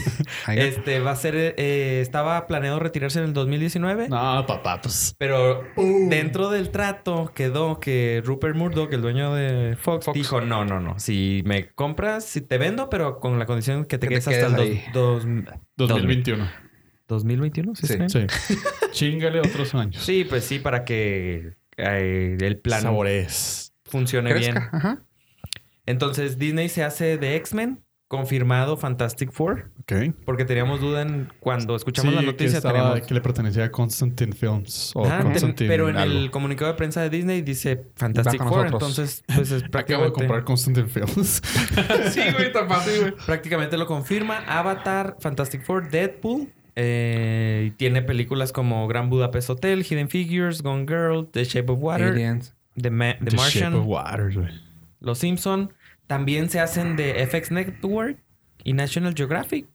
[SPEAKER 5] este va a ser. eh, estaba planeado retirarse en el 2019.
[SPEAKER 4] No, papá, pues.
[SPEAKER 5] Pero Uh, dentro del trato quedó que Rupert Murdoch, el dueño de Fox,
[SPEAKER 2] Fox.
[SPEAKER 5] dijo: No, no, no. Si me compras, si te vendo, pero con la condición que te
[SPEAKER 2] Que te
[SPEAKER 5] quedes hasta el
[SPEAKER 2] quedes
[SPEAKER 5] dos- dos-
[SPEAKER 4] 2021.
[SPEAKER 5] 2021. ¿sí?
[SPEAKER 2] Sí.
[SPEAKER 5] está bien?
[SPEAKER 4] Sí. Chingale otros años.
[SPEAKER 5] Sí, pues sí, para que eh, el plan
[SPEAKER 4] Sabores.
[SPEAKER 5] funcione
[SPEAKER 2] Crezca.
[SPEAKER 5] bien.
[SPEAKER 2] Ajá.
[SPEAKER 5] Entonces Disney se hace de X-Men, confirmado Fantastic Four,
[SPEAKER 4] Ok.
[SPEAKER 5] porque teníamos duda en cuando escuchamos la
[SPEAKER 4] que,
[SPEAKER 5] noticia.
[SPEAKER 4] estaba-
[SPEAKER 5] teníamos-
[SPEAKER 4] que le pertenecía a Constantine Films. O
[SPEAKER 5] Ah, te-
[SPEAKER 4] Constantine
[SPEAKER 5] pero en
[SPEAKER 4] algo.
[SPEAKER 5] el comunicado de prensa de Disney dice Fantastic
[SPEAKER 2] Bajo
[SPEAKER 5] Four,
[SPEAKER 2] nosotros.
[SPEAKER 5] entonces pues es
[SPEAKER 4] Acabo de
[SPEAKER 5] prácticamente,
[SPEAKER 4] comprar Constantine Films.
[SPEAKER 2] sí, güey, tan fácil, güey.
[SPEAKER 5] prácticamente lo confirma. Avatar, Fantastic Four, Deadpool. eh, y tiene películas como Gran Budapest Hotel, Hidden Figures, Gone Girl, The Shape of Water,
[SPEAKER 2] Aliens.
[SPEAKER 5] The, Ma- The
[SPEAKER 4] The Shape of
[SPEAKER 5] Martian,
[SPEAKER 4] Water, güey.
[SPEAKER 5] Los Simpson. También se hacen de FX Network y National Geographic.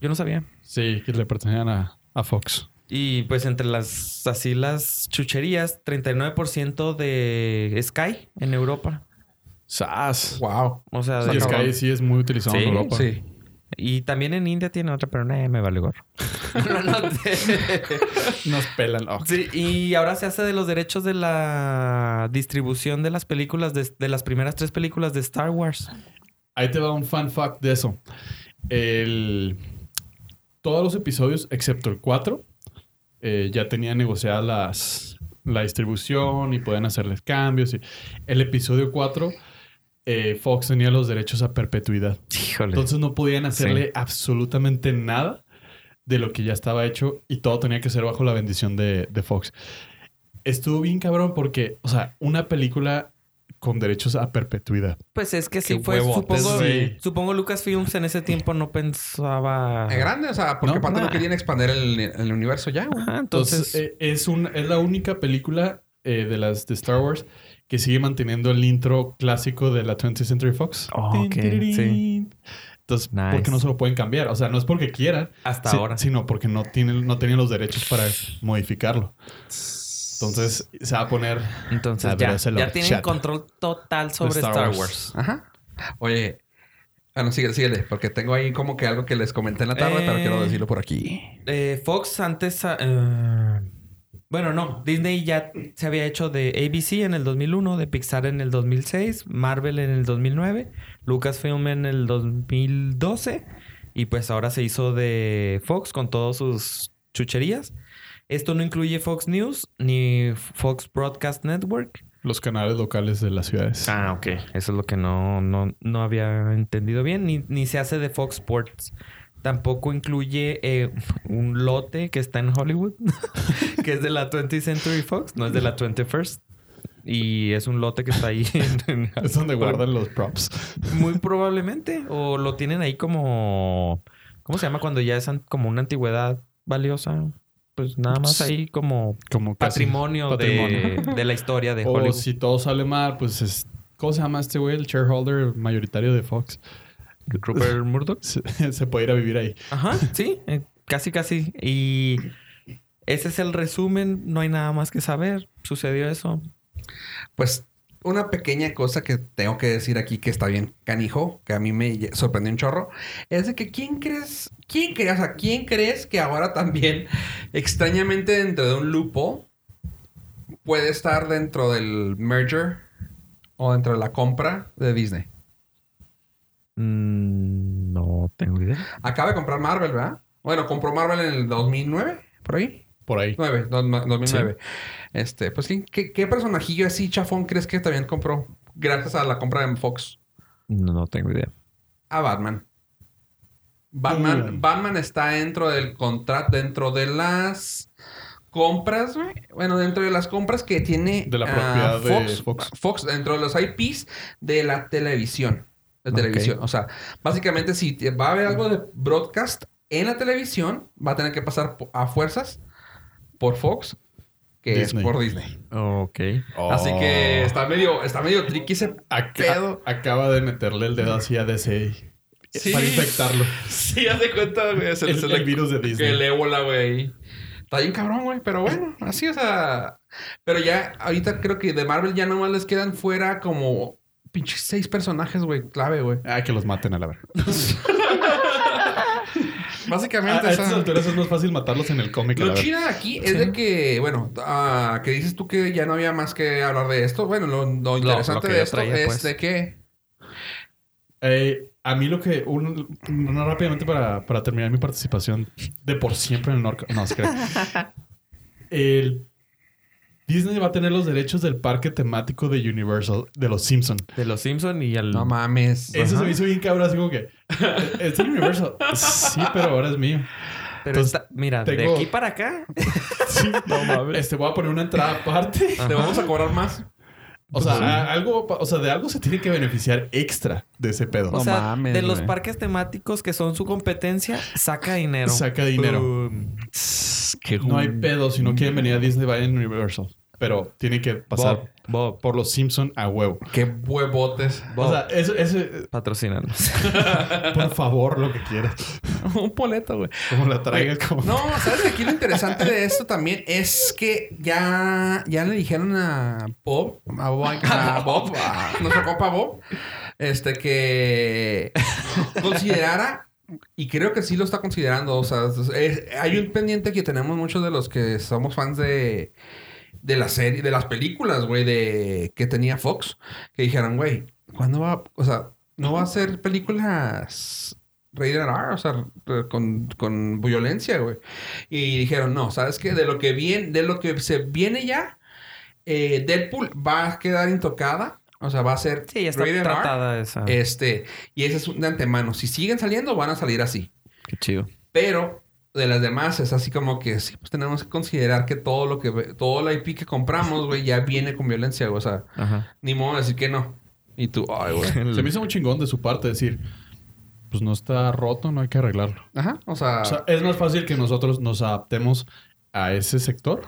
[SPEAKER 5] Yo no sabía.
[SPEAKER 4] Sí, que le pertenecían a, a Fox.
[SPEAKER 5] Y pues entre las así las chucherías, 39% de Sky en Europa.
[SPEAKER 4] ¡Sas!
[SPEAKER 2] Wow.
[SPEAKER 5] O sea,
[SPEAKER 4] Y
[SPEAKER 5] de-
[SPEAKER 4] es que ahí sí es muy utilizado
[SPEAKER 5] Sí,
[SPEAKER 4] en Europa.
[SPEAKER 2] Sí.
[SPEAKER 5] Y también en India tiene otra, pero nadie me vale gorro. No, no sé.
[SPEAKER 4] Nos pelan. Oh, ok.
[SPEAKER 5] Sí, y ahora se hace de los derechos de la distribución de las películas, de, de las primeras tres películas de Star Wars.
[SPEAKER 4] Ahí te va un fan fact de eso. El- Todos los episodios, excepto el 4, eh, ya tenían negociada las... la distribución y podían hacerles cambios. y- El episodio 4, eh, Fox tenía los derechos a perpetuidad.
[SPEAKER 5] Híjole.
[SPEAKER 4] Entonces no podían hacerle absolutamente nada de lo que ya estaba hecho y todo tenía que ser bajo la bendición de, de Fox. Estuvo bien cabrón porque, o sea, una película con derechos a perpetuidad.
[SPEAKER 5] pues es que sí
[SPEAKER 4] Qué
[SPEAKER 5] fue.
[SPEAKER 4] huevotes,
[SPEAKER 5] Supongo,
[SPEAKER 4] sí.
[SPEAKER 5] supongo Lucasfilms en ese tiempo no pensaba.
[SPEAKER 2] Es grande, o sea, porque
[SPEAKER 4] No,
[SPEAKER 2] aparte no
[SPEAKER 5] nah.
[SPEAKER 2] querían expandir el, el universo ya, güey.
[SPEAKER 5] Ajá, entonces.
[SPEAKER 4] Entonces, eh, es, un, es la única película eh, de las de Star Wars que sigue manteniendo el intro clásico de la 20th Century Fox.
[SPEAKER 5] Oh,
[SPEAKER 4] Tin,
[SPEAKER 5] ok,
[SPEAKER 4] tirirín.
[SPEAKER 5] sí.
[SPEAKER 4] Entonces,
[SPEAKER 5] Nice.
[SPEAKER 4] porque no se lo pueden cambiar. O sea, no es porque quieran,
[SPEAKER 5] hasta
[SPEAKER 4] si-
[SPEAKER 5] ahora.
[SPEAKER 4] sino porque no tienen, no tenían los derechos para modificarlo. Entonces, se va a poner
[SPEAKER 5] Entonces
[SPEAKER 4] Ah, pero
[SPEAKER 5] ya,
[SPEAKER 4] ese lo
[SPEAKER 5] ya tienen
[SPEAKER 4] chata.
[SPEAKER 5] control total sobre
[SPEAKER 4] Star
[SPEAKER 5] Star,
[SPEAKER 4] Wars.
[SPEAKER 5] Wars.
[SPEAKER 2] Ajá. Oye. Ah, no, síguele, síguele, porque tengo ahí como que algo que les comenté en la tarde,
[SPEAKER 5] Eh.
[SPEAKER 2] pero quiero decirlo por aquí.
[SPEAKER 5] Eh, Fox antes... ah, eh, bueno, no. Disney ya se había hecho de ABC en el 2001, de Pixar en el 2006, Marvel en el 2009, Lucasfilm en el 2012 y pues ahora se hizo de Fox con todas sus chucherías. Esto no incluye Fox News ni Fox Broadcast Network.
[SPEAKER 4] los canales locales de las ciudades.
[SPEAKER 5] Ah, ok. Eso es lo que no, no, no había entendido bien. Ni, ni se hace de Fox Sports. Tampoco incluye eh, un lote que está en Hollywood, que es de la 20th Century Fox, no es de la 21st. Y es un lote que está ahí. en- en-
[SPEAKER 4] Es donde guardan los props.
[SPEAKER 5] Muy probablemente. O lo tienen ahí como. ¿Cómo se llama? Cuando ya es an- como una antigüedad valiosa. Pues nada más ahí como
[SPEAKER 4] Como casi-
[SPEAKER 5] patrimonio, de- De, la historia de
[SPEAKER 4] O
[SPEAKER 5] Hollywood.
[SPEAKER 4] si todo sale mal, pues es. ¿Cómo se llama este güey? El shareholder mayoritario de Fox.
[SPEAKER 5] Rupert Murdoch.
[SPEAKER 4] Se, se puede ir a vivir ahí.
[SPEAKER 5] Ajá, sí, eh, casi, casi. Y ese es el resumen, no hay nada más que saber. Sucedió eso.
[SPEAKER 2] Pues una pequeña cosa que tengo que decir aquí que está bien canijo, que a mí me lle- sorprendió un chorro, es de que quién crees, quién crees, o sea, quién crees que ahora también extrañamente dentro de un lupo puede estar dentro del merger o dentro de la compra de Disney.
[SPEAKER 5] Mm, no tengo idea.
[SPEAKER 2] Acaba de comprar Marvel, ¿verdad? Bueno, compró Marvel en el 2009, por ahí.
[SPEAKER 4] Por ahí.
[SPEAKER 2] 9, 2009. Este, pues, ¿quién- ¿qué, qué personajillo así chafón crees que también compró gracias a la compra de Fox?
[SPEAKER 5] No, no tengo idea.
[SPEAKER 2] A Batman. Batman,
[SPEAKER 4] Mm.
[SPEAKER 2] Batman está dentro del contrato, dentro de las compras, güey. Bueno, dentro de las compras que tiene
[SPEAKER 4] De la
[SPEAKER 2] ah,
[SPEAKER 4] propiedad de Fox.
[SPEAKER 2] dentro de los IPs de la televisión. De
[SPEAKER 5] Ok.
[SPEAKER 2] televisión. O sea, básicamente si te- va a haber algo de broadcast en la televisión, va a tener que pasar po- a fuerzas por Fox, que
[SPEAKER 4] Disney.
[SPEAKER 2] es por Disney.
[SPEAKER 5] Ok.
[SPEAKER 2] Así que
[SPEAKER 4] Oh.
[SPEAKER 2] está medio, está medio tricky ese
[SPEAKER 4] Ac-
[SPEAKER 2] pedo.
[SPEAKER 4] Acaba de meterle el dedo así a DC
[SPEAKER 2] Sí.
[SPEAKER 4] para infectarlo.
[SPEAKER 2] Sí, haz de cuenta, güey. Es
[SPEAKER 4] El, el virus de
[SPEAKER 2] que el
[SPEAKER 4] Disney.
[SPEAKER 2] ébola, güey. Está bien cabrón, güey. Pero bueno, así, o sea. Pero ya, ahorita creo que de Marvel ya nomás les quedan fuera como pinches seis personajes, güey, clave, güey.
[SPEAKER 4] Ah, que los maten a la verga.
[SPEAKER 2] Básicamente,
[SPEAKER 4] A,
[SPEAKER 2] o
[SPEAKER 4] a estas
[SPEAKER 2] sea,
[SPEAKER 4] alturas es más fácil matarlos en el cómic. a
[SPEAKER 2] Lo
[SPEAKER 4] la verdad.
[SPEAKER 2] chido de aquí es de que, bueno, ah, que dices tú que ya no había más que hablar de esto. Bueno, lo, lo interesante
[SPEAKER 5] lo que
[SPEAKER 2] de
[SPEAKER 5] yo
[SPEAKER 2] esto
[SPEAKER 5] traía,
[SPEAKER 2] es
[SPEAKER 5] pues.
[SPEAKER 2] de que.
[SPEAKER 4] Eh, a mí lo que... un- no, rápidamente para, para terminar mi participación de por siempre en el Norco. No, se crea. El... Disney va a tener los derechos del parque temático de Universal de los Simpson.
[SPEAKER 5] De los Simpson y al...
[SPEAKER 2] No mames.
[SPEAKER 4] Eso
[SPEAKER 2] Ajá.
[SPEAKER 4] se me hizo bien cabrón, así como que... "Eh, Es de Universal. Sí, pero ahora es mío.
[SPEAKER 5] Pero
[SPEAKER 4] Entonces,
[SPEAKER 5] esta- mira, de
[SPEAKER 4] tengo-
[SPEAKER 5] aquí para acá.
[SPEAKER 4] Sí, no mames. Este, voy a poner una entrada aparte.
[SPEAKER 2] Te vamos a cobrar más.
[SPEAKER 4] O sea, a- algo, o sea, de algo se tiene que beneficiar extra de ese pedo.
[SPEAKER 5] O sea,
[SPEAKER 3] mames,
[SPEAKER 5] de los
[SPEAKER 3] güey.
[SPEAKER 5] parques temáticos que son su competencia, saca dinero.
[SPEAKER 4] Saca dinero.
[SPEAKER 5] Boom.
[SPEAKER 4] no hay pedo. Si no quieren venir a Disney, vayan a Universal. Pero tienen que pasar
[SPEAKER 5] Bob,
[SPEAKER 4] por los Simpson a huevo.
[SPEAKER 2] Qué huevotes.
[SPEAKER 5] Bob,
[SPEAKER 4] O sea, eso, eso-
[SPEAKER 5] patrocínanos.
[SPEAKER 4] por favor, lo que quieras.
[SPEAKER 2] Un boleto, güey.
[SPEAKER 4] Como la traigas, como...
[SPEAKER 2] No, ¿sabes que aquí lo interesante de esto también es que ya, ya le dijeron a Bob, a Bob, a, Bob, a nuestro compa Bob, este que considerara, y creo que sí lo está considerando, o sea, es- hay un pendiente que tenemos muchos de los que somos fans de, de la serie, de las películas, güey, de que tenía Fox, que dijeron, güey, ¿cuándo va? O sea, no va a ser películas rated R, o sea, re- con, con violencia, güey. Y dijeron, no, ¿sabes qué? De lo que viene, de lo que se viene ya, eh, Deadpool va a quedar intocada. O sea, va a ser
[SPEAKER 5] Sí, ya está
[SPEAKER 2] rated R,
[SPEAKER 5] tratada esa.
[SPEAKER 4] Eh,
[SPEAKER 2] Este, y ese es un de antemano. Si siguen saliendo, van a salir así.
[SPEAKER 1] Qué chido.
[SPEAKER 2] Pero de las demás es así como que sí, pues tenemos que considerar que todo lo que ve- todo la IP que compramos, güey, ya viene con violencia, güey. O sea,
[SPEAKER 5] Ajá.
[SPEAKER 2] ni modo de decir que no. Y tú, ay, güey.
[SPEAKER 4] Se me hizo muy chingón de su parte decir... Pues no está roto, no hay que arreglarlo.
[SPEAKER 2] Ajá. O sea,
[SPEAKER 4] O sea, es más fácil que nosotros nos adaptemos a ese sector.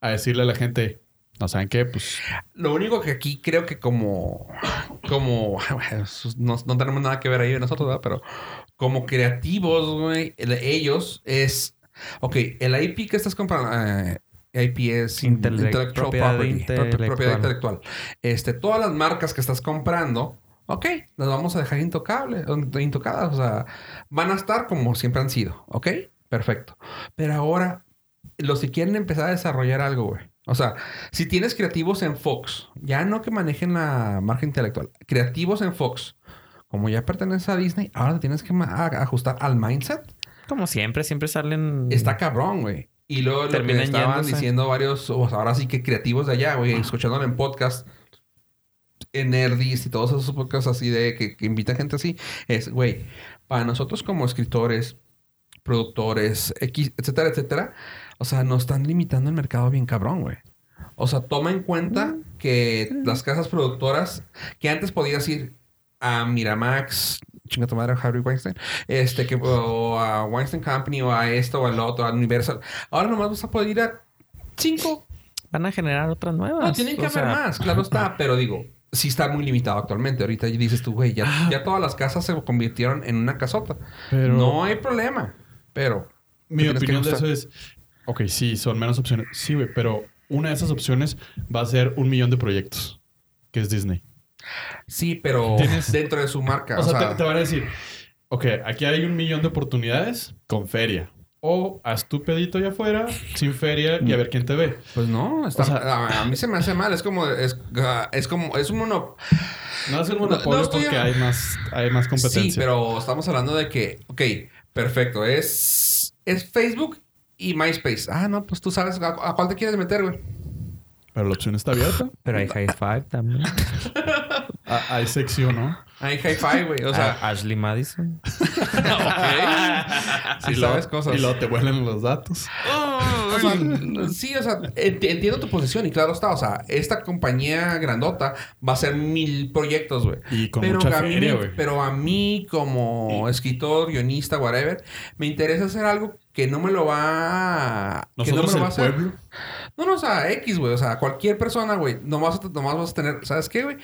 [SPEAKER 4] A decirle a la gente... No saben qué, pues...
[SPEAKER 2] lo único que aquí creo que como, como, bueno, no, no tenemos nada que ver ahí nosotros, ¿verdad? Pero como creativos, güey, el- ellos es, ok, el IP que estás comprando, eh, IP es
[SPEAKER 5] Intele-
[SPEAKER 2] intellectual
[SPEAKER 5] propiedad
[SPEAKER 2] property, pro-
[SPEAKER 5] intelectual.
[SPEAKER 2] propiedad intelectual. Este, todas las marcas que estás comprando, ok, las vamos a dejar intocables, intocadas, o sea, van a estar como siempre han sido, ok, perfecto. Pero ahora, los que quieren empezar a desarrollar algo, güey. O sea, si tienes creativos en Fox, ya no que manejen la marca intelectual, creativos en Fox, como ya pertenece a Disney, ahora te tienes que ma- a- ajustar al mindset.
[SPEAKER 5] Como siempre, siempre salen...
[SPEAKER 2] Está cabrón, güey. Y luego lo
[SPEAKER 5] Terminan
[SPEAKER 2] que estaban
[SPEAKER 5] yéndose.
[SPEAKER 2] diciendo varios, o sea, ahora sí que creativos de allá, güey, escuchándolo en podcast, en Nerdist y todos esos podcasts así de que, que invita gente así, es, güey, para nosotros como escritores, productores, X, etcétera, etcétera, o sea, nos están limitando el mercado bien cabrón, güey. O sea, toma en cuenta que las casas productoras que antes podías ir a Miramax, chinga tu madre, Harvey Weinstein, este, que, o a Weinstein Company, o a esto, o al otro, a Universal. Ahora nomás vas a poder ir a cinco.
[SPEAKER 5] Van a generar otras nuevas.
[SPEAKER 2] No, tienen que
[SPEAKER 5] O
[SPEAKER 2] haber
[SPEAKER 5] sea,
[SPEAKER 2] más, claro está, pero digo, sí está muy limitado actualmente. Ahorita dices tú, güey, ya, ya todas las casas se convirtieron en una casota.
[SPEAKER 4] Ah. Pero...
[SPEAKER 2] No hay problema, pero...
[SPEAKER 4] Mi
[SPEAKER 2] Tienes que
[SPEAKER 4] opinión de eso
[SPEAKER 2] ajustar.
[SPEAKER 4] es, ok, sí, son menos opciones. Sí, güey, pero una de esas opciones va a ser un millón de proyectos, que es Disney.
[SPEAKER 2] Sí, pero
[SPEAKER 4] Tienes-
[SPEAKER 2] dentro de su marca.
[SPEAKER 4] O sea, te, te van a decir, ok, aquí hay un millón de oportunidades con feria. O haz tu pedito allá afuera, sin feria, y a ver quién te ve.
[SPEAKER 2] Pues no, está-
[SPEAKER 4] O sea-
[SPEAKER 2] a, a mí se me hace mal. Es como, es, ah, es como, es un mono.
[SPEAKER 4] No es el
[SPEAKER 2] No, no
[SPEAKER 4] monopolio
[SPEAKER 2] estoy-
[SPEAKER 4] porque hay más, hay más
[SPEAKER 2] Sí,
[SPEAKER 4] competencia.
[SPEAKER 2] pero estamos hablando de que, ok, perfecto, es, es Facebook y MySpace. Ah, no, pues tú sabes a, a cuál te quieres meter, güey.
[SPEAKER 4] Pero la opción está abierta.
[SPEAKER 5] Pero hay High Five también.
[SPEAKER 4] A- hay sección, ¿no?
[SPEAKER 2] Hay hi-fi, güey. O
[SPEAKER 4] Ah,
[SPEAKER 5] O
[SPEAKER 2] sea,
[SPEAKER 5] sea, Ah, Ashley Madison.
[SPEAKER 2] ok. Sí,
[SPEAKER 4] Y luego-
[SPEAKER 2] sabes cosas.
[SPEAKER 4] Y luego te vuelven los datos.
[SPEAKER 2] O sea, sí, o sea, enti- entiendo tu posición y claro está, o sea, esta compañía grandota va a hacer mil proyectos, güey.
[SPEAKER 4] Y con
[SPEAKER 2] pero,
[SPEAKER 4] mucha
[SPEAKER 2] a mí,
[SPEAKER 4] feria, güey.
[SPEAKER 2] pero a mí, como escritor, guionista, whatever, me interesa hacer algo que no me lo va que no me
[SPEAKER 4] Nosotros
[SPEAKER 2] lo va a
[SPEAKER 4] el
[SPEAKER 2] hacer.
[SPEAKER 4] pueblo.
[SPEAKER 2] No, no, o sea, X, güey. O sea, cualquier persona, güey. Nomás, nomás vas a tener... ¿Sabes qué, güey?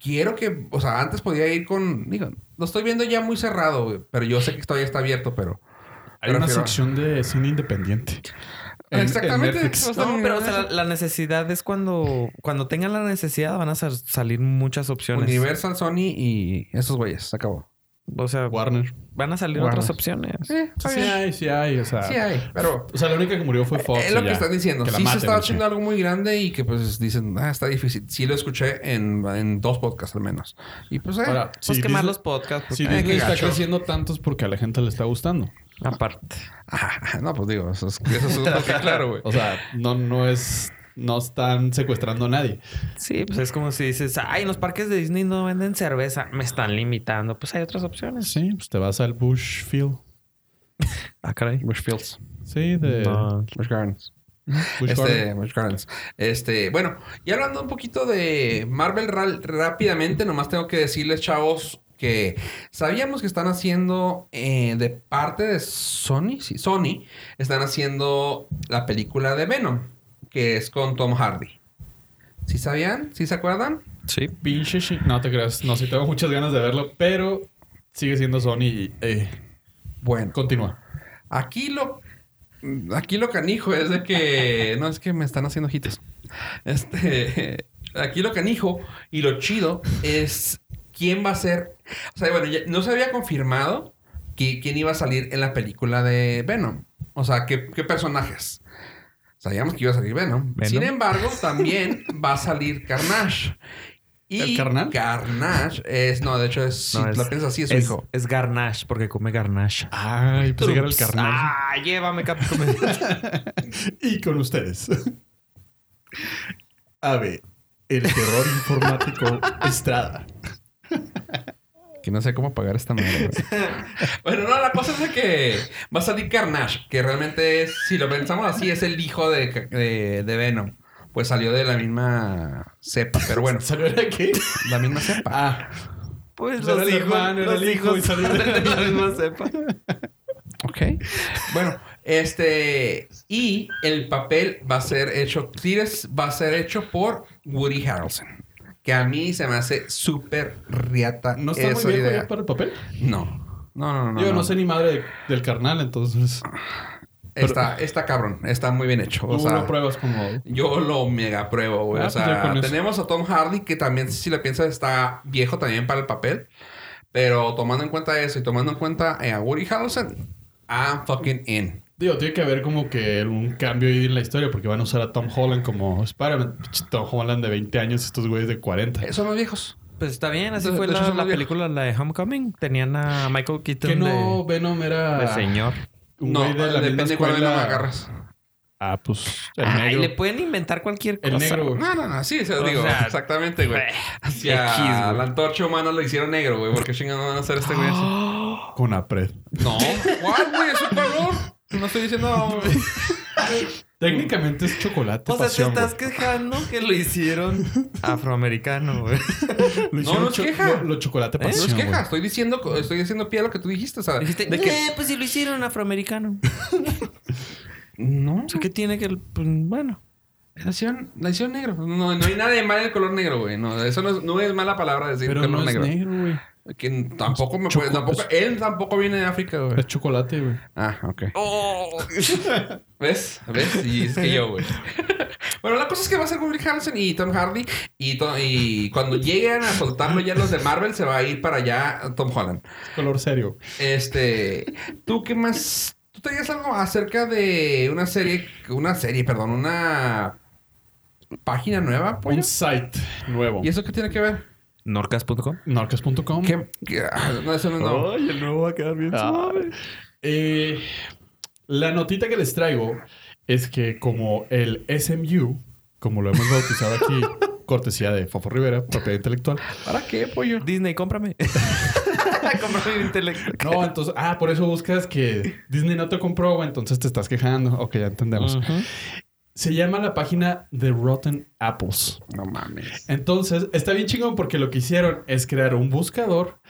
[SPEAKER 2] Quiero que... O sea, antes podía ir con... Digo, lo estoy viendo ya muy cerrado, güey. Pero yo sé que todavía está abierto, pero...
[SPEAKER 4] Hay una
[SPEAKER 2] Prefiero-
[SPEAKER 4] sección de cine independiente. En- en
[SPEAKER 2] Exactamente.
[SPEAKER 4] Netflix.
[SPEAKER 2] o sea,
[SPEAKER 5] No, pero o sea, la, la necesidad es cuando... Cuando tengan la necesidad van a sal- salir muchas opciones.
[SPEAKER 2] Universal, Sony y esos güeyes. Se acabó.
[SPEAKER 5] O sea,
[SPEAKER 4] Warner.
[SPEAKER 5] van a salir
[SPEAKER 3] Warner.
[SPEAKER 5] otras opciones.
[SPEAKER 2] Eh, Pues, está
[SPEAKER 4] Sí
[SPEAKER 2] bien.
[SPEAKER 4] hay, sí hay. O sea,
[SPEAKER 2] Sí hay, pero...
[SPEAKER 4] O sea, la única que murió fue Fox.
[SPEAKER 2] es
[SPEAKER 4] y
[SPEAKER 2] lo que
[SPEAKER 4] ya.
[SPEAKER 2] están diciendo.
[SPEAKER 4] la
[SPEAKER 2] Sí se
[SPEAKER 4] maten,
[SPEAKER 2] estaba
[SPEAKER 4] no sé.
[SPEAKER 2] haciendo algo muy grande y que pues dicen, ah, está difícil. Sí lo escuché en, en dos podcasts al menos. Y pues, eh,
[SPEAKER 4] Ahora,
[SPEAKER 5] Pues
[SPEAKER 4] si
[SPEAKER 5] quemar
[SPEAKER 4] Disney-
[SPEAKER 5] los podcasts. porque-
[SPEAKER 2] Ay,
[SPEAKER 4] Si
[SPEAKER 2] qué
[SPEAKER 4] Disney está
[SPEAKER 2] gacho.
[SPEAKER 4] creciendo tanto es porque a la gente le está gustando.
[SPEAKER 5] Aparte.
[SPEAKER 2] ah, no, pues digo, eso es, eso es lo que claro, güey.
[SPEAKER 4] O sea, no, no es... No están secuestrando a nadie.
[SPEAKER 5] Sí, pues es como si dices, ay, en los parques de Disney no venden cerveza, me están limitando. Pues hay otras opciones.
[SPEAKER 4] Sí, pues te vas al Bushfield.
[SPEAKER 5] Ah, caray.
[SPEAKER 2] Bushfields.
[SPEAKER 4] Sí,
[SPEAKER 2] Eh,
[SPEAKER 4] de
[SPEAKER 5] No.
[SPEAKER 2] Bush Gardens.
[SPEAKER 4] Bush Garden.
[SPEAKER 2] este, Bush Gardens. Este, bueno, y hablando un poquito de Marvel ra- rápidamente, nomás tengo que decirles, chavos, que sabíamos que están haciendo eh, de parte de Sony, sí, Sony, están haciendo la película de Venom, que es con Tom Hardy. ¿Sí sabían? ¿Sí se acuerdan?
[SPEAKER 5] Sí.
[SPEAKER 4] Pinche shi- No te creas. No, sí tengo muchas ganas de verlo, pero sigue siendo Sony y... eh,
[SPEAKER 2] Bueno,
[SPEAKER 4] continúa.
[SPEAKER 2] aquí lo aquí lo canijo es de que no es que me están haciendo ojitos. Este, aquí lo canijo y lo chido es quién va a ser, o sea, bueno, ya no se había confirmado qui- quién iba a salir en la película de Venom, o sea, qué, qué personajes. Sabíamos que iba a salir Venom.
[SPEAKER 1] Venom.
[SPEAKER 2] Sin embargo, también va a salir Carnage. Y
[SPEAKER 4] ¿El carnal?
[SPEAKER 2] Carnage es, no, de hecho es,
[SPEAKER 5] No,
[SPEAKER 2] si
[SPEAKER 5] es-
[SPEAKER 2] la piensas así, es su
[SPEAKER 5] Es,
[SPEAKER 2] hijo.
[SPEAKER 5] es garnash, porque come garnash.
[SPEAKER 4] Ay, pues era el
[SPEAKER 5] Ups.
[SPEAKER 4] carnal.
[SPEAKER 5] Ah, llévame, Capcom.
[SPEAKER 4] Y con ustedes. A ver, el terror informático Estrada.
[SPEAKER 3] Que no sé cómo pagar esta madre, güey.
[SPEAKER 2] Bueno, no, la cosa es de que va a salir Carnage, que realmente es, si lo pensamos así, es el hijo de, de, de Venom. Pues salió de la misma cepa, pero bueno,
[SPEAKER 4] ¿Salió de qué?
[SPEAKER 2] la misma cepa.
[SPEAKER 4] Ah,
[SPEAKER 5] Pues
[SPEAKER 4] Era
[SPEAKER 5] los
[SPEAKER 4] el
[SPEAKER 5] hijos,
[SPEAKER 4] hermano, era
[SPEAKER 5] los
[SPEAKER 4] el hijo, y
[SPEAKER 5] hijos
[SPEAKER 4] salió de-
[SPEAKER 5] de la misma cepa.
[SPEAKER 2] Ok. Bueno, este. Y el papel va a ser hecho, Tires va a ser hecho por Woody Harrelson. Que a mí se me hace súper riata
[SPEAKER 4] ¿no está
[SPEAKER 2] esa
[SPEAKER 4] muy viejo
[SPEAKER 2] idea.
[SPEAKER 4] ya para el papel?
[SPEAKER 2] No. No, no, no.
[SPEAKER 4] Yo no, sé ni madre de- del carnal, entonces...
[SPEAKER 2] Está, está cabrón. Está muy bien hecho.
[SPEAKER 4] Tú
[SPEAKER 2] O sea,
[SPEAKER 4] lo pruebas como...
[SPEAKER 2] Yo lo mega pruebo, güey.
[SPEAKER 4] Ah,
[SPEAKER 2] o
[SPEAKER 4] pues ya
[SPEAKER 2] sea,
[SPEAKER 4] con eso.
[SPEAKER 2] tenemos a Tom Hardy, que también, si lo piensas, está viejo también para el papel. Pero tomando en cuenta eso y tomando en cuenta eh, a Woody Harrelson, I'm fucking in.
[SPEAKER 4] Digo, tiene que haber como que un cambio ahí en la historia porque van a usar a Tom Holland como Spider-Man. Pinche Tom Holland de 20 años, estos güeyes de 40.
[SPEAKER 2] Eh, Son los viejos.
[SPEAKER 5] Pues está bien, así
[SPEAKER 2] De-
[SPEAKER 5] fue
[SPEAKER 2] de hecho
[SPEAKER 5] la,
[SPEAKER 2] son
[SPEAKER 5] la
[SPEAKER 2] los viejos.
[SPEAKER 5] película, la de Homecoming. Tenían a Michael Keaton
[SPEAKER 4] Que no Venom
[SPEAKER 5] de,
[SPEAKER 4] era...
[SPEAKER 5] de señor.
[SPEAKER 4] Un
[SPEAKER 2] no,
[SPEAKER 4] güey de la
[SPEAKER 2] depende
[SPEAKER 4] misma
[SPEAKER 2] de cuál me
[SPEAKER 4] escuela.
[SPEAKER 2] agarras.
[SPEAKER 4] Ah, pues el
[SPEAKER 5] Ay,
[SPEAKER 4] negro.
[SPEAKER 5] le pueden inventar cualquier cosa. Ah.
[SPEAKER 4] El negro. güey.
[SPEAKER 2] No, no, no, sí, se lo
[SPEAKER 5] O
[SPEAKER 2] digo.
[SPEAKER 5] sea,
[SPEAKER 2] exactamente, güey. Hacia
[SPEAKER 5] X, güey.
[SPEAKER 2] la antorcha humana lo hicieron negro, güey. Porque chingados van a hacer este güey así.
[SPEAKER 4] Con apred.
[SPEAKER 2] No. ¿Cuál, güey? Es un valor. No estoy diciendo.
[SPEAKER 4] Técnicamente es chocolate.
[SPEAKER 5] O sea, te
[SPEAKER 4] pasión,
[SPEAKER 5] estás quejando que lo hicieron afroamericano, güey.
[SPEAKER 4] güey. Lo
[SPEAKER 2] No,
[SPEAKER 4] hicieron
[SPEAKER 2] no es
[SPEAKER 4] cho-
[SPEAKER 2] queja.
[SPEAKER 4] Lo, lo chocolate
[SPEAKER 2] No
[SPEAKER 4] pasión.
[SPEAKER 2] es queja.
[SPEAKER 4] güey.
[SPEAKER 2] Estoy diciendo, estoy haciendo pie a lo que tú dijiste, o sea,
[SPEAKER 5] Dijiste,
[SPEAKER 2] de que
[SPEAKER 5] "Eh, pues si lo hicieron afroamericano.
[SPEAKER 2] No.
[SPEAKER 5] O sea, ¿qué tiene que...? pues, bueno.
[SPEAKER 2] La hicieron, la hicieron negro. Pues, No, no hay nada de mal en el color negro, güey. No, eso no es, no es mala palabra decir
[SPEAKER 4] Pero
[SPEAKER 2] color
[SPEAKER 4] no es
[SPEAKER 2] negro.
[SPEAKER 4] negro, güey.
[SPEAKER 2] Que tampoco me puede,
[SPEAKER 4] Choco- pues.
[SPEAKER 2] tampoco, él tampoco viene de África, güey.
[SPEAKER 4] Es chocolate, güey.
[SPEAKER 2] Ah, ok.
[SPEAKER 5] Oh.
[SPEAKER 2] ¿Ves? ¿Ves? Y es que yo, güey. bueno, la cosa es que va a ser Woody Harrelson y Tom Hardy. Y, to- y cuando lleguen a soltarlo ya los de Marvel, se va a ir para allá Tom Holland.
[SPEAKER 4] Es color serio.
[SPEAKER 2] Este, ¿tú qué más? ¿Tú tenías algo acerca de una serie, una serie, perdón, una página nueva, pollo?
[SPEAKER 4] Un site nuevo.
[SPEAKER 2] ¿Y eso qué tiene que ver?
[SPEAKER 5] Norcas.com.
[SPEAKER 4] Norcas.com.
[SPEAKER 2] ¿Qué? qué- ah, No, eso no. no.
[SPEAKER 5] el nuevo va a quedar bien
[SPEAKER 4] Ah. Eh, la notita que les traigo es que como el SMU, como lo hemos bautizado aquí, cortesía de Fofo Rivera, propiedad intelectual.
[SPEAKER 2] ¿Para qué, pollo?
[SPEAKER 5] Disney, cómprame. cómprame mi intelecto.
[SPEAKER 4] No, entonces, ah, por eso buscas que Disney no te compró, güey, entonces te estás quejando. Ok, ya entendemos. Se llama la página The Rotten Apples.
[SPEAKER 2] No mames.
[SPEAKER 4] Entonces, está bien chingón porque lo que hicieron es crear un buscador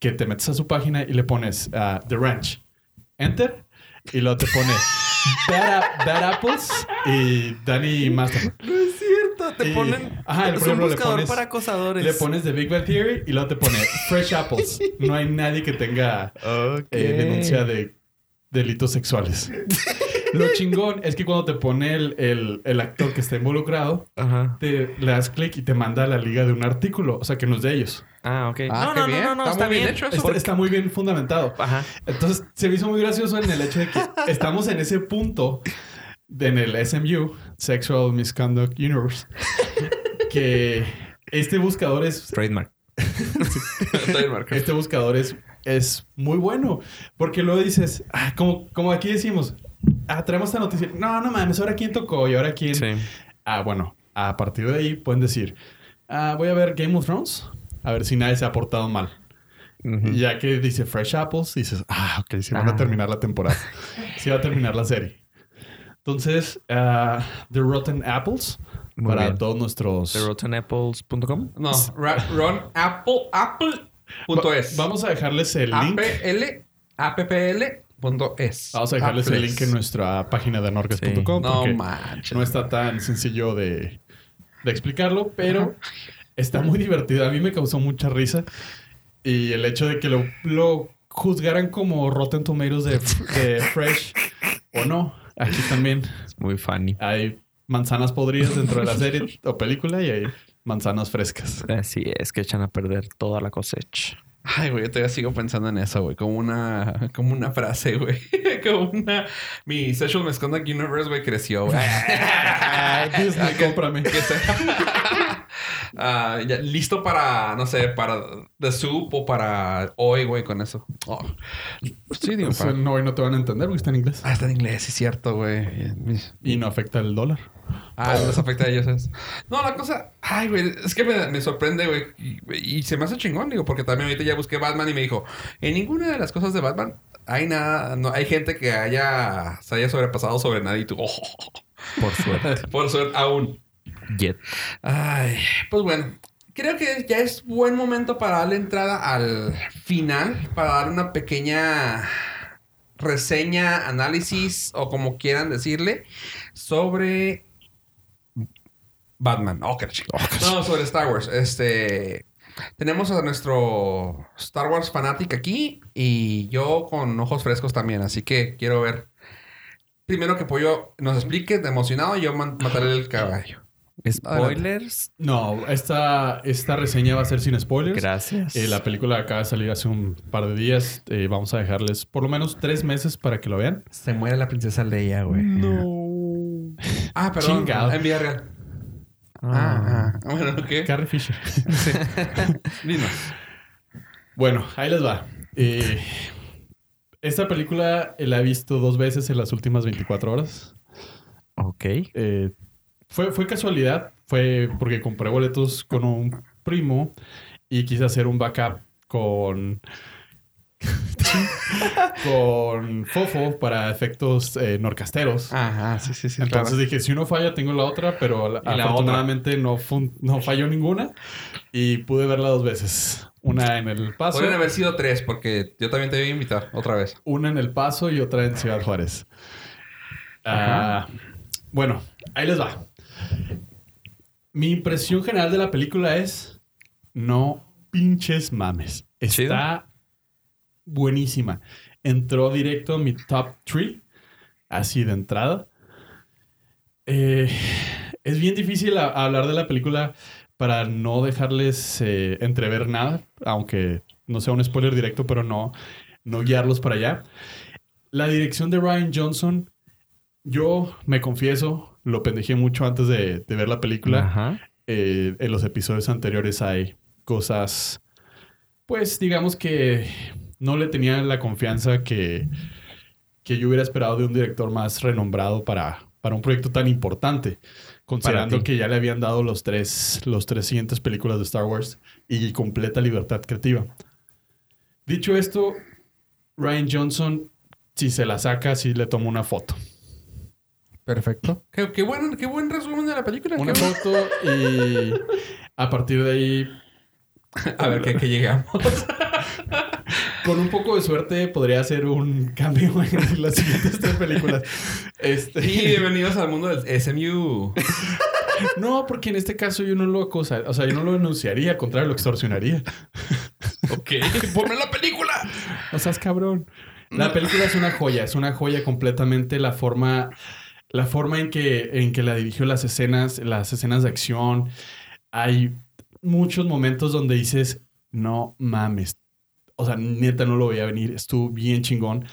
[SPEAKER 4] que te metes a su página y le pones ah, The Ranch. Enter. Y luego te pone Bad, A- Bad Apples y Danny Masterman.
[SPEAKER 5] No es cierto. Te
[SPEAKER 4] Y-
[SPEAKER 5] ponen...
[SPEAKER 4] Ajá,
[SPEAKER 5] es
[SPEAKER 4] por ejemplo,
[SPEAKER 5] un
[SPEAKER 4] le
[SPEAKER 5] buscador
[SPEAKER 4] pones-
[SPEAKER 5] para acosadores.
[SPEAKER 2] Pues
[SPEAKER 4] Le pones The Big Bad Theory y luego te pone Fresh Apples. No eh, hay nadie que tenga eh, denuncia de delitos sexuales. Lo chingón es que cuando te pone el, el- el actor que está involucrado,
[SPEAKER 5] Ajá.
[SPEAKER 4] te le das clic y te manda a la liga de un artículo. O sea, que no es de ellos.
[SPEAKER 5] Ah, ok.
[SPEAKER 2] Ah,
[SPEAKER 5] no,
[SPEAKER 2] qué
[SPEAKER 5] no,
[SPEAKER 2] bien.
[SPEAKER 5] no, no, no,
[SPEAKER 2] Está
[SPEAKER 5] está
[SPEAKER 2] muy bien
[SPEAKER 5] bien.
[SPEAKER 2] hecho eso.
[SPEAKER 4] Está, está muy bien fundamentado.
[SPEAKER 5] Ajá.
[SPEAKER 4] Entonces, se me hizo muy gracioso en el hecho de que estamos en ese punto de- en el SMU, Sexual Misconduct Universe, que este buscador es,
[SPEAKER 1] Trademark.
[SPEAKER 2] Estoy marcado.
[SPEAKER 4] este buscador es, es muy bueno. Porque luego dices, ah, como, como aquí decimos, ah, traemos esta noticia. No, no mames, ahora quién tocó y ahora quién.
[SPEAKER 5] Sí.
[SPEAKER 4] Ah, bueno, a partir de ahí pueden decir, ah, voy a ver Game of Thrones, a ver si nadie se ha portado mal. Y Ya que dice Fresh Apples, dices, ah, ok, sí van a
[SPEAKER 5] Ah.
[SPEAKER 4] terminar la temporada. sí va a terminar la serie. Entonces, ah, The Rotten Apples,
[SPEAKER 5] Muy
[SPEAKER 4] para
[SPEAKER 5] bien.
[SPEAKER 4] todos nuestros...
[SPEAKER 5] TheRottenApples.com.
[SPEAKER 2] No, ra- Ron Apple Apple punto
[SPEAKER 4] Va-
[SPEAKER 2] es.
[SPEAKER 4] Vamos a dejarles el link.
[SPEAKER 2] APL APPL punto es.
[SPEAKER 4] Vamos a dejarles el link en
[SPEAKER 2] Apples.
[SPEAKER 4] nuestra página de anorcas.com.
[SPEAKER 2] No
[SPEAKER 4] porque
[SPEAKER 2] manches.
[SPEAKER 4] no está tan sencillo de, de explicarlo, pero está muy divertido. A mí me causó mucha risa. Y el hecho de que lo, lo juzgaran como Rotten Tomatoes de, de Fresh o no, aquí también
[SPEAKER 5] Muy funny.
[SPEAKER 4] hay manzanas podridas dentro de la serie o película y hay manzanas frescas.
[SPEAKER 5] Así es, que echan a perder toda la cosecha.
[SPEAKER 2] Ay, güey, yo todavía sigo pensando en eso, güey. Como una, como una frase, güey. Como una. Mi Sexual Misconduct Universe, güey, creció, güey.
[SPEAKER 4] Ah, Disney, cómprame.
[SPEAKER 2] Que sea- Ah, ya, listo para, no sé, para The Soup o para hoy, güey, con eso. Oh. Sí, digo,
[SPEAKER 4] O sea,
[SPEAKER 2] para-
[SPEAKER 4] no, hoy no te van a entender porque está en inglés.
[SPEAKER 2] Ah, está en inglés, sí, es cierto, güey.
[SPEAKER 4] Y no afecta el dólar.
[SPEAKER 2] Ah, no les afecta a ellos. ¿sabes? No, la cosa. Ay, güey, es que me, me sorprende, güey. Y, y se me hace chingón, digo, porque también ahorita ya busqué Batman y me dijo: en ninguna de las cosas de Batman hay nada, no hay gente que haya se haya sobrepasado sobre nadie y tú, oh,
[SPEAKER 5] Por suerte.
[SPEAKER 2] por suerte, aún.
[SPEAKER 5] Yet.
[SPEAKER 2] Ay, pues bueno. Creo que ya es buen momento para darle entrada al final, para dar una pequeña reseña, análisis o como quieran decirle, sobre Batman. Oh, qué la chingada. No, sobre Star Wars. Este, tenemos a nuestro Star Wars fanático aquí y yo con ojos frescos también, así que quiero ver. Primero que Pollo nos explique, de emocionado, y yo man- mataré el caballo.
[SPEAKER 5] Spoilers.
[SPEAKER 4] No, esta, esta reseña va a ser sin spoilers.
[SPEAKER 5] Gracias.
[SPEAKER 4] Eh, la película acaba de salir hace un par de días. Eh, vamos a dejarles por lo menos tres meses para que lo vean.
[SPEAKER 2] Se muere la princesa Leia, güey.
[SPEAKER 4] No.
[SPEAKER 2] Ah, perdón.
[SPEAKER 4] Chingado.
[SPEAKER 2] En vida real. Ah, ah. Bueno, ¿qué?
[SPEAKER 4] Carrie Fisher.
[SPEAKER 2] Dinos.
[SPEAKER 4] Bueno, ahí les va. Eh, esta película eh, la he visto dos veces en las últimas 24 horas.
[SPEAKER 5] Ok.
[SPEAKER 4] Eh, fue, fue casualidad. Fue porque compré boletos con un primo y quise hacer un backup con... con Fofo para efectos eh, norcasteros.
[SPEAKER 2] Ajá, sí, sí, sí.
[SPEAKER 4] Entonces dije, si uno falla, tengo la otra, pero la-
[SPEAKER 2] Y la
[SPEAKER 4] afortunadamente No, fun- no falló ninguna. Y pude verla dos veces. Una en El Paso,
[SPEAKER 2] Podrían haber sido tres, porque yo también te voy a invitar otra vez.
[SPEAKER 4] una en El Paso y otra en Ciudad Juárez. Ah, bueno, ahí les va. Mi impresión general de la película es, no pinches mames.
[SPEAKER 5] Chido.
[SPEAKER 4] Está buenísima. Entró directo en mi top 3, así de entrada. Eh, es bien difícil a- hablar de la película para no dejarles eh, entrever nada, aunque no sea un spoiler directo, pero no, no guiarlos para allá. La dirección de Ryan Johnson, yo me confieso, lo pendejé mucho antes de, de ver la película
[SPEAKER 5] Ajá.
[SPEAKER 4] eh, en los episodios anteriores hay cosas, pues digamos que no le tenía la confianza que, que yo hubiera esperado de un director más renombrado para, para un proyecto tan importante, considerando
[SPEAKER 5] ti.
[SPEAKER 4] que ya le habían dado los tres, los tres siguientes películas de Star Wars y completa libertad creativa. Dicho esto, Ryan Johnson, si se la saca, sí le tomo una foto.
[SPEAKER 2] Perfecto. Qué, qué buen, qué buen resumen de la película.
[SPEAKER 4] Una
[SPEAKER 2] qué buen-
[SPEAKER 4] foto y a partir de ahí
[SPEAKER 2] A ver, ¿qué, qué llegamos?
[SPEAKER 4] Con un poco de suerte podría hacer un cambio en las siguientes tres películas.
[SPEAKER 2] Y
[SPEAKER 4] Este,
[SPEAKER 2] bienvenidos al mundo del SMU. no.
[SPEAKER 4] no, porque en este caso yo no lo acosa, o sea, yo no lo denunciaría, al contrario, lo extorsionaría.
[SPEAKER 2] Ok. ¡Ponme la película!
[SPEAKER 4] O sea, es cabrón. La película es una joya, es una joya completamente la forma, la forma en que, en que la dirigió las escenas, las escenas de acción. Hay muchos momentos donde dices, no mames. O sea, neta, no lo voy a venir. Estuvo bien chingón.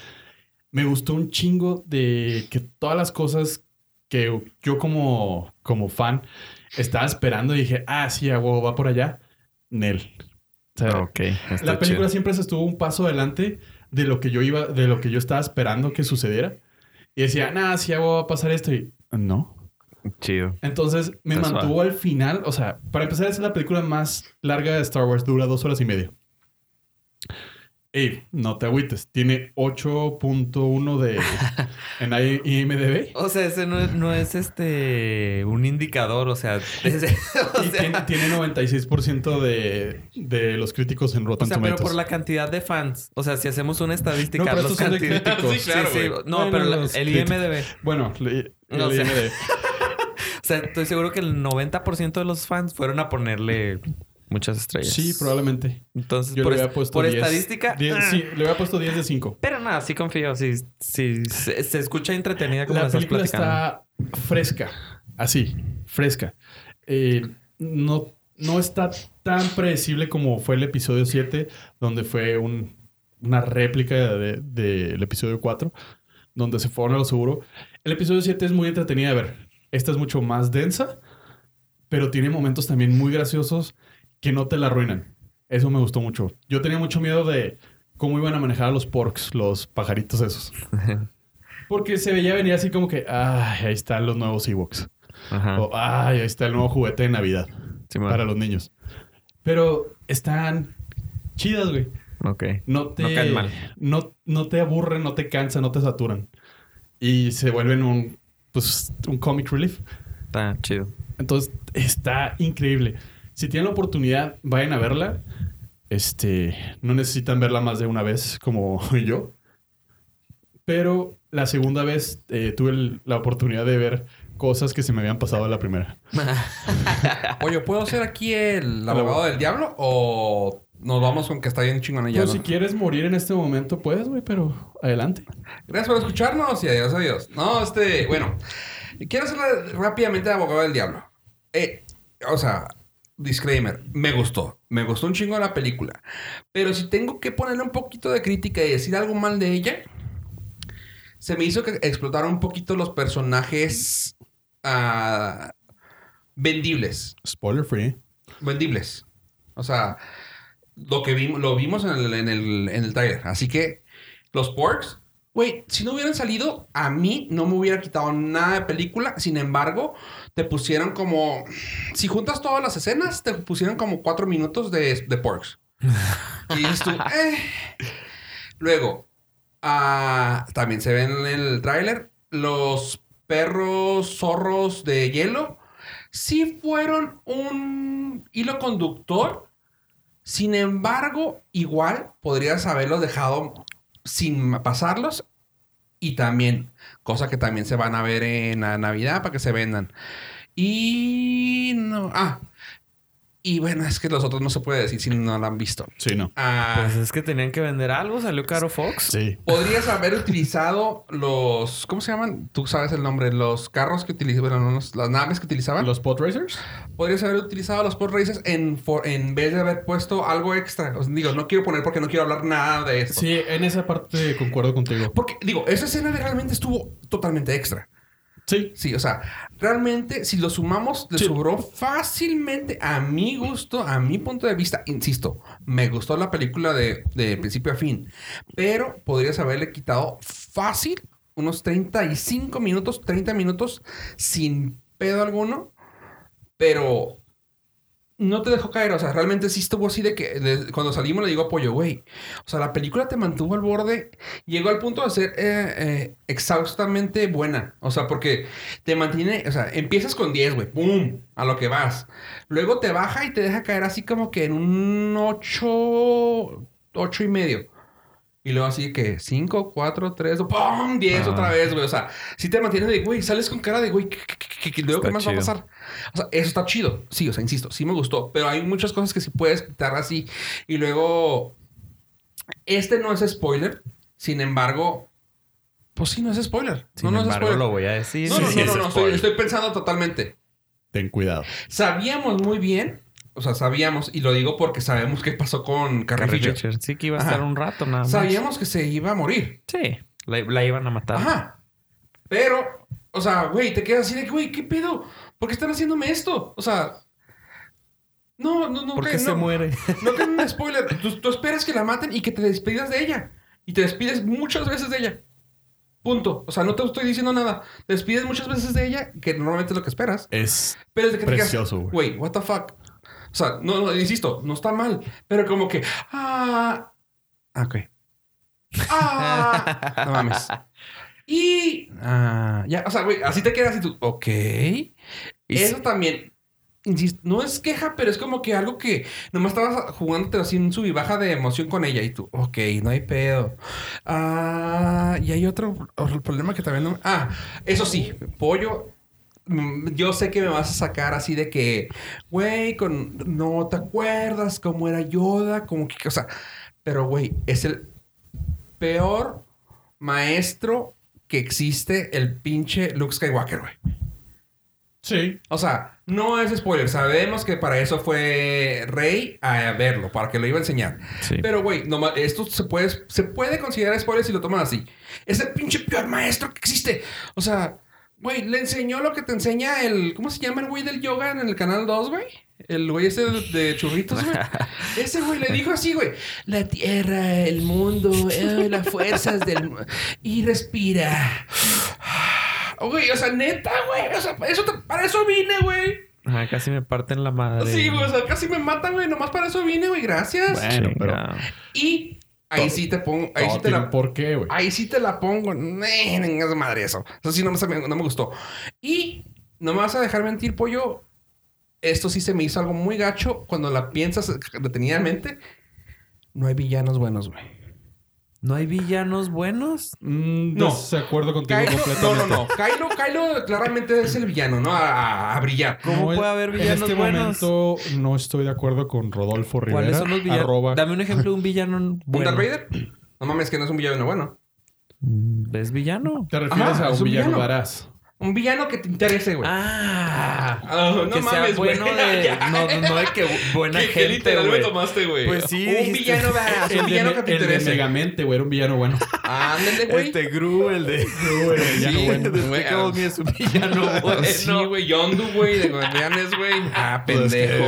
[SPEAKER 4] Me gustó un chingo de que todas las cosas que yo como, como fan estaba esperando y dije, ah, sí, a huevo, va por allá. Nel. O
[SPEAKER 5] Ah,
[SPEAKER 4] sea,
[SPEAKER 6] Ok. está
[SPEAKER 4] Eh, la película
[SPEAKER 6] chido.
[SPEAKER 4] siempre se estuvo un paso adelante de lo que yo iba, de lo que yo estaba esperando que sucediera. Y decía, nada, si hago va a pasar esto. Y no.
[SPEAKER 6] Chido.
[SPEAKER 4] Entonces me
[SPEAKER 6] Está
[SPEAKER 4] mantuvo al final. O sea, para empezar, esa es la película más larga de Star Wars. Dura dos horas y media. Ey, no te agüites. Tiene 8.1 de en IMDB.
[SPEAKER 5] O sea, ese no es, no es este un indicador, o sea, es- o
[SPEAKER 4] Y
[SPEAKER 5] sea,
[SPEAKER 4] tiene, tiene 96% de, de los críticos en
[SPEAKER 5] o
[SPEAKER 4] Rotten
[SPEAKER 5] sea, pero
[SPEAKER 4] Tomatoes.
[SPEAKER 5] por la cantidad de fans. O sea, si hacemos una estadística,
[SPEAKER 4] No, pero
[SPEAKER 5] los
[SPEAKER 4] estos son de
[SPEAKER 5] cantidad-
[SPEAKER 4] críticos.
[SPEAKER 5] Sí, sí, No,
[SPEAKER 4] Bueno,
[SPEAKER 5] pero la-
[SPEAKER 4] los
[SPEAKER 5] el
[SPEAKER 4] críticos.
[SPEAKER 5] IMDB.
[SPEAKER 4] Bueno, le-
[SPEAKER 5] No
[SPEAKER 4] el
[SPEAKER 5] sé.
[SPEAKER 4] IMDb.
[SPEAKER 5] O sea, estoy seguro que el 90% de los fans fueron a ponerle muchas estrellas.
[SPEAKER 4] Sí, probablemente.
[SPEAKER 5] Entonces,
[SPEAKER 4] Yo
[SPEAKER 5] por,
[SPEAKER 4] le
[SPEAKER 5] es-
[SPEAKER 4] había puesto
[SPEAKER 5] por
[SPEAKER 4] 10.
[SPEAKER 5] estadística.
[SPEAKER 4] 10,
[SPEAKER 5] ah.
[SPEAKER 4] sí, le había puesto 10 de 5.
[SPEAKER 5] Pero nada, sí confío. Sí, sí, se, se escucha entretenida como la,
[SPEAKER 4] La
[SPEAKER 5] estás
[SPEAKER 4] película
[SPEAKER 5] platicando.
[SPEAKER 4] está fresca. Así, fresca. Eh, no, no está tan predecible como fue el episodio 7, donde fue un- una réplica del de, del episodio 4, donde se fueron a lo seguro. El episodio 7 es muy entretenida de ver. Esta es mucho más densa, pero tiene momentos también muy graciosos que no te la arruinan. Eso me gustó mucho. Yo tenía mucho miedo de cómo iban a manejar a los porks, los pajaritos esos. Porque se veía venir así como que, ay, ahí están los nuevos Ewoks.
[SPEAKER 5] Ajá.
[SPEAKER 4] O, ay, ahí está el nuevo juguete de Navidad
[SPEAKER 5] Simón.
[SPEAKER 4] Oh. para los niños. Pero están chidas, güey.
[SPEAKER 5] Ok.
[SPEAKER 4] No te,
[SPEAKER 5] No caen mal.
[SPEAKER 4] no- no te aburren, no te cansan, no te saturan. Y se vuelven un, pues, un comic relief.
[SPEAKER 5] Está chido.
[SPEAKER 4] Entonces, está increíble. Si tienen la oportunidad, vayan a verla. Este, no necesitan verla más de una vez como yo. Pero la segunda vez eh, tuve el- la oportunidad de ver cosas que se me habían pasado la primera.
[SPEAKER 2] Oye, ¿puedo ser aquí el abogado del diablo o nos vamos con que está bien chingona ya?
[SPEAKER 4] Pero
[SPEAKER 2] no?
[SPEAKER 4] si quieres morir en este momento, puedes, güey, pero adelante.
[SPEAKER 2] Gracias por escucharnos y adiós, adiós. No, este, bueno, quiero hacerle rápidamente de abogado del diablo. Eh, o sea, disclaimer, me gustó, me gustó un chingo la película. Pero si tengo que ponerle un poquito de crítica y decir algo mal de ella, se me hizo que explotara un poquito los personajes ah, vendibles.
[SPEAKER 4] Spoiler free.
[SPEAKER 2] Vendibles. O sea, lo que vimos, lo vimos en el, en el, en el trailer. Así que los porks, güey, si no hubieran salido, a mí no me hubiera quitado nada de película. Sin embargo, te pusieron como. Si juntas todas las escenas, te pusieron como cuatro minutos de, de porks. Y dices tú, eh. Luego, ah, también se ven en el tráiler los perros zorros de hielo. Sí fueron un hilo conductor. Sin embargo, igual podrías haberlos dejado sin pasarlos. Y también, cosa que también se van a ver en la Navidad para que se vendan. Y no. Ah. Y bueno, es que los otros no se puede decir si no lo han visto.
[SPEAKER 4] Sí, no.
[SPEAKER 2] Ah,
[SPEAKER 5] Pues es que tenían que vender algo. Salió Caro Fox.
[SPEAKER 4] Sí.
[SPEAKER 2] Podrías haber utilizado los. ¿Cómo se llaman? Tú sabes el nombre. Los carros que utilizaban. Bueno, no, los- las naves que utilizaban.
[SPEAKER 4] ¿Los pod racers?
[SPEAKER 2] Podrías haber utilizado los pod races en, for- en vez de haber puesto algo extra. O sea, digo, no quiero poner porque no quiero hablar nada de esto.
[SPEAKER 4] Sí, en esa parte concuerdo contigo.
[SPEAKER 2] Porque, digo, esa escena realmente estuvo totalmente extra.
[SPEAKER 4] Sí.
[SPEAKER 2] Sí, o sea, realmente, si lo sumamos, le
[SPEAKER 4] Sí.
[SPEAKER 2] sobró fácilmente a mi gusto, a mi punto de vista. Insisto, me gustó la película de, de principio a fin, pero podrías haberle quitado fácil unos 35 minutos, 30 minutos sin pedo alguno, pero no te dejó caer. O sea, realmente sí estuvo así de que de- cuando salimos le digo a Pollo, güey. O sea, la película te mantuvo al borde. Llegó al punto de ser eh, eh, exhaustamente buena. O sea, porque te mantiene. O sea, empiezas con 10, güey. ¡Pum! A lo que vas. Luego te baja y te deja caer así como que en un 8, 8 y medio. Y luego así que 5, 4, 3, ¡pum! 10
[SPEAKER 6] Ah.
[SPEAKER 2] otra vez, güey. O sea, si te mantienes de, güey, sales con cara de, güey, ¿qué, qué, qué, qué, luego qué
[SPEAKER 6] Está
[SPEAKER 2] más va a
[SPEAKER 6] chido.
[SPEAKER 2] pasar? O sea, eso está chido. Sí, o sea, insisto, sí me gustó. Pero hay muchas cosas que sí puedes quitar así. Y luego, este no es spoiler. Sin embargo, pues sí, no es spoiler.
[SPEAKER 5] Sin
[SPEAKER 2] no, no
[SPEAKER 5] embargo,
[SPEAKER 2] es spoiler.
[SPEAKER 5] lo voy a decir.
[SPEAKER 2] No,
[SPEAKER 5] Sí,
[SPEAKER 2] no,
[SPEAKER 5] sí,
[SPEAKER 2] no, no,
[SPEAKER 5] es
[SPEAKER 2] no, estoy,
[SPEAKER 5] spoiler.
[SPEAKER 2] estoy pensando totalmente.
[SPEAKER 4] Ten cuidado.
[SPEAKER 2] Sabíamos muy bien, o sea, sabíamos, y lo digo porque sabemos qué pasó con Carrie
[SPEAKER 5] Carrie
[SPEAKER 2] Fisher.
[SPEAKER 5] Fisher. Sí que iba a
[SPEAKER 2] Ajá.
[SPEAKER 5] estar un rato nada más.
[SPEAKER 2] Sabíamos que se iba a morir.
[SPEAKER 5] Sí. La, la iban a matar.
[SPEAKER 2] Ajá. Pero, o sea, güey, te quedas así de que, güey, ¿qué pedo? ¿Por qué están haciéndome esto? O sea, no, no, no.
[SPEAKER 5] ¿Por
[SPEAKER 2] que-
[SPEAKER 5] qué se
[SPEAKER 2] no.
[SPEAKER 5] muere?
[SPEAKER 2] No te un spoiler. Tú, tú esperas que la maten y que te despidas de ella. Y te despides muchas veces de ella. Punto. O sea, no te estoy diciendo nada. Te despides muchas veces de ella, que normalmente es lo que esperas.
[SPEAKER 4] Es
[SPEAKER 2] Pero es de que te quedas,
[SPEAKER 4] Precioso, güey.
[SPEAKER 2] Güey, what the fuck. O sea, no, no, insisto, no está mal. Pero como que. Ah. ah, Ok. Ah. No mames. Y. Ah. Ya, o sea, güey, así te quedas y tú. Ok. Eso también. Insisto, no es queja, pero es como que algo que nomás estabas jugándote así en sub y baja de emoción con ella y tú, ok, no hay pedo. Ah, y hay otro otro problema que también no. Ah, eso sí, pollo. mm, Yo sé que me vas a sacar así de que, güey, con no te acuerdas cómo era Yoda, como que, o sea, pero güey, es el peor maestro que existe, el pinche Luke Skywalker, güey.
[SPEAKER 4] Sí.
[SPEAKER 2] O sea, no es spoiler. Sabemos que para eso fue Rey a verlo, para que lo iba a enseñar.
[SPEAKER 5] Sí.
[SPEAKER 2] Pero, güey, nomás- esto se puede, se puede considerar spoiler si lo toman así. Es el pinche peor maestro que existe. O sea, güey, le enseñó lo que te enseña el... ¿Cómo se llama el güey del yoga en el Canal 2, güey? El güey ese de, de churritos, güey. Ese güey le dijo así, güey. La tierra, el mundo, eh, las fuerzas del... mu- Y respira. Güey, o sea, neta, güey. O sea, eso te- para eso vine, güey.
[SPEAKER 5] Ajá, casi me parten la madre.
[SPEAKER 2] Sí, güey, o sea, casi me matan, güey. Nomás para eso vine, güey. Gracias.
[SPEAKER 4] Bueno, pero
[SPEAKER 5] Chinga.
[SPEAKER 2] Y ahí sí te pongo, ahí
[SPEAKER 4] todo
[SPEAKER 2] sí te
[SPEAKER 4] tiene
[SPEAKER 2] la
[SPEAKER 4] un porqué, güey.
[SPEAKER 2] ahí sí te la pongo. Nee, Venga, madre eso. Eso sí no me, no me gustó. Y no me vas a dejar mentir, pollo. Esto sí se me hizo algo muy gacho cuando la piensas detenidamente. No hay villanos buenos, güey.
[SPEAKER 5] ¿No hay villanos buenos?
[SPEAKER 4] Mm,
[SPEAKER 2] No.
[SPEAKER 4] Desacuerdo contigo
[SPEAKER 2] Kylo, no,
[SPEAKER 4] completamente.
[SPEAKER 2] no, no. Kylo, Kylo claramente es el villano, ¿no? A, a- a brillar.
[SPEAKER 5] ¿Cómo
[SPEAKER 4] No, en-
[SPEAKER 5] puede haber villanos
[SPEAKER 4] En este
[SPEAKER 5] buenos?
[SPEAKER 4] momento no estoy de acuerdo con Rodolfo Rivera.
[SPEAKER 5] ¿Cuáles son los villanos?
[SPEAKER 4] Arroba,
[SPEAKER 5] Dame un ejemplo de un villano
[SPEAKER 2] ¿Un
[SPEAKER 5] bueno.
[SPEAKER 2] Darth Vader? No mames, que no es un villano bueno.
[SPEAKER 5] Mm, ¿Es villano?
[SPEAKER 4] ¿Te refieres
[SPEAKER 2] Ajá,
[SPEAKER 4] a
[SPEAKER 2] es
[SPEAKER 4] un
[SPEAKER 2] un
[SPEAKER 4] villano
[SPEAKER 2] villano.
[SPEAKER 4] varaz?
[SPEAKER 2] Un villano que te interese, güey.
[SPEAKER 5] Ah,
[SPEAKER 2] Ah, Pues. no
[SPEAKER 5] que sea
[SPEAKER 2] mames, güey.
[SPEAKER 5] bueno de,
[SPEAKER 2] Ya.
[SPEAKER 5] no, no, no de que bu- buena
[SPEAKER 2] ¿Qué, qué
[SPEAKER 5] gente,
[SPEAKER 2] literal me
[SPEAKER 5] güey.
[SPEAKER 2] tomaste, güey?
[SPEAKER 5] Pues sí,
[SPEAKER 2] Un
[SPEAKER 5] dijiste.
[SPEAKER 2] villano badass, un
[SPEAKER 4] de
[SPEAKER 2] villano
[SPEAKER 4] Me-
[SPEAKER 2] que te
[SPEAKER 4] el de
[SPEAKER 2] interese.
[SPEAKER 4] Megamente, güey, era un villano bueno.
[SPEAKER 2] Ándale, güey.
[SPEAKER 5] El de Este Gru, el de...
[SPEAKER 4] Güey, era un villano
[SPEAKER 5] Sí,
[SPEAKER 4] bueno.
[SPEAKER 5] de
[SPEAKER 2] güey.
[SPEAKER 5] Despicable Me es un villano bueno.
[SPEAKER 2] Sí, güey, Yondu, güey, de Guardianes, güey. Ah, pendejo.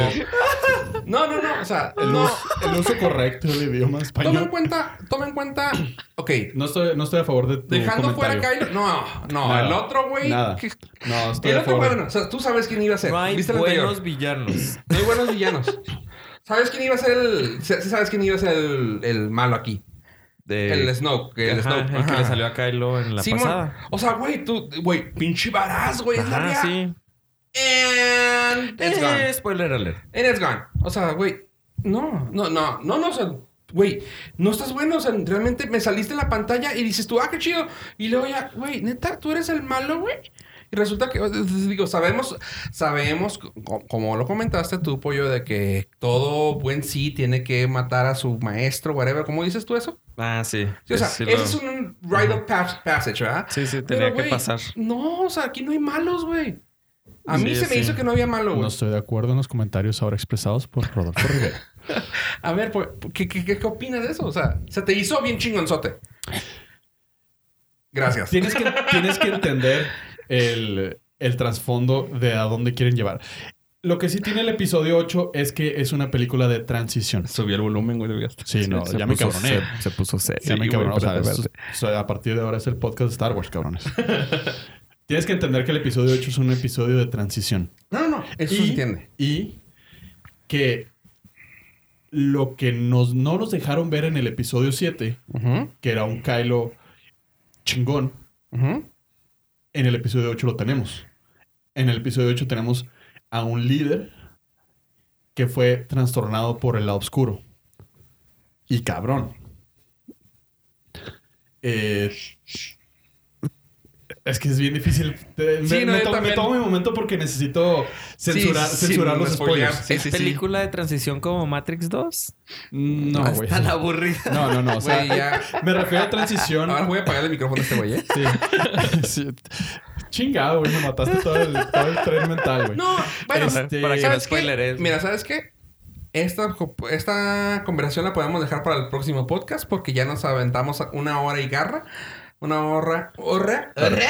[SPEAKER 2] No, no, no, o sea,
[SPEAKER 4] El,
[SPEAKER 2] no.
[SPEAKER 4] uso, el uso correcto del
[SPEAKER 2] Toma
[SPEAKER 4] idioma
[SPEAKER 2] en
[SPEAKER 4] español.
[SPEAKER 2] cuenta, toma en cuenta. Ok,
[SPEAKER 4] No estoy, no estoy a favor de tu
[SPEAKER 2] dejando fuera a
[SPEAKER 4] comentario.
[SPEAKER 2] Kylo. No, no,
[SPEAKER 4] Nada,
[SPEAKER 2] el otro, güey.
[SPEAKER 4] nada.
[SPEAKER 2] que-
[SPEAKER 4] No, estoy
[SPEAKER 2] El
[SPEAKER 4] a
[SPEAKER 2] otro,
[SPEAKER 4] favor.
[SPEAKER 2] bueno, o sea, tú sabes quién iba a ser.
[SPEAKER 5] No hay
[SPEAKER 2] ¿Viste el
[SPEAKER 5] buenos
[SPEAKER 2] anterior?
[SPEAKER 5] villanos.
[SPEAKER 2] No hay buenos villanos. ¿Sabes quién iba a ser el. Sí, sabes quién iba a ser el, el malo aquí?
[SPEAKER 5] De...
[SPEAKER 2] El Snoke. que El
[SPEAKER 5] Ajá,
[SPEAKER 2] Snoke.
[SPEAKER 5] el que le
[SPEAKER 2] ajá.
[SPEAKER 5] salió a Kylo en la
[SPEAKER 2] Simón. pues,
[SPEAKER 5] pasada.
[SPEAKER 2] O sea, güey, tú, güey, pinche varaz, güey, es la
[SPEAKER 5] Ajá,
[SPEAKER 2] vida.
[SPEAKER 5] sí.
[SPEAKER 2] And it's gone.
[SPEAKER 5] Eh, spoiler alert.
[SPEAKER 2] And it's gone. O sea, güey, no, no, no, no, no, o sea, güey, no estás bueno, o sea, realmente me saliste en la pantalla y dices tú, ah, qué chido. Y luego ya, güey, neta, tú eres el malo, güey. Y resulta que, digo, sabemos, sabemos, co- como lo comentaste tú, pollo, de que todo buen sí tiene que matar a su maestro, whatever. ¿Cómo dices tú eso?
[SPEAKER 5] Ah, sí.
[SPEAKER 2] Sí, o sea,
[SPEAKER 5] Sí,
[SPEAKER 2] ese
[SPEAKER 5] lo-
[SPEAKER 2] es un rite of pas- passage, ¿verdad?
[SPEAKER 5] Sí, sí, tenía
[SPEAKER 2] Pero,
[SPEAKER 5] que
[SPEAKER 2] güey,
[SPEAKER 5] pasar.
[SPEAKER 2] No, o sea, aquí no hay malos, güey. A mí
[SPEAKER 5] Sí,
[SPEAKER 2] se me
[SPEAKER 5] sí.
[SPEAKER 2] hizo que no había malo, güey.
[SPEAKER 4] No estoy de acuerdo en los comentarios ahora expresados por Rodolfo Rivera.
[SPEAKER 2] A ver, pues, ¿qué, qué, qué, qué opinas de eso? O sea, se te hizo bien chingonzote. Gracias.
[SPEAKER 4] tienes, que, tienes que entender el, el trasfondo de a dónde quieren llevar. Lo que sí tiene el episodio 8 es que es una película de transición.
[SPEAKER 2] Subí el volumen, güey, ¿lo
[SPEAKER 4] Sí, no,
[SPEAKER 1] Se
[SPEAKER 4] ya me eh,
[SPEAKER 1] puso-
[SPEAKER 4] cabroné.
[SPEAKER 1] Se, se puso serio.
[SPEAKER 4] Ya me
[SPEAKER 1] güey,
[SPEAKER 4] cabroné. O sea,
[SPEAKER 1] espérate,
[SPEAKER 2] pues,
[SPEAKER 4] es-
[SPEAKER 1] espérate.
[SPEAKER 4] o sea, a partir de ahora es el podcast de Star Wars, cabrones. Tienes que entender que el episodio 8 es un episodio de transición.
[SPEAKER 2] No, no, no. Eso
[SPEAKER 4] Y-
[SPEAKER 2] se entiende.
[SPEAKER 4] Y que lo que nos, no nos dejaron ver en el episodio 7,
[SPEAKER 2] Ujú,
[SPEAKER 4] que era un Kylo chingón,
[SPEAKER 2] ujú.
[SPEAKER 4] en el episodio 8 lo tenemos. En el episodio 8 tenemos a un líder que fue trastornado por el lado oscuro. Y cabrón. Eh, Es que es bien difícil. Te-
[SPEAKER 2] Sí,
[SPEAKER 4] me,
[SPEAKER 2] no,
[SPEAKER 4] me
[SPEAKER 2] yo
[SPEAKER 4] to- me
[SPEAKER 2] también.
[SPEAKER 4] tomo mi momento porque necesito censurar,
[SPEAKER 2] Sí, sí,
[SPEAKER 4] censurar
[SPEAKER 2] no
[SPEAKER 4] los
[SPEAKER 2] spoilear.
[SPEAKER 4] spoilers.
[SPEAKER 2] Sí,
[SPEAKER 5] ¿Es
[SPEAKER 2] sí, sí.
[SPEAKER 5] película de transición como Matrix 2?
[SPEAKER 4] No, güey.
[SPEAKER 5] Hasta la aburrida.
[SPEAKER 4] No, no, no. O sea,
[SPEAKER 2] Güey, ya.
[SPEAKER 4] me refiero a transición.
[SPEAKER 2] Ahora voy a apagar el micrófono a este güey, ¿eh?
[SPEAKER 4] Sí. Sí. Chingado, güey. Me mataste todo el, todo el tren mental, güey.
[SPEAKER 2] No, bueno,
[SPEAKER 4] Este,
[SPEAKER 5] para que no
[SPEAKER 2] ¿sabes qué?
[SPEAKER 5] spoileres.
[SPEAKER 2] Mira, ¿sabes qué? Esta, esta conversación la podemos dejar para el próximo podcast porque ya nos aventamos una hora y garra. Una hora... ¡Horra! ¡Horra!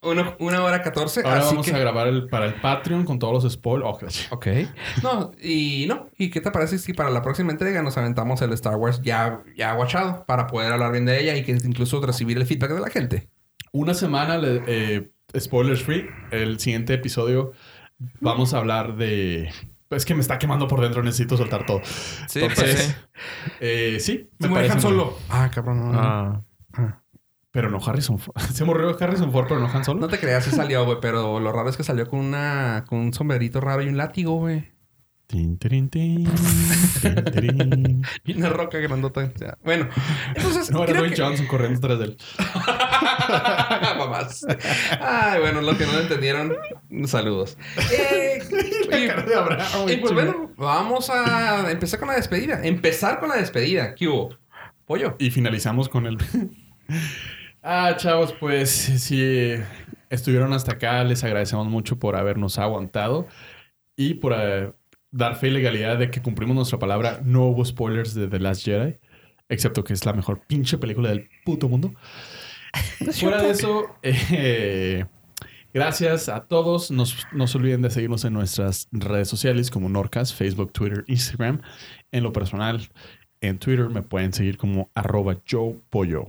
[SPEAKER 2] Una, una hora catorce.
[SPEAKER 4] Ahora
[SPEAKER 2] así
[SPEAKER 4] vamos
[SPEAKER 2] que...
[SPEAKER 4] a grabar el, para el Patreon con todos los spoilers. Oh, qué-
[SPEAKER 2] Ok. No, y no. ¿Y qué te parece si para la próxima entrega nos aventamos el Star Wars ya, ya guachado para poder hablar bien de ella y que incluso recibir el feedback de la gente?
[SPEAKER 4] Una semana, le- eh, spoilers free. El siguiente episodio vamos a hablar de... Es que me está quemando por dentro. Necesito soltar todo.
[SPEAKER 5] Sí, pues
[SPEAKER 4] Entonces, eh, sí.
[SPEAKER 2] Se me
[SPEAKER 4] parece
[SPEAKER 2] dejan
[SPEAKER 4] muy bien.
[SPEAKER 2] solo. Ah, cabrón. No,
[SPEAKER 5] Ah.
[SPEAKER 4] Pero no Harrison Ford. Se murió Harrison Ford, pero no Han Solo.
[SPEAKER 2] No te creas, sí salió, güey, pero lo raro es que salió con una con un sombrerito raro y un látigo, güey.
[SPEAKER 4] Tin, tirin, tin, tin, tirin.
[SPEAKER 2] Y una roca grandota. O sea, Bueno, entonces
[SPEAKER 4] No, era
[SPEAKER 2] creo
[SPEAKER 4] Dwayne
[SPEAKER 2] que-
[SPEAKER 4] Johnson corriendo tras él.
[SPEAKER 2] Ah, Mamás. Ay, bueno, los que no lo entendieron, saludos. Eh, y-
[SPEAKER 4] Cara de Abraham,
[SPEAKER 2] Y
[SPEAKER 4] güey,
[SPEAKER 2] pues
[SPEAKER 4] chinga.
[SPEAKER 2] bueno, vamos a empezar con la despedida. Empezar con la despedida. ¿Qué hubo? Pollo.
[SPEAKER 4] Y finalizamos con el... ah, chavos, pues si estuvieron hasta acá, les agradecemos mucho por habernos aguantado y por eh, dar fe y legalidad de que cumplimos nuestra palabra. No hubo spoilers de The Last Jedi, excepto que es la mejor pinche película del puto mundo. Fuera de eso, eh, gracias a todos. Nos- no se olviden de seguirnos en nuestras redes sociales como Norcas, Facebook, Twitter, Instagram. En lo personal, en Twitter me pueden seguir como arroba yo pollo.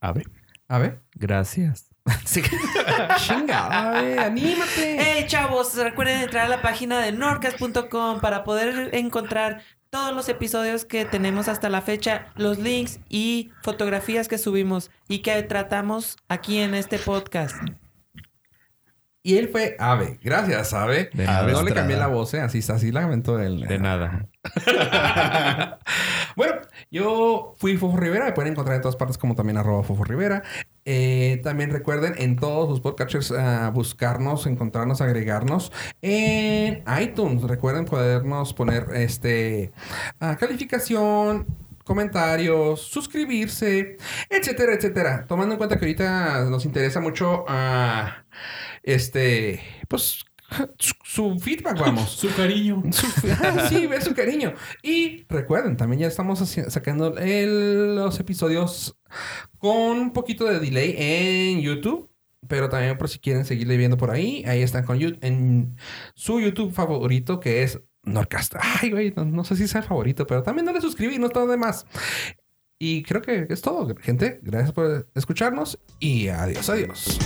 [SPEAKER 4] A ver.
[SPEAKER 2] A ver.
[SPEAKER 5] Gracias. Sí.
[SPEAKER 2] Chinga. A ver, anímate.
[SPEAKER 6] Hey chavos, recuerden entrar a la página de norcas.com para poder encontrar todos los episodios que tenemos hasta la fecha, los links y fotografías que subimos y que tratamos aquí en este podcast.
[SPEAKER 2] Y él fue Ave. Gracias, Ave.
[SPEAKER 5] De
[SPEAKER 2] No
[SPEAKER 5] nada.
[SPEAKER 2] le cambié la voz, ¿eh? Así, así la aventó él.
[SPEAKER 4] Ah,
[SPEAKER 5] De nada.
[SPEAKER 2] Bueno, yo fui Fofo Rivera. Me pueden encontrar en todas partes como también arroba Fofo Rivera. Eh, también recuerden en todos sus podcatchers ah, buscarnos, encontrarnos, agregarnos en iTunes. Recuerden podernos poner este ah, calificación, comentarios, suscribirse, etcétera, etcétera. Tomando en cuenta que ahorita nos interesa mucho ah, este, pues su- su feedback, vamos.
[SPEAKER 4] Su cariño.
[SPEAKER 2] Su- ah, sí, ve su cariño. Y recuerden, también ya estamos haci- sacando el- los episodios con un poquito de delay en YouTube. Pero también por si quieren seguirle viendo por ahí, ahí están con you- en su YouTube favorito que es Norcast. Ay, güey, no, no sé si sea el favorito, pero también dale suscribir, no está de más. Y creo que es todo, gente. Gracias por escucharnos y adiós, adiós.